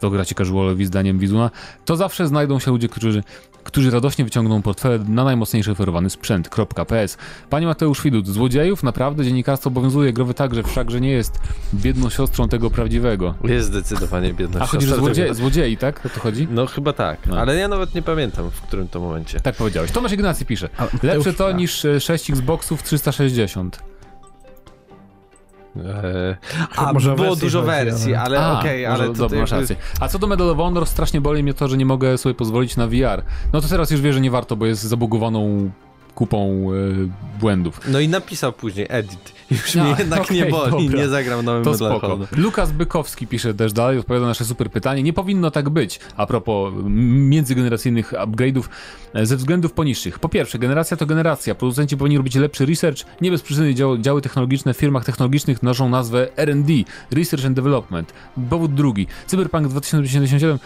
Speaker 2: to gracie casualowi zdaniem Wizuna, to zawsze znajdą się ludzie, którzy, którzy radośnie wyciągną portfele na najmocniejszy oferowany sprzęt. Kropka. PS. Panie Mateusz Widut, złodziejów naprawdę dziennikarstwo obowiązuje growy tak, także, wszakże nie jest biedną siostrą tego prawdziwego.
Speaker 1: Jest zdecydowanie biedna
Speaker 2: A chodzi, że
Speaker 1: siostra
Speaker 2: złodzie-
Speaker 1: tego-
Speaker 2: złodziei, tak? O to chodzi?
Speaker 1: No chyba tak,
Speaker 2: No.
Speaker 1: ale ja nawet nie pamiętam, w którym to momencie.
Speaker 2: Tak powiedziałeś. Tomasz Ignacy pisze.
Speaker 3: Ale
Speaker 2: Lepsze to
Speaker 3: już-
Speaker 2: niż e, 6 Xboxów 360.
Speaker 1: E,
Speaker 3: Może
Speaker 1: a,
Speaker 3: o
Speaker 1: było
Speaker 3: wersji
Speaker 1: dużo
Speaker 3: chodzi, ale-
Speaker 1: wersji, ale
Speaker 2: A,
Speaker 1: okej,
Speaker 2: może-
Speaker 1: ale
Speaker 2: dobra,
Speaker 1: tutaj
Speaker 2: masz
Speaker 1: jakby-
Speaker 2: rację. A co do Medal of Honor, strasznie boli mnie to, że nie mogę sobie pozwolić na VR. No to teraz już wiem, że nie warto, bo jest zabugowaną kupą e, błędów.
Speaker 1: No i napisał później edit. Już
Speaker 2: A,
Speaker 1: mnie jednak nie
Speaker 2: okej,
Speaker 1: boli,
Speaker 2: dobra.
Speaker 1: nie zagram nowym
Speaker 2: To
Speaker 1: Medal of
Speaker 2: spoko.
Speaker 1: Honor.
Speaker 2: Lukas Bykowski pisze też dalej, odpowiada na nasze super pytanie. Nie powinno tak być a propos m, międzygeneracyjnych upgrade'ów e, ze względów poniższych. Po pierwsze, generacja to generacja. Producenci powinni robić lepszy research. Nie bez przyczyny dział, działy technologiczne w firmach technologicznych noszą nazwę R&D, Research and Development. Powód drugi. Cyberpunk 2077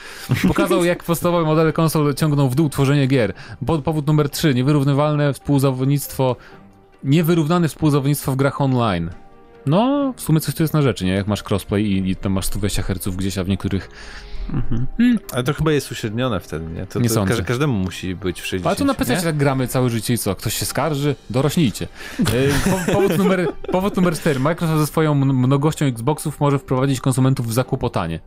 Speaker 2: pokazał, jak podstawowe modele konsol ciągną w dół tworzenie gier. Po- Powód numer trzy. Niewyrównywalne współzawodnictwo niewyrównane współzawodnictwo w grach online. No, w sumie coś tu jest na rzeczy, nie? Jak masz crossplay i, i tam masz 120 Hz gdzieś, a w niektórych...
Speaker 1: Ale to chyba jest uśrednione wtedy, nie? To,
Speaker 2: Nie
Speaker 1: to
Speaker 2: sądzę.
Speaker 1: każ- każdemu musi być w 60,
Speaker 2: Ale to na
Speaker 1: nie?
Speaker 2: PC tak gramy całe życie i co? Ktoś się skarży? Dorośnijcie. E, po, powód, numer, <laughs> powód numer 4. Microsoft ze swoją mn- mnogością Xboxów może wprowadzić konsumentów w zakłopotanie.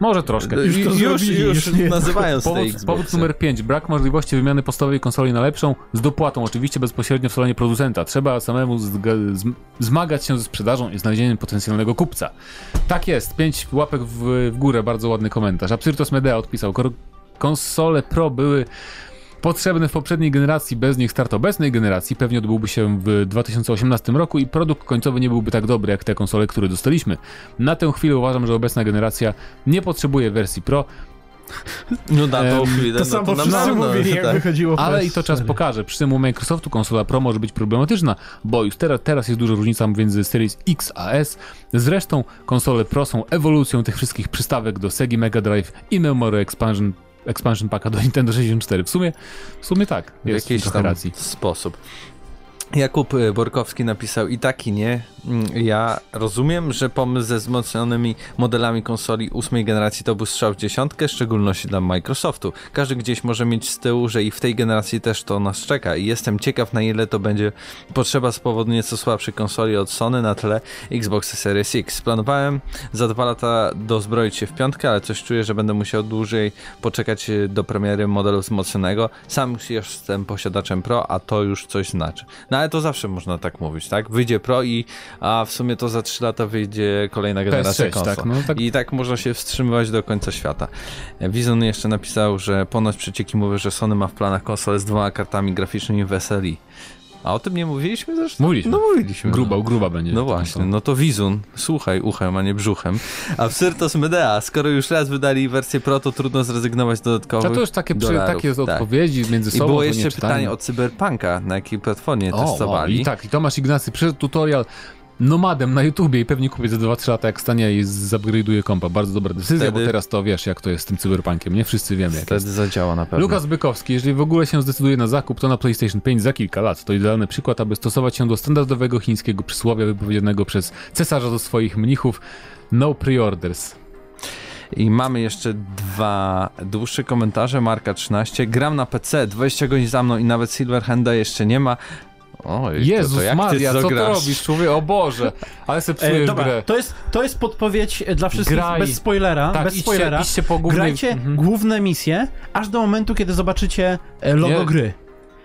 Speaker 2: Może troszkę.
Speaker 1: Już,
Speaker 3: Już to
Speaker 1: już, już,
Speaker 3: zrobili, już nie-
Speaker 1: nazywając te
Speaker 2: Powód,
Speaker 1: Xboxy.
Speaker 2: powód numer 5. Brak możliwości wymiany podstawowej konsoli na lepszą, z dopłatą oczywiście bezpośrednio w salonie producenta. Trzeba samemu zg- zm- zmagać się ze sprzedażą i znalezieniem potencjalnego kupca. Tak jest. 5 łapek w, w górę. Bardzo ładny komentarz. Absyrtos Medea odpisał. Kor- konsole Pro były potrzebne w poprzedniej generacji, bez nich start obecnej generacji pewnie odbyłby się w 2018 roku i produkt końcowy nie byłby tak dobry jak te konsole, które dostaliśmy. Na tę chwilę uważam, że obecna generacja nie potrzebuje wersji Pro,
Speaker 1: No na tą chwilę,
Speaker 3: To
Speaker 1: no
Speaker 3: samo
Speaker 1: na
Speaker 3: wszyscy
Speaker 1: pewno,
Speaker 3: mówili, jak
Speaker 1: tak.
Speaker 3: wychodziło w
Speaker 2: Ale i to
Speaker 3: PS4.
Speaker 2: czas pokaże. Przy tym u Microsoftu konsola Pro może być problematyczna, bo już teraz, teraz jest duża różnica między Series X a S. Zresztą konsole Pro są ewolucją tych wszystkich przystawek do Sega Mega Drive i Memory Expansion, expansion Packa do Nintendo 64. W sumie, w sumie tak,
Speaker 1: w
Speaker 2: jest
Speaker 1: jakiś
Speaker 2: trochę
Speaker 1: tam
Speaker 2: racji.
Speaker 1: sposób. Jakub y, Borkowski napisał i tak i nie. Mm, Ja rozumiem, że pomysł ze wzmocnionymi modelami konsoli ósmej generacji to był strzał w dziesiątkę, w szczególności dla Microsoftu. Każdy gdzieś może mieć z tyłu, że i w tej generacji też to nas czeka i jestem ciekaw na ile to będzie potrzeba z powodu nieco słabszej konsoli od Sony na tle Xbox Series X. Planowałem za dwa lata dozbroić się w piątkę, ale coś czuję, że będę musiał dłużej poczekać y, do premiery modelu wzmocnionego. Sam już jestem posiadaczem Pro, a to już coś znaczy. No ale to zawsze można tak mówić, tak? Wyjdzie Pro i a w sumie to za 3 lata wyjdzie kolejna generacja
Speaker 2: PS6,
Speaker 1: konsol.
Speaker 2: tak, no tak.
Speaker 1: I tak można się wstrzymywać do końca świata. Wizon jeszcze napisał, że ponoć przecieki mówią, że Sony ma w planach konsolę z dwoma kartami graficznymi w SLI. A o tym nie mówiliśmy zresztą?
Speaker 2: Mówiliśmy.
Speaker 1: No mówiliśmy.
Speaker 2: Gruba,
Speaker 1: no.
Speaker 2: gruba będzie.
Speaker 1: No
Speaker 2: ta
Speaker 1: właśnie,
Speaker 2: konsola.
Speaker 1: no to Wizun, słuchaj uchem, a nie brzuchem. Absyrtos Medea, skoro już raz wydali wersję Pro, to trudno zrezygnować z dodatkowych
Speaker 2: A to już takie, przy,
Speaker 1: no. dolarów.
Speaker 2: takie
Speaker 1: Tak.
Speaker 2: odpowiedzi między
Speaker 1: I
Speaker 2: sobą.
Speaker 1: było
Speaker 2: to nie
Speaker 1: jeszcze
Speaker 2: czytanie.
Speaker 1: pytanie o Cyberpunka, na jakiej platformie testowali.
Speaker 2: I tak, i Tomasz Ignacy przyszedł tutorial nomadem na YouTubie i pewnie kupię za 2-3 lata, jak stanie i zupgrade'uje kompa. Bardzo dobra decyzja,
Speaker 1: Wtedy-
Speaker 2: bo teraz to wiesz, jak to jest z tym cyberpunkiem, nie? Wszyscy wiemy, jak jest.
Speaker 1: Wtedy zadziała na pewno.
Speaker 2: Lukas Bykowski, jeżeli w ogóle się zdecyduje na zakup, to na PlayStation 5 za kilka lat. To idealny przykład, aby stosować się do standardowego chińskiego przysłowia wypowiedzianego przez cesarza do swoich mnichów No preorders.
Speaker 1: I mamy jeszcze dwa dłuższe komentarze. Marka 13. Gram na PC, 20 godzin za mną i nawet Silverhanda jeszcze nie ma. Oj, to,
Speaker 2: Jezus
Speaker 1: to jak
Speaker 2: Maria,
Speaker 1: ty
Speaker 2: co
Speaker 1: zagrasz?
Speaker 2: to robisz, człowiek? O Boże, ale se psujesz
Speaker 3: E, dobra,
Speaker 2: grę.
Speaker 3: to jest, to jest podpowiedź e, dla wszystkich
Speaker 2: Graj.
Speaker 3: bez spoilera.
Speaker 2: Tak,
Speaker 3: bez
Speaker 2: idźcie-
Speaker 3: spoilera.
Speaker 2: idźcie po głównej-
Speaker 3: Grajcie
Speaker 2: Mhm.
Speaker 3: główne misje, aż do momentu, kiedy zobaczycie e, logo
Speaker 2: Nie.
Speaker 3: gry.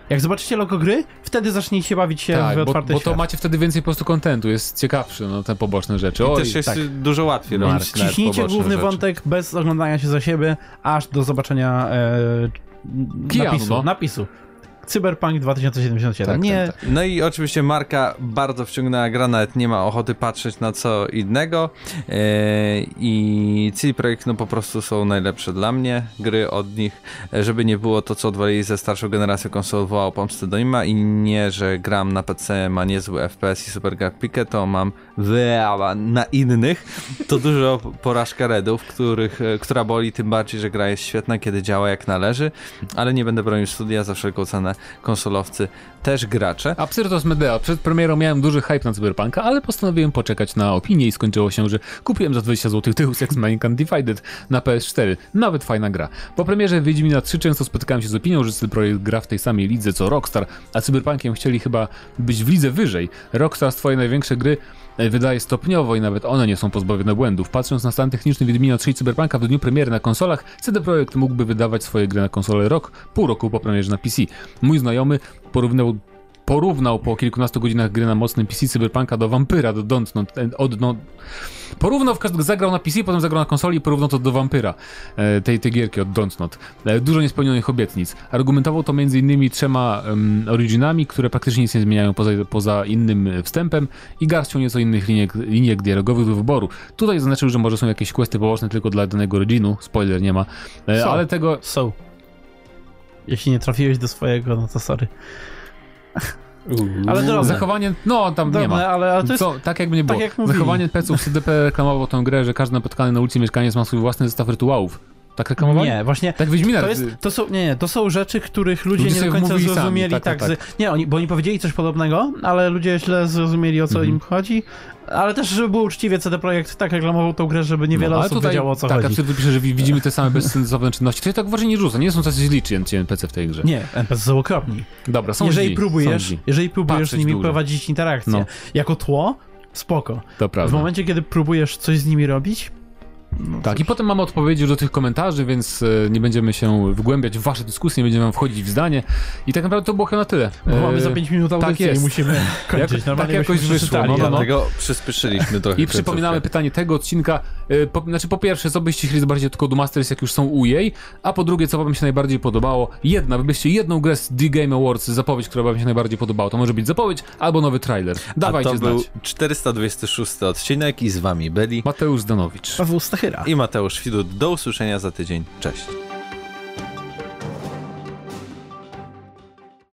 Speaker 3: Jak zobaczycie logo gry, wtedy zacznijcie bawić się
Speaker 2: Tak,
Speaker 3: w
Speaker 2: bo,
Speaker 3: otwarty
Speaker 2: bo to
Speaker 3: świat.
Speaker 2: macie wtedy więcej po prostu kontentu, jest ciekawszy, no te poboczne rzeczy.
Speaker 1: I
Speaker 2: Oj,
Speaker 1: też jest
Speaker 2: tak.
Speaker 1: y, dużo łatwiej
Speaker 2: Więc
Speaker 1: robić. nawet
Speaker 3: Ciśnijcie
Speaker 1: poboczne
Speaker 3: główny
Speaker 1: rzeczy.
Speaker 3: wątek bez oglądania się za siebie, aż do zobaczenia e,
Speaker 2: Kijanu,
Speaker 3: napisu,
Speaker 2: no.
Speaker 3: napisu. Cyberpunk 2077.
Speaker 2: Tak,
Speaker 3: nie,
Speaker 2: tak,
Speaker 1: No i oczywiście marka bardzo wciągnęła gra, nawet nie ma ochoty patrzeć na co innego. Yy, I CD Projekt no po prostu są najlepsze dla mnie gry od nich. E, Żeby nie było to, co odwalili ze starszą generacją konsol, wołało pomstę do nima i nie, że gram na PC, ma niezły FPS i super grafikę, to mam wyała na innych. To dużo porażka redów, których, e, która boli, tym bardziej, że gra jest świetna, kiedy działa jak należy, ale nie będę bronił studia za wszelką cenę konsolowcy też gracze.
Speaker 2: Absyrtos Medea. Przed premierą miałem duży hype na Cyberpunka, ale postanowiłem poczekać na opinię i skończyło się, że kupiłem za 20 zł Deus Ex Mankind Divided na PS4. Nawet fajna gra. Po premierze Wiedźmina 3 często spotykałem się z opinią, że ten projekt gra w tej samej lidze co Rockstar, a Cyberpunkiem chcieli chyba być w lidze wyżej. Rockstar swoje największe gry e, wydaje stopniowo i nawet one nie są pozbawione błędów. Patrząc na stan techniczny Wiedźmina 3 i Cyberpunka w dniu premiery na konsolach, CD Projekt mógłby wydawać swoje gry na konsole rok, pół roku po premierze na PC. Mój znajomy porównał porównał po kilkunastu godzinach gry na mocnym PC Cyberpunka do Wampyra, do Dontnod, e, od, no, porównał, w każdym, zagrał na PC, potem zagrał na konsoli i porównał to do Wampyra, e, tej, tej gierki od Dontnod. E, dużo niespełnionych obietnic. Argumentował to między innymi trzema em, originami, które praktycznie nic nie zmieniają poza, poza innym e, wstępem i garścią nieco innych liniek, liniek dialogowych do wyboru. Tutaj zaznaczył, że może są jakieś questy poboczne tylko dla danego regionu, spoiler nie ma, e,
Speaker 3: Są.
Speaker 2: ale tego...
Speaker 3: są. Jeśli nie trafiłeś do swojego, no to sorry. Ale drobne.
Speaker 2: Zachowanie, no tam nie ma.
Speaker 3: Drobne, ale, ale to jest
Speaker 2: Co, tak jakby nie było.
Speaker 3: tak jak mówili.
Speaker 2: Zachowanie peców CDP reklamowało tę grę, że każdy napotkany na ulicy mieszkaniec ma swój własny zestaw rytuałów. Tak reklamowali?
Speaker 3: Nie, właśnie.
Speaker 2: Tak Wiedźmina.
Speaker 3: To, jest, to, są, nie, nie, to są rzeczy, których ludzie,
Speaker 2: Ludzie
Speaker 3: nie do
Speaker 2: sobie
Speaker 3: końca
Speaker 2: wmówili sami,
Speaker 3: zrozumieli.
Speaker 2: tak,
Speaker 3: tak,
Speaker 2: tak,
Speaker 3: z- Nie, oni, bo oni powiedzieli coś podobnego, ale ludzie źle zrozumieli o co
Speaker 2: Mhm.
Speaker 3: im chodzi. Ale też, żeby było uczciwie, CD Projekt tak reklamował tą grę, żeby niewiele
Speaker 2: ale
Speaker 3: osób wiedziało o co
Speaker 2: tak,
Speaker 3: chodzi.
Speaker 2: absolutnie pisze, że wi- widzimy te same bezsensowne czynności. To się tak uważnie nie rzuca, nie są tacy źli ci ci NPC w tej grze.
Speaker 3: Nie, NPC są okropni.
Speaker 2: Dobra, są
Speaker 3: jeżeli,
Speaker 2: źli, są
Speaker 3: próbujesz,
Speaker 2: źli.
Speaker 3: jeżeli próbujesz z
Speaker 2: Patrzeć
Speaker 3: nimi
Speaker 2: dużo.
Speaker 3: prowadzić interakcję
Speaker 2: No.
Speaker 3: jako tło, spoko.
Speaker 2: To
Speaker 3: W
Speaker 2: prawda.
Speaker 3: momencie, kiedy próbujesz coś z nimi robić,
Speaker 2: Tak, i potem mamy odpowiedzi już do tych komentarzy, więc e, nie będziemy się wgłębiać w wasze dyskusje, nie będziemy wam wchodzić w zdanie. I tak naprawdę to było chyba na tyle.
Speaker 3: bo mamy
Speaker 2: E,
Speaker 3: za 5 minut audycji
Speaker 2: jest.
Speaker 3: i
Speaker 2: <laughs>
Speaker 3: musimy kończyć.
Speaker 2: tak
Speaker 3: Normalnie
Speaker 2: jakoś
Speaker 3: byśmy
Speaker 2: wyszło,
Speaker 3: przeczytali,
Speaker 2: no, no, no.
Speaker 3: ale-
Speaker 1: Dlatego przyspieszyliśmy trochę.
Speaker 2: I przypominamy pytanie tego odcinka. y, Po, znaczy, po pierwsze, co byście chcieli zobaczyć od Kodu Masters, jak już są u jej, a po drugie, co wam się najbardziej podobało. Jedna, wybyście jedną grę z D-Game Awards, zapowiedź, która wam się najbardziej podobała. To może być zapowiedź albo nowy trailer.
Speaker 1: A
Speaker 2: Dawajcie
Speaker 1: to był
Speaker 2: znać.
Speaker 1: 426 odcinek i z wami byli
Speaker 2: Mateusz Zdanowicz.
Speaker 3: Paweł Stach Sachyra.
Speaker 1: i Mateusz Widut. Do usłyszenia za tydzień. Cześć.